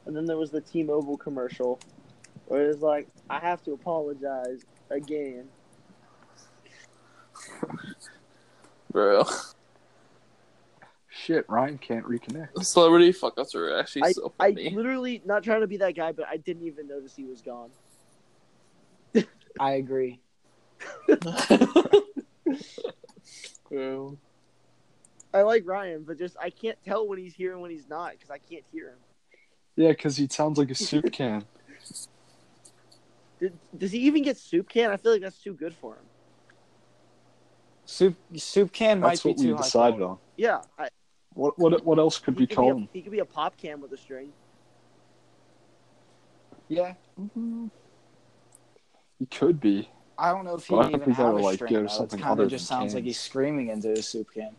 Speaker 6: And then there was the T-Mobile commercial where it was like, "I have to apologize again."
Speaker 4: bro.
Speaker 2: Shit, Ryan can't reconnect.
Speaker 4: Celebrity fuckups are actually
Speaker 6: I,
Speaker 4: so
Speaker 6: I
Speaker 4: funny.
Speaker 6: literally not trying to be that guy, but I didn't even notice he was gone.
Speaker 1: I agree.
Speaker 4: Bro.
Speaker 6: I like Ryan, but just I can't tell when he's here and when he's not because I can't hear him.
Speaker 2: Yeah, because he sounds like a soup can.
Speaker 6: Did, does he even get soup can? I feel like that's too good for him.
Speaker 1: Soup soup can
Speaker 2: That's
Speaker 1: might
Speaker 2: what
Speaker 1: be too
Speaker 2: we
Speaker 1: high
Speaker 2: decided
Speaker 1: quality.
Speaker 2: on.
Speaker 6: Yeah, I,
Speaker 2: What what what else could
Speaker 6: he
Speaker 2: we
Speaker 6: could
Speaker 2: call
Speaker 6: be
Speaker 2: him?
Speaker 6: a, he could be a pop can with a string.
Speaker 1: Yeah,
Speaker 2: He could be.
Speaker 1: I don't know if he
Speaker 2: Well, I
Speaker 1: even
Speaker 2: think we
Speaker 1: have
Speaker 2: gotta,
Speaker 1: a
Speaker 2: like,
Speaker 1: string.
Speaker 2: go
Speaker 1: though. It's
Speaker 2: something
Speaker 1: kinda
Speaker 2: other
Speaker 1: just
Speaker 2: than
Speaker 1: sounds like
Speaker 2: cans.
Speaker 1: he's screaming into a soup can.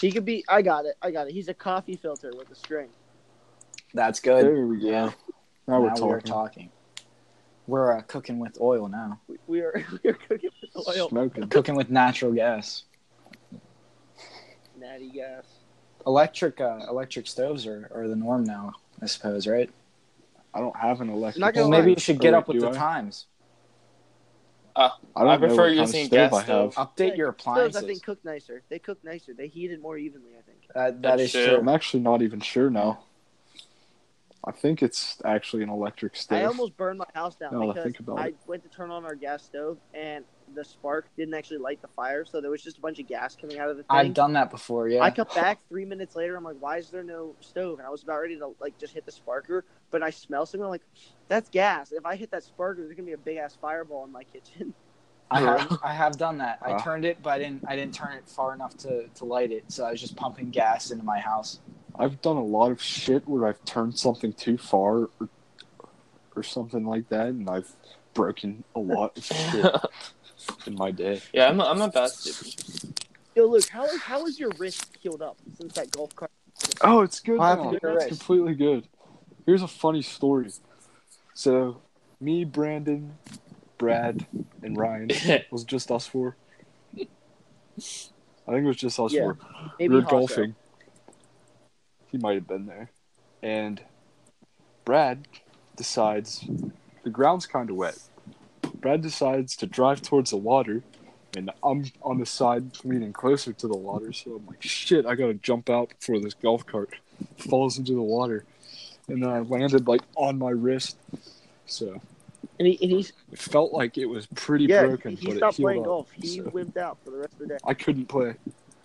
Speaker 6: He could be. I got it. I got it. He's a coffee filter with a string.
Speaker 1: That's good.
Speaker 2: There we go.
Speaker 1: Yeah.
Speaker 2: Now, we're
Speaker 1: we are
Speaker 2: talking.
Speaker 1: talking. We're uh, cooking with oil now.
Speaker 6: We, we are we are cooking with oil.
Speaker 2: Smoking.
Speaker 1: Cooking with natural gas.
Speaker 6: Natty gas.
Speaker 1: Electric uh, electric stoves are, are the norm now, I suppose, right?
Speaker 2: I don't have an electric.
Speaker 6: Not
Speaker 1: Well,
Speaker 6: gonna
Speaker 1: maybe
Speaker 6: lie.
Speaker 1: you should get
Speaker 2: Oh,
Speaker 1: up with
Speaker 2: do
Speaker 1: the
Speaker 2: I?
Speaker 1: times.
Speaker 2: I don't
Speaker 4: I prefer
Speaker 2: know what kind of
Speaker 4: using
Speaker 2: stove
Speaker 4: gas
Speaker 2: I have.
Speaker 4: stove.
Speaker 1: Update
Speaker 6: Like,
Speaker 1: your
Speaker 6: Those
Speaker 1: appliances.
Speaker 6: I think cook nicer. They cook nicer. They heat it more evenly. I think.
Speaker 1: that, that
Speaker 4: That's
Speaker 1: is
Speaker 4: true.
Speaker 1: true.
Speaker 2: I'm actually not even sure now. I think it's actually an electric stove.
Speaker 6: I almost burned my house down
Speaker 2: Now that I
Speaker 6: because
Speaker 2: think about
Speaker 6: I
Speaker 2: it.
Speaker 6: went to turn on our gas stove and the spark didn't actually light the fire, so there was just a bunch of gas coming out of the thing.
Speaker 1: I've done that before. Yeah.
Speaker 6: I come back three minutes later. I'm like, why is there no stove? And I was about ready to like just hit the sparker, but I smell something. I'm like, that's gas. If I hit that sparker, there's gonna be a big ass fireball in my kitchen.
Speaker 1: I have, I have done that. I
Speaker 2: Wow.
Speaker 1: turned it, but I didn't I didn't turn it far enough to, to light it. So I was just pumping gas into my house.
Speaker 2: I've done a lot of shit where I've turned something too far or, or something like that, and I've broken a lot of shit in my day.
Speaker 4: yeah, I'm not, I'm not bad. Steve.
Speaker 6: Yo, Luke, how how is your wrist healed up since that golf cart?
Speaker 2: Oh, it's good.
Speaker 1: What happened to
Speaker 2: now.
Speaker 1: your
Speaker 2: It's
Speaker 1: wrist?
Speaker 2: completely good. Here's a funny story. So, me, Brandon, Brad, and Ryan was just us four. I think it was just us
Speaker 6: Yeah.
Speaker 2: four.
Speaker 6: Maybe
Speaker 2: we were
Speaker 6: Hawk,
Speaker 2: golfing. He might have been there. And Brad decides the ground's kind of wet. Brad decides to drive towards the water, and I'm on the side leaning closer to the water. So I'm like, shit, I gotta jump out before this golf cart falls into the water. And then I landed like on my wrist. So
Speaker 6: though. And, he, and he's
Speaker 2: it felt like it was pretty
Speaker 6: yeah,
Speaker 2: broken,
Speaker 6: he, he
Speaker 2: but it
Speaker 6: stopped
Speaker 2: healed
Speaker 6: playing
Speaker 2: up.
Speaker 6: golf. He
Speaker 2: so.
Speaker 6: wimped out for the rest of the day.
Speaker 2: I couldn't play.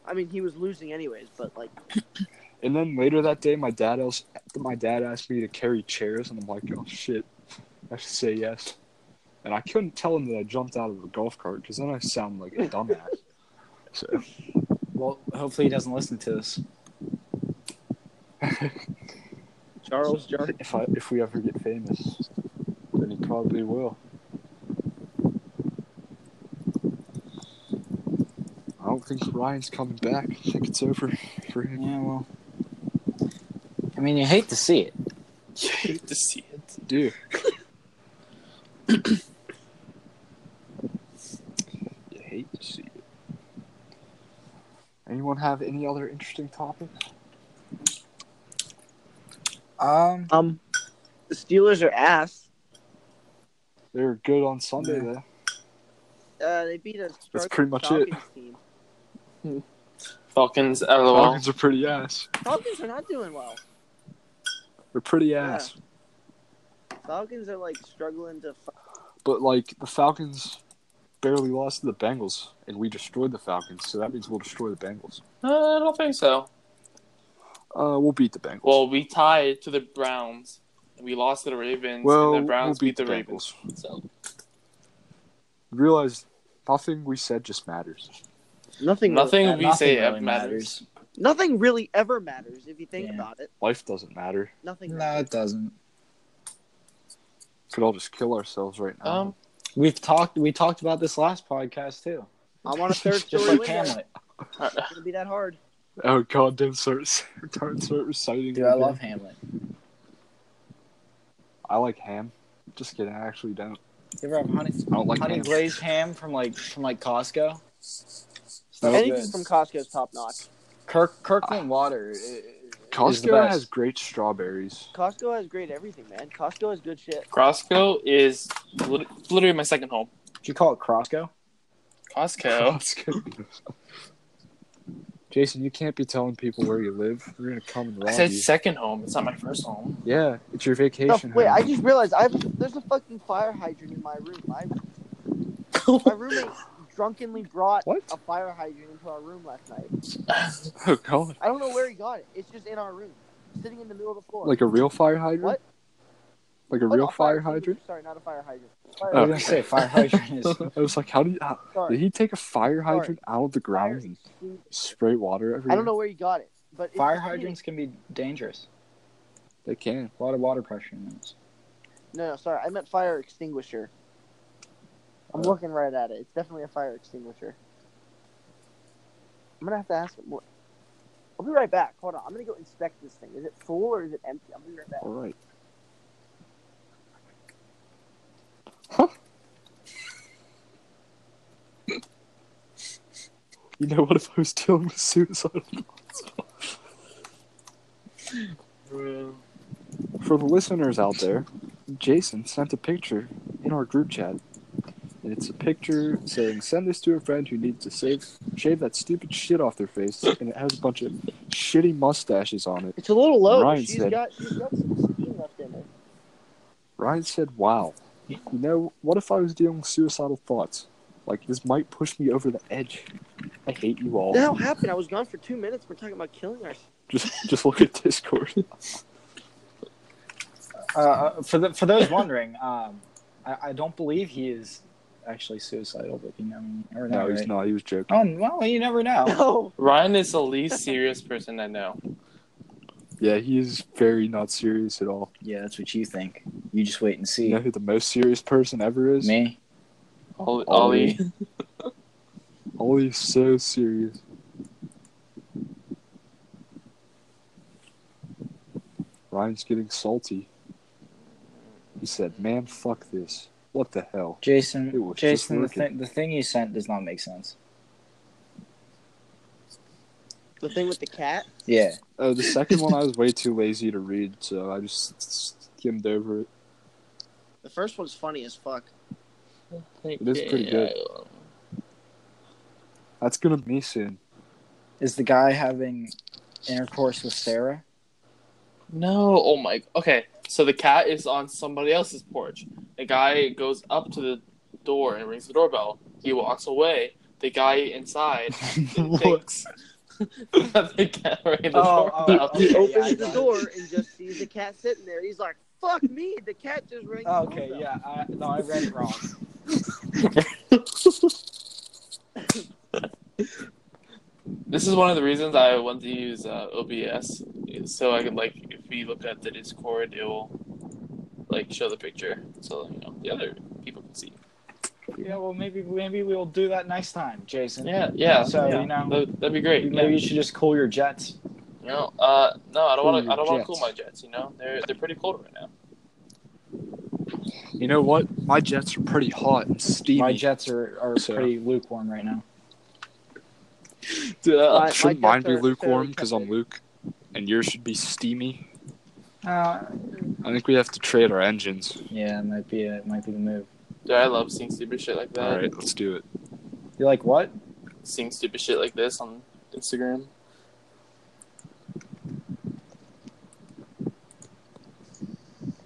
Speaker 6: I mean, he was losing anyways, but like,
Speaker 2: And then later that day, my dad else, my dad asked me to carry chairs, and I'm like, oh shit, I should say yes. And I couldn't tell him that I jumped out of a golf cart because then I sound like a dumbass. so
Speaker 1: Well, hopefully he doesn't listen to this.
Speaker 6: Charles Jark.
Speaker 2: if I if we ever get famous, then he probably will. I don't think Ryan's coming back. I think it's over for him.
Speaker 1: Yeah, well. I mean, you hate to see it.
Speaker 4: You hate to see it.
Speaker 2: Dude. you hate to see it. Anyone have any other interesting topic?
Speaker 1: Um,
Speaker 6: Um, the Steelers are ass.
Speaker 2: They were good on Sunday,
Speaker 1: Yeah.
Speaker 2: though.
Speaker 6: Uh, they beat us.
Speaker 2: That's pretty much it.
Speaker 6: Team.
Speaker 4: Falcons, LOL.
Speaker 2: Falcons are pretty ass.
Speaker 6: Falcons are not doing well.
Speaker 2: They're pretty
Speaker 6: Yeah.
Speaker 2: ass.
Speaker 6: Falcons are like struggling to. F-
Speaker 2: But, like, the Falcons barely lost to the Bengals, and we destroyed the Falcons. So that means we'll destroy the Bengals.
Speaker 4: Uh, I don't think so.
Speaker 2: Uh, we'll beat the Bengals.
Speaker 4: Well, we tied to the Browns, and we lost to the Ravens,
Speaker 2: Well,
Speaker 4: and the Browns
Speaker 2: we'll
Speaker 4: beat the, Ravens.
Speaker 2: Bengals.
Speaker 4: So
Speaker 2: Realize nothing we said just matters.
Speaker 6: Nothing.
Speaker 4: Nothing
Speaker 6: Really
Speaker 4: we
Speaker 6: matters.
Speaker 4: say it matters.
Speaker 6: Nothing really ever matters if you think
Speaker 1: Yeah.
Speaker 6: about it.
Speaker 2: Life doesn't matter.
Speaker 6: Nothing.
Speaker 1: No,
Speaker 6: matters.
Speaker 1: it doesn't.
Speaker 2: Could all just kill ourselves right now.
Speaker 4: Um,
Speaker 1: We've talked. We talked about this last podcast too.
Speaker 6: I'm on a third
Speaker 1: Just
Speaker 6: story
Speaker 1: like
Speaker 6: window. It's
Speaker 1: Hamlet,
Speaker 6: gonna be that hard.
Speaker 2: oh god, don't start, don't start reciting.
Speaker 1: dude. I
Speaker 2: again.
Speaker 1: love Hamlet.
Speaker 2: I like ham. Just kidding. I actually don't.
Speaker 1: You ever have honey,
Speaker 2: I don't like
Speaker 1: honey
Speaker 2: ham.
Speaker 1: glazed ham from like from like Costco? It's not
Speaker 6: Anything
Speaker 1: good.
Speaker 6: from Costco's top notch.
Speaker 1: Kirk Kirkland water. Uh, i- is the
Speaker 2: Costco
Speaker 1: best.
Speaker 2: has great strawberries.
Speaker 6: Costco has great everything, man. Costco has good shit.
Speaker 4: Costco is lit- literally my second home.
Speaker 1: Did you call it Costco?
Speaker 4: Costco.
Speaker 2: Costco. Jason, you can't be telling people where you live. They're gonna come and rob
Speaker 4: I said
Speaker 2: you.
Speaker 4: second home. It's not my first home.
Speaker 2: Yeah, it's your
Speaker 6: No,
Speaker 2: vacation.
Speaker 6: Oh, wait,
Speaker 2: home.
Speaker 6: I just realized I've there's a fucking fire hydrant in my room. My my roommate drunkenly brought
Speaker 2: What?
Speaker 6: a fire hydrant into our room last night.
Speaker 2: Oh god!
Speaker 6: I don't know where he got it. It's just in our room, sitting in the middle of the floor.
Speaker 2: Like a real fire hydrant?
Speaker 6: What?
Speaker 2: Like a
Speaker 6: What?
Speaker 2: real
Speaker 6: A
Speaker 2: fire hydrant?
Speaker 6: Sorry, not a fire hydrant.
Speaker 1: I was
Speaker 6: Fire
Speaker 2: Oh.
Speaker 1: gonna say fire hydrant is.
Speaker 2: I was like, how did how,
Speaker 6: sorry.
Speaker 2: did he take a fire
Speaker 6: Sorry.
Speaker 2: hydrant out of the
Speaker 6: Fire
Speaker 2: ground and
Speaker 6: extinguisher.
Speaker 2: spray water everywhere?
Speaker 6: I don't know where he got it, but it's
Speaker 1: Fire
Speaker 6: just sitting-
Speaker 1: hydrants can be dangerous.
Speaker 2: They can.
Speaker 1: A lot of water pressure in those.
Speaker 6: No, no, sorry, I meant fire extinguisher. I'm
Speaker 1: Oh.
Speaker 6: looking right at it. It's definitely a fire extinguisher. I'm gonna have to ask him. What... I'll be right back. Hold on. I'm gonna go inspect this thing. Is it full or is it empty? I'll be right back.
Speaker 2: All right. You know what? If I was dealing with suicidal thoughts? for the listeners out there, Jason sent a picture in our group chat. And it's a picture saying, "Send this to a friend who needs to save shave that stupid shit off their face," and it has a bunch of shitty mustaches on it.
Speaker 6: It's a little low. but
Speaker 2: Ryan
Speaker 6: She's
Speaker 2: said-
Speaker 6: got she's got some steam left in it.
Speaker 2: Ryan said, Wow, you know, what if I was dealing with suicidal thoughts? Like, this might push me over the edge. I hate you all.
Speaker 6: What the hell happened? I was gone for two minutes. We're talking about killing ourselves.
Speaker 2: Just just look at Discord.
Speaker 1: Uh, Uh, for the for those wondering, um, I, I don't believe he is actually suicidal, but you know, I mean, you never know,
Speaker 2: No, he's
Speaker 1: right?
Speaker 2: not. He was joking.
Speaker 1: Oh well, you never know.
Speaker 6: No.
Speaker 4: Ryan is the least serious person I know.
Speaker 2: Yeah, he is very not serious at all.
Speaker 1: yeah, that's what you think. You just wait and see.
Speaker 2: You know who the most serious person ever is?
Speaker 1: Me.
Speaker 4: Ollie,
Speaker 2: Ollie.
Speaker 4: Ollie.
Speaker 2: Ollie's so serious. Ryan's getting salty. He said, Man, fuck this. What the hell? It
Speaker 1: Jason,
Speaker 2: was
Speaker 1: Jason, the,
Speaker 2: just
Speaker 1: thing the thing you sent does not make sense.
Speaker 6: The thing with the cat.
Speaker 1: Yeah,
Speaker 2: Oh, the second one I was way too lazy to read, so I just skimmed over it.
Speaker 6: The first one's funny as fuck.
Speaker 4: It
Speaker 2: is pretty good. That's gonna be soon.
Speaker 1: is the guy having intercourse with Sarah?
Speaker 4: No, oh my. Okay, so the cat is on somebody else's porch. The guy goes up to the door and rings the doorbell. He walks away. The guy inside thinks that the cat rang the
Speaker 1: Oh, oh,
Speaker 4: doorbell.
Speaker 1: okay,
Speaker 6: he
Speaker 1: yeah,
Speaker 6: opens
Speaker 1: I
Speaker 6: the
Speaker 1: got it.
Speaker 6: door and just sees the cat sitting there. He's like, "Fuck me!" The cat just rang. the
Speaker 1: Okay,
Speaker 6: doorbell."
Speaker 1: yeah. I, no, I read it wrong.
Speaker 4: This is one of the reasons I want to use uh, OBS, so I can like if we look at the Discord, it will like show the picture, so you know the other people can see.
Speaker 1: Yeah, well, maybe maybe we'll do that next time, Jason.
Speaker 4: Yeah, yeah.
Speaker 1: So,
Speaker 4: yeah.
Speaker 1: you know,
Speaker 4: That- that'd be great.
Speaker 1: Maybe
Speaker 4: yeah.
Speaker 1: you should just cool your jets.
Speaker 4: No, uh, no, I don't
Speaker 2: Cool
Speaker 4: want to.
Speaker 2: your
Speaker 4: I don't want
Speaker 2: jets.
Speaker 4: to cool my jets. You know, they're they're pretty cold right now.
Speaker 2: You know what? My jets are pretty hot and steamy.
Speaker 1: My jets are, are
Speaker 2: So-
Speaker 1: pretty lukewarm right now.
Speaker 4: Uh,
Speaker 6: My- my
Speaker 2: Shouldn't
Speaker 6: jets
Speaker 2: mine
Speaker 6: are
Speaker 2: be
Speaker 6: fairly
Speaker 2: lukewarm because I'm
Speaker 6: tepid.
Speaker 2: Luke, and yours should be steamy.
Speaker 1: Uh,
Speaker 2: I think we have to trade our engines.
Speaker 1: yeah, it might be it might be the move.
Speaker 4: Dude, I love seeing stupid shit like that.
Speaker 2: All right, let's do it.
Speaker 1: You're like what?
Speaker 4: Seeing stupid shit like this on Instagram.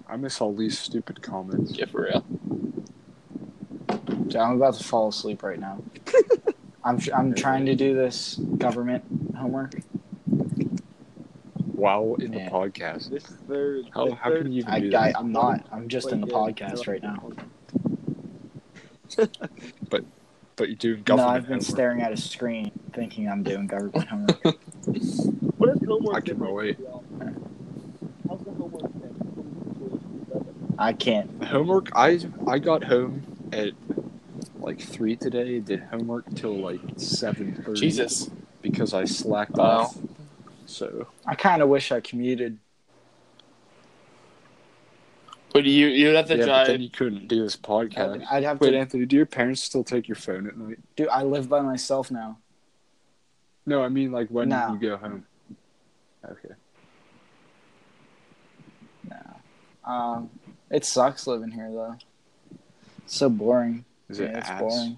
Speaker 2: I miss all these stupid comments.
Speaker 4: Yeah, for real.
Speaker 1: Dude, I'm about to fall asleep right now. I'm I'm trying to do this government homework.
Speaker 2: Wow, in the
Speaker 1: Yeah.
Speaker 2: podcast. This third. How,
Speaker 6: this
Speaker 2: how
Speaker 6: third-
Speaker 2: can you even
Speaker 1: I,
Speaker 2: do
Speaker 1: I
Speaker 2: that?
Speaker 1: I'm not. I'm just in the podcast right now.
Speaker 2: But you're doing
Speaker 1: No,
Speaker 2: government.
Speaker 1: I've been
Speaker 2: homework.
Speaker 1: staring at a screen thinking I'm doing government homework.
Speaker 6: What is homework?
Speaker 2: I can't
Speaker 6: been like
Speaker 2: relate.
Speaker 6: for y'all? How's the homework been?
Speaker 1: I can't.
Speaker 2: Homework. I I got home at like three today. Did homework till like seven thirty.
Speaker 4: Jesus.
Speaker 2: Because I slacked
Speaker 4: Wow.
Speaker 2: off. So
Speaker 1: I kind of wish I commuted.
Speaker 4: But you you have to
Speaker 2: yeah, but then
Speaker 4: drive.
Speaker 2: you couldn't do this podcast.
Speaker 1: I'd, I'd have
Speaker 2: Wait,
Speaker 1: to.
Speaker 2: Anthony, do your parents still take your phone at night?
Speaker 1: do. I live by myself now.
Speaker 2: No, I mean like when
Speaker 1: No.
Speaker 2: you go home. Okay.
Speaker 1: Um, it sucks living here though. It's so boring.
Speaker 2: Is it
Speaker 1: Yeah, it's
Speaker 2: ass?
Speaker 1: boring.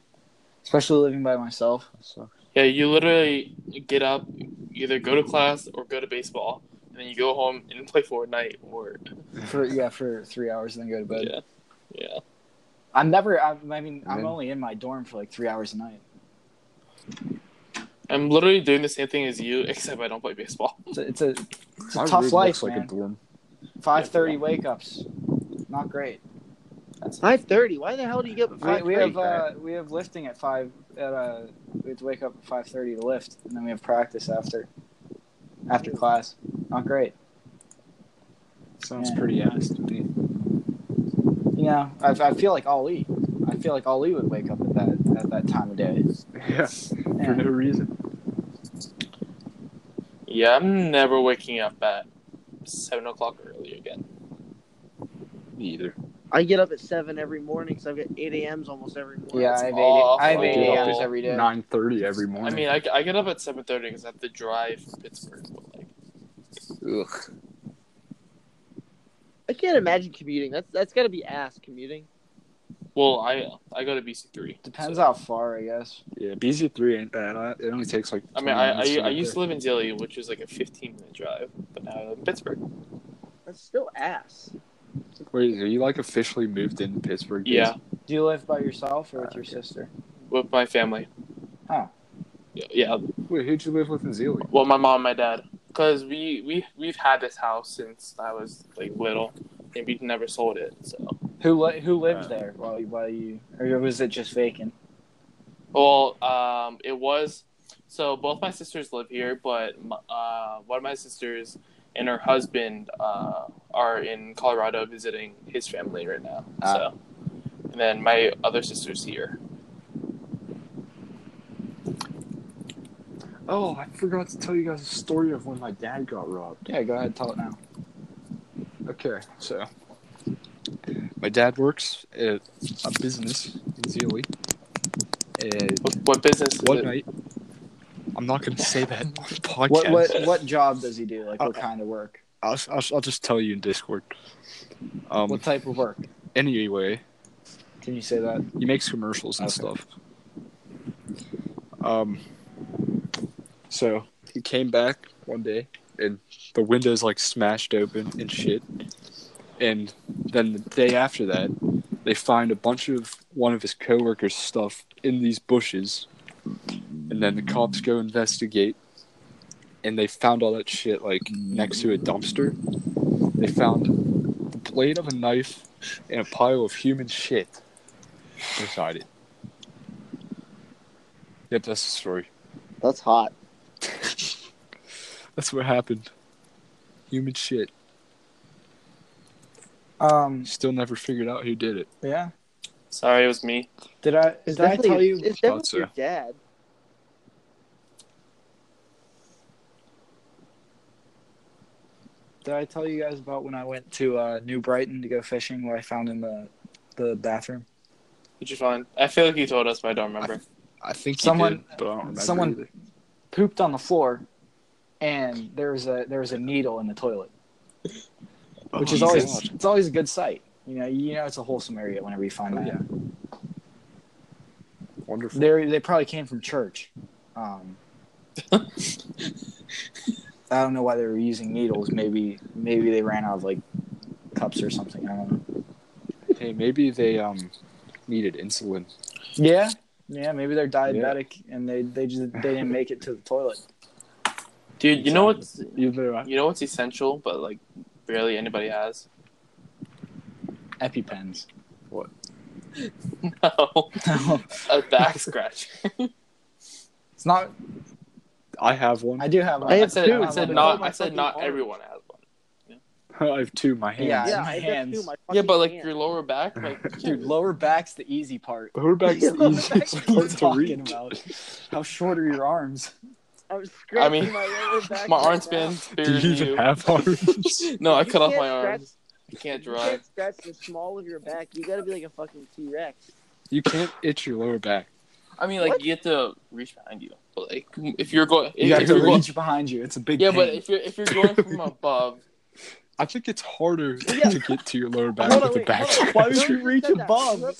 Speaker 1: Especially living by myself.
Speaker 2: So-
Speaker 4: Yeah, you literally get up, either go to class or go to baseball, and then you go home and play Fortnite or
Speaker 1: For yeah, for three hours and then go to bed.
Speaker 4: yeah, yeah.
Speaker 1: I'm never. I'm, I mean, I'm
Speaker 2: then-
Speaker 1: only in my dorm for like three hours a night.
Speaker 4: I'm literally doing the same thing as you, except I don't play baseball.
Speaker 1: It's a it's a, it's a
Speaker 2: My
Speaker 1: tough
Speaker 2: room
Speaker 1: life,
Speaker 2: looks like a
Speaker 1: man.
Speaker 2: dorm.
Speaker 1: Five thirty wake ups, not great.
Speaker 6: Five thirty. Why the hell do you get?
Speaker 1: We, we
Speaker 6: 5:30?
Speaker 1: have uh, we have lifting at five at uh we have to wake up at five thirty to lift, and then we have practice after after class. Not great.
Speaker 2: Sounds
Speaker 1: Yeah.
Speaker 2: pretty ass to me.
Speaker 1: You know, I, I feel like Ali. I feel like Ali would wake up at that at that time of day.
Speaker 2: Yeah, for
Speaker 1: Yeah.
Speaker 2: no reason.
Speaker 4: Yeah, I'm never waking up at seven o'clock early again.
Speaker 2: Me either.
Speaker 6: I get up at seven every morning because I've got eight a.m.s almost every morning.
Speaker 1: Yeah, I have eight,
Speaker 4: awful.
Speaker 1: I have
Speaker 2: I
Speaker 1: eight
Speaker 2: do that
Speaker 1: AMs
Speaker 4: too.
Speaker 1: every day.
Speaker 2: Nine thirty every
Speaker 4: I
Speaker 2: morning.
Speaker 4: mean, I, I get up at seven thirty because I have to drive from Pittsburgh. But like,
Speaker 2: Ugh.
Speaker 6: I can't imagine commuting. That's that's got to be ass commuting.
Speaker 4: well, I I go to BC three.
Speaker 1: Depends how far, I guess.
Speaker 2: Yeah, BC three ain't bad. I- It only takes like.
Speaker 4: I mean, I I, I used to live in Dilly, which is like a fifteen minute drive, but now I live in Pittsburgh.
Speaker 6: That's still ass.
Speaker 2: Wait, are you like officially moved into Pittsburgh?
Speaker 4: Yeah,
Speaker 1: Do you live by yourself or with your sister?
Speaker 4: with my family.
Speaker 1: Oh.
Speaker 4: Yeah- Yeah.
Speaker 2: Wait, who'd you live with in Zealand?
Speaker 4: Well, my mom, and my dad, because we we we've had this house since I was like little, and we never sold it. So.
Speaker 1: Who li- who lived
Speaker 2: Uh,
Speaker 1: there while you, while you or was it just vacant?
Speaker 4: Well, um, it was. So both my sisters live here, but m- uh, one of my sisters and her husband uh, are in Colorado visiting his family right now.
Speaker 1: Ah.
Speaker 4: So, and then my other sister's here.
Speaker 2: Oh, I forgot to tell you guys a story of when my dad got robbed.
Speaker 1: Yeah, go ahead, tell it now.
Speaker 2: Okay, so my dad works at a business in Zealy, and
Speaker 4: What, what business is
Speaker 2: one
Speaker 4: it?
Speaker 2: night I'm not going to say that on the podcast.
Speaker 1: What what what job does he do? Like what
Speaker 2: Okay.
Speaker 1: kind of work?
Speaker 2: I'll, I'll, I'll just tell you in Discord. Um,
Speaker 1: What type of work?
Speaker 2: anyway,
Speaker 1: Can you say that?
Speaker 2: he makes commercials and
Speaker 1: Okay.
Speaker 2: stuff. Um, so he came back one day, and the windows like smashed open and shit. And then the day after that, they find a bunch of one of his coworkers' stuff in these bushes, and then the cops go investigate. And they found all that shit like next to a dumpster. They found the blade of a knife and a pile of human shit beside it. Yep, that's the story.
Speaker 6: That's hot.
Speaker 2: That's what happened. Human shit.
Speaker 1: Um
Speaker 2: Still never figured out who did it.
Speaker 1: yeah.
Speaker 4: Sorry, it was me.
Speaker 1: Did I did I tell you
Speaker 6: It's
Speaker 2: Oh,
Speaker 6: definitely
Speaker 2: it's,
Speaker 6: your
Speaker 2: uh,
Speaker 6: dad.
Speaker 1: did I tell you guys about when I went to uh, New Brighton to go fishing what I found in the the bathroom?
Speaker 4: Did you find? I feel like you told us, but I don't remember.
Speaker 2: I think
Speaker 1: Someone-
Speaker 2: someone, did, but I don't remember.
Speaker 1: someone-
Speaker 2: either.
Speaker 1: Pooped on the floor and there was a there was a needle in the toilet. Which
Speaker 2: Oh,
Speaker 1: is always
Speaker 2: God.
Speaker 1: it's always a good sight. You know, you know it's a wholesome area whenever you find
Speaker 2: Oh,
Speaker 1: that.
Speaker 2: yeah. wonderful.
Speaker 1: They they probably came from church. Um, I don't know why they were using needles. Maybe maybe they ran out of like cups or something. I don't know.
Speaker 2: Hey, maybe they um needed insulin.
Speaker 1: Yeah, yeah. Maybe they're diabetic and they they just they didn't make it to the toilet.
Speaker 4: Dude, you know what's
Speaker 2: Either I-
Speaker 4: you know what's essential, but like barely anybody has.
Speaker 1: EpiPens.
Speaker 4: No,
Speaker 1: it's
Speaker 4: a back scratch.
Speaker 1: not.
Speaker 2: I have one.
Speaker 1: I do have.
Speaker 6: I
Speaker 1: One.
Speaker 4: I
Speaker 6: have
Speaker 4: said
Speaker 6: two.
Speaker 4: I said
Speaker 1: Oh,
Speaker 4: not
Speaker 6: my
Speaker 4: I said
Speaker 6: fucking
Speaker 4: not
Speaker 6: arm.
Speaker 4: everyone has one.
Speaker 2: I have two. My hands.
Speaker 1: Yeah,
Speaker 6: Yeah,
Speaker 1: my
Speaker 6: I
Speaker 1: hands.
Speaker 6: Too, my
Speaker 4: Yeah,
Speaker 6: fucking
Speaker 4: but like
Speaker 6: hand.
Speaker 4: your lower back, like
Speaker 1: Dude, lower back's the easy part.
Speaker 2: Her back's
Speaker 1: Yeah,
Speaker 2: the
Speaker 1: the
Speaker 2: easiest
Speaker 1: back
Speaker 2: part
Speaker 1: is
Speaker 2: to
Speaker 1: talking
Speaker 2: reach.
Speaker 1: about. How short are your arms?
Speaker 6: I was scratching
Speaker 4: mean,
Speaker 6: my, lower back
Speaker 4: my
Speaker 6: right
Speaker 4: arm's
Speaker 6: now.
Speaker 4: been
Speaker 2: Do you
Speaker 4: bigger than
Speaker 2: even
Speaker 4: you.
Speaker 2: have arms?
Speaker 4: No, I
Speaker 6: You
Speaker 4: cut off
Speaker 6: can't
Speaker 4: my
Speaker 6: scratch-
Speaker 4: arms. You can't
Speaker 6: You
Speaker 4: drive.
Speaker 6: can't scratch the small of your back. You gotta be like a fucking T Rex.
Speaker 2: you can't itch your lower back.
Speaker 4: I mean, like you have to reach behind you. But like if you're going,
Speaker 1: You
Speaker 4: if,
Speaker 1: got
Speaker 4: if
Speaker 1: to
Speaker 4: you're going,
Speaker 1: reach behind you. It's a big.
Speaker 4: yeah,
Speaker 1: pain.
Speaker 4: but if you're if you're going from above,
Speaker 2: I think it's harder
Speaker 6: Yeah.
Speaker 2: to get to your lower back
Speaker 6: Hold
Speaker 2: with
Speaker 6: on,
Speaker 2: the
Speaker 6: wait,
Speaker 2: back.
Speaker 6: hold on.
Speaker 1: Why would
Speaker 6: Whoever
Speaker 1: you
Speaker 6: just
Speaker 1: reach
Speaker 6: said that-
Speaker 1: above?
Speaker 6: whoever-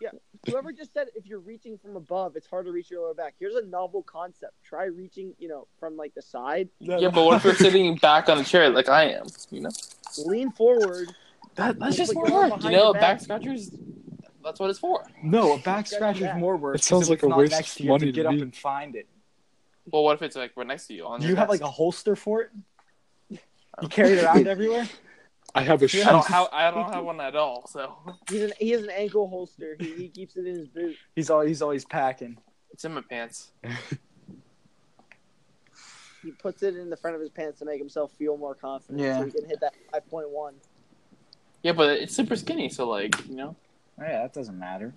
Speaker 6: Yeah, whoever just said if you're reaching from above, it's hard to reach your lower back. Here's a novel concept. Try reaching, you know, from like the side.
Speaker 4: yeah. But what if you're sitting back on a chair like I am? You know,
Speaker 6: Lean forward.
Speaker 4: that
Speaker 6: that's just
Speaker 4: more
Speaker 6: more work.
Speaker 4: You
Speaker 6: Behind
Speaker 4: know,
Speaker 6: your
Speaker 4: a back
Speaker 6: back.
Speaker 4: scratchers. That's what it's for.
Speaker 1: No, a back
Speaker 6: Scratch
Speaker 1: scratch is
Speaker 6: that.
Speaker 1: more work.
Speaker 2: It sounds
Speaker 1: 'cause if
Speaker 2: like
Speaker 1: it's
Speaker 2: a
Speaker 1: not
Speaker 2: waste
Speaker 1: next to
Speaker 2: of
Speaker 1: you, you have to
Speaker 2: money to
Speaker 1: get up
Speaker 2: me.
Speaker 1: and find it.
Speaker 4: Well, what if it's like right next to you on
Speaker 1: Do
Speaker 4: your
Speaker 1: you have
Speaker 4: desk?
Speaker 1: like a holster for it? You carry it around everywhere?
Speaker 2: I have a
Speaker 4: I don't
Speaker 2: shelf.
Speaker 4: have I don't have one at all. So
Speaker 6: He's an he has an ankle holster. He, he keeps it in his boot.
Speaker 1: He's always he's always packing.
Speaker 4: it's in my pants.
Speaker 6: He puts it in the front of his pants to make himself feel more confident.
Speaker 1: Yeah.
Speaker 6: So he can hit that five point one.
Speaker 4: Yeah, but it's super skinny. So like you know,
Speaker 1: Yeah, that doesn't matter.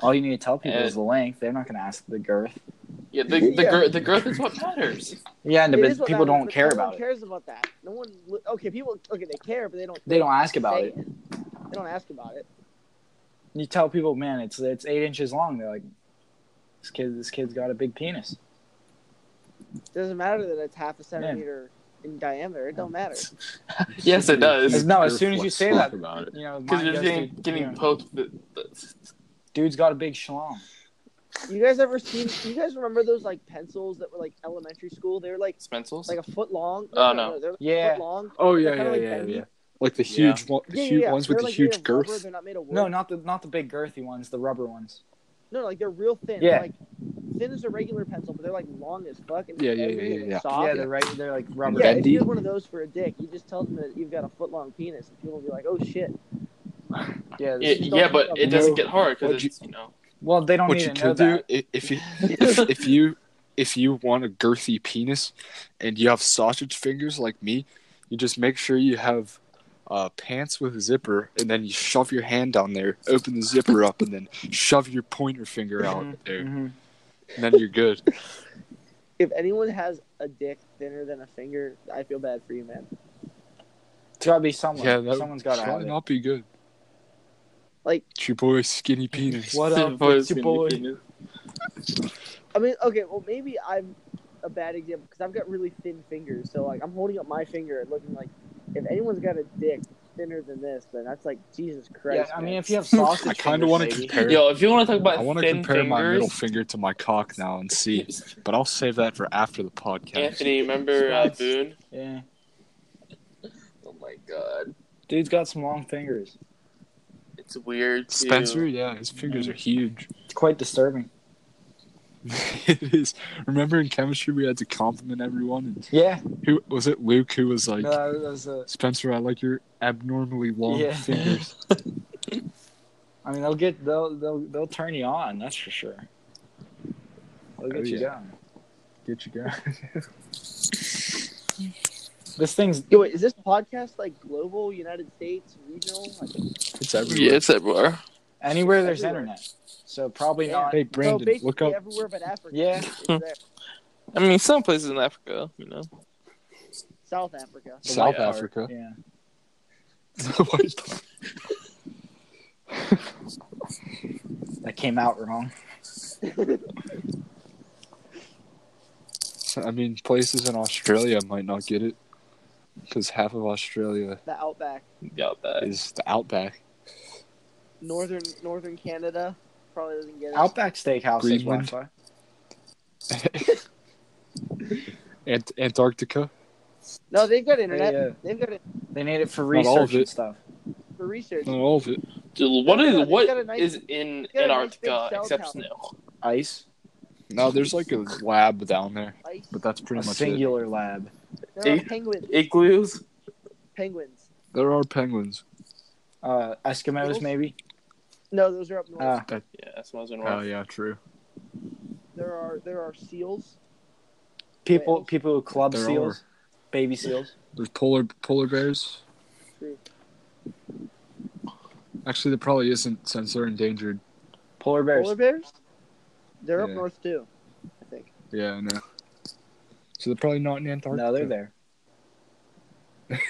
Speaker 1: All you need to tell people
Speaker 4: Uh,
Speaker 1: is the length. They're not going to ask the girth.
Speaker 4: yeah, the the,
Speaker 6: Yeah.
Speaker 4: Girth, the girth is what matters.
Speaker 1: Yeah, and
Speaker 6: It is
Speaker 1: but
Speaker 6: what
Speaker 1: people
Speaker 6: matters,
Speaker 1: don't
Speaker 6: but
Speaker 1: care
Speaker 6: no
Speaker 1: about
Speaker 6: one
Speaker 1: it.
Speaker 6: cares about that. No one. li- Okay, people. Okay, they care, but they don't.
Speaker 1: They don't ask about
Speaker 6: say
Speaker 1: it.
Speaker 6: They don't ask about it.
Speaker 1: You tell people, man, it's it's eight inches long. They're like, this kid, this kid's got a big penis.
Speaker 6: doesn't matter that it's half a centimeter in diameter. It don't matter.
Speaker 4: Yes, it does.
Speaker 1: No, as soon as you say
Speaker 2: Talk
Speaker 1: that-
Speaker 2: about it.
Speaker 1: You know,
Speaker 4: Because
Speaker 1: mine
Speaker 4: you're
Speaker 1: goes
Speaker 4: getting
Speaker 1: to-
Speaker 4: getting
Speaker 1: you know,
Speaker 4: poked. with the,
Speaker 1: dude's got a big schlong.
Speaker 6: You guys ever seen? You guys remember those like pencils that were like elementary school? They were like
Speaker 4: Spencils?
Speaker 6: like a foot long.
Speaker 4: Oh, no.
Speaker 6: they're like
Speaker 1: Yeah.
Speaker 6: a foot long.
Speaker 2: Oh
Speaker 6: They're
Speaker 2: yeah,
Speaker 6: kinda
Speaker 2: yeah,
Speaker 6: like
Speaker 2: yeah,
Speaker 6: bendy.
Speaker 2: yeah. Like the
Speaker 4: Yeah.
Speaker 2: huge, one, the
Speaker 6: Yeah, yeah,
Speaker 2: huge
Speaker 6: yeah.
Speaker 2: ones
Speaker 6: They're,
Speaker 2: with the
Speaker 6: like, made
Speaker 2: huge
Speaker 6: of rubber,
Speaker 2: girth.
Speaker 6: They're not made of wood.
Speaker 1: No, not the not the big girthy ones, the rubber ones.
Speaker 6: no, like they're real thin.
Speaker 1: Yeah.
Speaker 6: They're, like thin as a regular pencil, but they're like long as fuck. And
Speaker 2: Yeah, yeah,
Speaker 6: heavy
Speaker 2: yeah, yeah,
Speaker 6: and
Speaker 2: yeah.
Speaker 6: Soft.
Speaker 1: Yeah, they're right. They're like rubber.
Speaker 6: Yeah, if
Speaker 2: bendy.
Speaker 6: you had one of those for a dick, you just tell them that you've got a foot long penis, and people will be like, "Oh shit!"
Speaker 1: Yeah.
Speaker 4: Yeah, yeah, but it doesn't get hard
Speaker 2: What'd
Speaker 4: because
Speaker 2: you-
Speaker 4: it's you know.
Speaker 1: Well, they don't
Speaker 2: What
Speaker 1: need
Speaker 2: you
Speaker 1: to know
Speaker 2: could do
Speaker 1: that.
Speaker 2: i- if you if, if you if you want a girthy penis and you have sausage fingers like me, you just make sure you have uh, pants with a zipper, and then you shove your hand down there, open the zipper up, and then shove your pointer finger out there, and
Speaker 1: Mhm.
Speaker 2: then you're good.
Speaker 6: If anyone has a dick thinner than a finger, I feel bad for you, man.
Speaker 1: It's gotta be someone.
Speaker 2: yeah, that
Speaker 1: Someone's gotta have
Speaker 2: probably
Speaker 1: it.
Speaker 2: not be good.
Speaker 6: Like-
Speaker 2: it's your boy skinny penis.
Speaker 1: What up, it's your boy?
Speaker 6: I mean, okay, well, maybe I'm a bad example because I've got really thin fingers. So, like, I'm holding up my finger and looking like if anyone's got a dick thinner than this, then that's like Jesus
Speaker 1: Yeah,
Speaker 6: Christ.
Speaker 1: I
Speaker 6: man.
Speaker 1: mean, if you have sausage,
Speaker 2: I kind of
Speaker 1: fingers,
Speaker 2: want to
Speaker 1: maybe.
Speaker 2: compare.
Speaker 4: Yo, if you want to talk about
Speaker 2: I want to
Speaker 4: thin
Speaker 2: compare
Speaker 4: fingers,
Speaker 2: my middle finger to my cock now and see, but I'll save that for after the podcast.
Speaker 4: Anthony, remember uh, Boone?
Speaker 1: Yeah,
Speaker 4: Oh my god,
Speaker 1: dude's got some long fingers.
Speaker 4: it's weird. Too.
Speaker 2: Spencer, yeah, his fingers are huge.
Speaker 1: It's quite disturbing.
Speaker 2: it is. Remember in chemistry we had to compliment everyone, and
Speaker 1: Yeah,
Speaker 2: who was it? Luke, who was like,
Speaker 1: no, that was a.
Speaker 2: Spencer, I like your abnormally long
Speaker 1: Uh, Yeah.
Speaker 2: fingers.
Speaker 1: uh, I mean, they'll get they'll they'll they'll turn you on. That's for sure. They'll get
Speaker 2: Oh,
Speaker 1: you
Speaker 2: yeah.
Speaker 1: down.
Speaker 2: Get you guys.
Speaker 1: This thing's
Speaker 6: Yo, wait, is this podcast like global, United States, regional? Like,
Speaker 2: It's everywhere.
Speaker 4: Yeah, it's everywhere.
Speaker 1: anywhere there's
Speaker 6: Everywhere.
Speaker 1: internet, so probably
Speaker 6: Yeah.
Speaker 1: not.
Speaker 2: Hey
Speaker 6: so
Speaker 2: Brandon,
Speaker 6: basically
Speaker 2: look up.
Speaker 6: everywhere but Africa.
Speaker 1: Yeah.
Speaker 6: It's there.
Speaker 4: I mean, some places in Africa, you know.
Speaker 6: South Africa.
Speaker 1: the
Speaker 2: South
Speaker 1: white part.
Speaker 2: Africa.
Speaker 1: Yeah. That came out wrong.
Speaker 2: I mean, places in Australia might not get it because half of Australia
Speaker 6: The outback,
Speaker 4: Yeah, that.
Speaker 2: is the outback.
Speaker 6: northern northern Canada, probably doesn't get it.
Speaker 1: Outback Steakhouse has
Speaker 2: Greenland.
Speaker 1: Wi-Fi.
Speaker 2: Ant- Antarctica.
Speaker 6: no, they've got internet.
Speaker 1: They, uh,
Speaker 6: They've got it
Speaker 1: They need it for
Speaker 2: Not all of
Speaker 1: research and
Speaker 2: it.
Speaker 1: stuff.
Speaker 2: mm,
Speaker 6: for research.
Speaker 2: Not all of it.
Speaker 4: Dude, what is
Speaker 6: He's got a
Speaker 4: what
Speaker 6: nice-
Speaker 4: is in
Speaker 6: got a nice
Speaker 4: Antarctica
Speaker 6: big cell
Speaker 4: except
Speaker 6: tower.
Speaker 4: snow?
Speaker 1: Ice,
Speaker 2: No, there's like a lab down there,
Speaker 6: Ice.
Speaker 2: but that's pretty
Speaker 1: a
Speaker 2: much
Speaker 1: singular lab.
Speaker 6: There are
Speaker 4: Eight.
Speaker 6: penguins.
Speaker 4: Igloos?
Speaker 6: Penguins.
Speaker 2: it. There are penguins.
Speaker 1: Uh, Eskimos,
Speaker 6: Noodles?
Speaker 1: maybe.
Speaker 6: No, those are up north.
Speaker 2: Ah.
Speaker 1: Uh,
Speaker 4: Yeah, that's what I was gonna
Speaker 2: Oh
Speaker 4: write.
Speaker 2: yeah, true.
Speaker 6: there are there are seals.
Speaker 1: people,
Speaker 6: Whales.
Speaker 1: people who club
Speaker 2: There
Speaker 1: seals, baby seals.
Speaker 2: There's polar polar bears.
Speaker 6: True.
Speaker 2: Actually, there probably isn't since they're endangered.
Speaker 1: Polar bears.
Speaker 6: Polar bears. They're up
Speaker 2: Yeah.
Speaker 6: north too. I think.
Speaker 2: Yeah, I know. So they're probably not in Antarctica.
Speaker 1: No, they're there.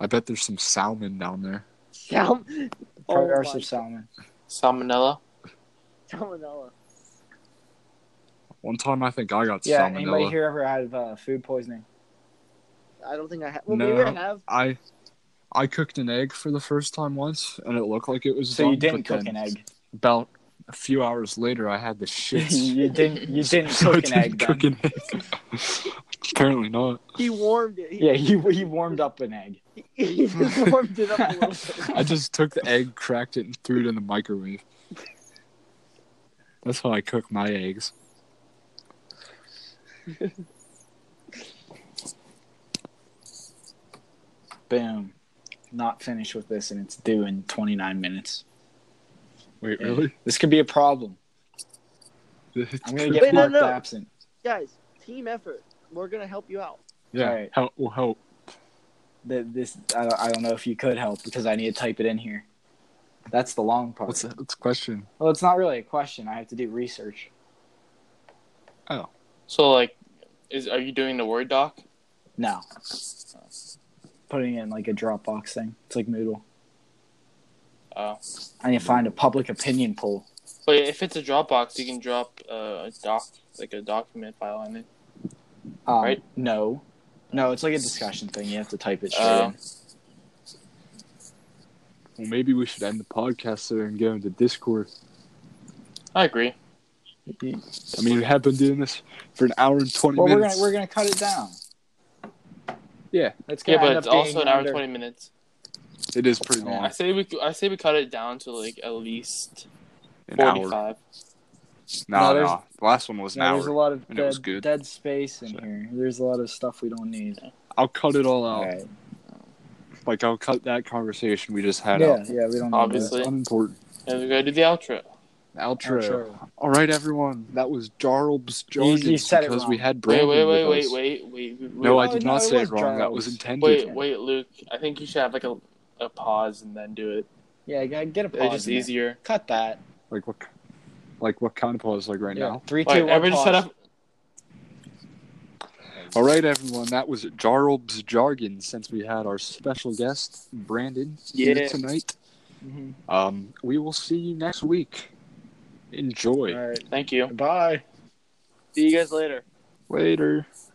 Speaker 2: I bet there's some salmon down there.
Speaker 6: Sal- oh
Speaker 1: Probably are
Speaker 6: my-
Speaker 1: some salmon.
Speaker 4: Salmonella.
Speaker 6: salmonella.
Speaker 2: One time, I think I got
Speaker 1: Yeah,
Speaker 2: salmonella.
Speaker 1: anybody here ever had uh, food poisoning?
Speaker 6: I don't think I have. Well,
Speaker 2: No.
Speaker 6: maybe I have.
Speaker 2: I I cooked an egg for the first time once, and it looked like it was.
Speaker 1: So
Speaker 2: done,
Speaker 1: you didn't
Speaker 2: but
Speaker 1: cook
Speaker 2: then
Speaker 1: an egg.
Speaker 2: About a few hours later, I had the shits.
Speaker 1: you didn't. You didn't
Speaker 2: So
Speaker 1: cook
Speaker 2: I
Speaker 1: an
Speaker 2: didn't
Speaker 1: egg. Then.
Speaker 2: cook an egg. Apparently not.
Speaker 6: He warmed it. He,
Speaker 1: Yeah, you he warmed up an egg.
Speaker 6: He, he just warmed it up a little bit.
Speaker 2: I just took the egg, cracked it, and threw it in the microwave. That's how I cook my eggs.
Speaker 1: Boom. Not finished with this, and it's due in 29 minutes.
Speaker 2: Wait,
Speaker 1: Yeah.
Speaker 2: really?
Speaker 1: This could be a problem. I'm gonna get
Speaker 6: Wait, no,
Speaker 1: marked
Speaker 6: no.
Speaker 1: absent.
Speaker 6: Guys, team effort. We're gonna help you out.
Speaker 2: yeah.
Speaker 1: Alright.
Speaker 2: Help. Well, help.
Speaker 1: Th- This I don't, I don't know if you could help because I need to type it in here. That's the long part.
Speaker 2: What's that? What's the question?
Speaker 1: Well, it's not really a question. I have to do research.
Speaker 4: So like is are you doing the word doc?
Speaker 1: No. Putting it in like a Dropbox thing. It's like Moodle.
Speaker 4: Oh.
Speaker 1: I need to find a public opinion poll.
Speaker 4: But if it's a Dropbox you can drop uh, a doc like a document file in it.
Speaker 1: Um,
Speaker 4: Right.
Speaker 1: No. No, it's like a discussion thing. You have to type it straight
Speaker 4: Oh.
Speaker 2: Uh,
Speaker 1: in.
Speaker 2: Well, maybe we should end the podcast there and go into Discord.
Speaker 4: I agree.
Speaker 2: I mean, we have been doing this for an hour and twenty
Speaker 1: Well, we're
Speaker 2: minutes.
Speaker 1: gonna we're gonna cut it down.
Speaker 2: Yeah.
Speaker 1: That's
Speaker 4: Yeah,
Speaker 1: gonna
Speaker 4: but
Speaker 1: end
Speaker 4: it's
Speaker 1: up being
Speaker 4: also an hour and
Speaker 1: under-
Speaker 4: twenty minutes.
Speaker 2: It is pretty
Speaker 1: Yeah.
Speaker 2: long.
Speaker 4: I say we I say we cut it down to like at least
Speaker 2: An
Speaker 4: forty
Speaker 2: hour.
Speaker 4: five.
Speaker 1: No,
Speaker 2: No, no,
Speaker 1: there's-
Speaker 2: The last one was an
Speaker 1: No,
Speaker 2: hour.
Speaker 1: there's a lot of
Speaker 2: and it was
Speaker 1: dead,
Speaker 2: good.
Speaker 1: dead space in
Speaker 2: So-
Speaker 1: here. There's a lot of stuff we don't need.
Speaker 2: I'll cut it all out.
Speaker 1: All right.
Speaker 2: Like I'll cut that conversation we just had
Speaker 1: Yeah,
Speaker 2: out.
Speaker 1: yeah, we don't need
Speaker 4: Obviously.
Speaker 2: It's unimportant.
Speaker 4: And we go to the outro.
Speaker 1: That.
Speaker 2: Outro.
Speaker 1: Sure.
Speaker 2: All right, everyone. That was Jarlb's
Speaker 1: You- you
Speaker 2: Jarlbs
Speaker 1: said it
Speaker 2: because we
Speaker 1: wrong.
Speaker 2: had
Speaker 4: Wait,
Speaker 2: Brandon
Speaker 4: wait, wait,
Speaker 2: with
Speaker 4: wait,
Speaker 2: us.
Speaker 4: wait, wait, wait.
Speaker 2: No, I
Speaker 1: Oh,
Speaker 2: did
Speaker 1: no,
Speaker 2: not
Speaker 1: it
Speaker 2: say it
Speaker 1: was
Speaker 2: wrong. That
Speaker 1: Jarlbs.
Speaker 2: was intended.
Speaker 4: Wait, wait, Luke. I think you should have like a, a pause and then do it.
Speaker 1: Yeah, g- get a pause.
Speaker 4: It's just
Speaker 1: in there.
Speaker 4: easier.
Speaker 1: Cut that.
Speaker 2: Like what? Like what kind of pause? Like right
Speaker 1: Yeah.
Speaker 2: now.
Speaker 1: Three,
Speaker 4: Wait,
Speaker 1: two, one.
Speaker 4: everyone just set
Speaker 1: pause.
Speaker 4: up.
Speaker 2: All right, everyone. That was Jarlb's jargon. Since we had our special guest Brandon
Speaker 4: Yeah.
Speaker 2: here tonight,
Speaker 1: Mhm.
Speaker 2: um, we will see you next week. Enjoy.
Speaker 1: All right.
Speaker 4: Thank you.
Speaker 1: Bye.
Speaker 6: See you guys later.
Speaker 2: Later.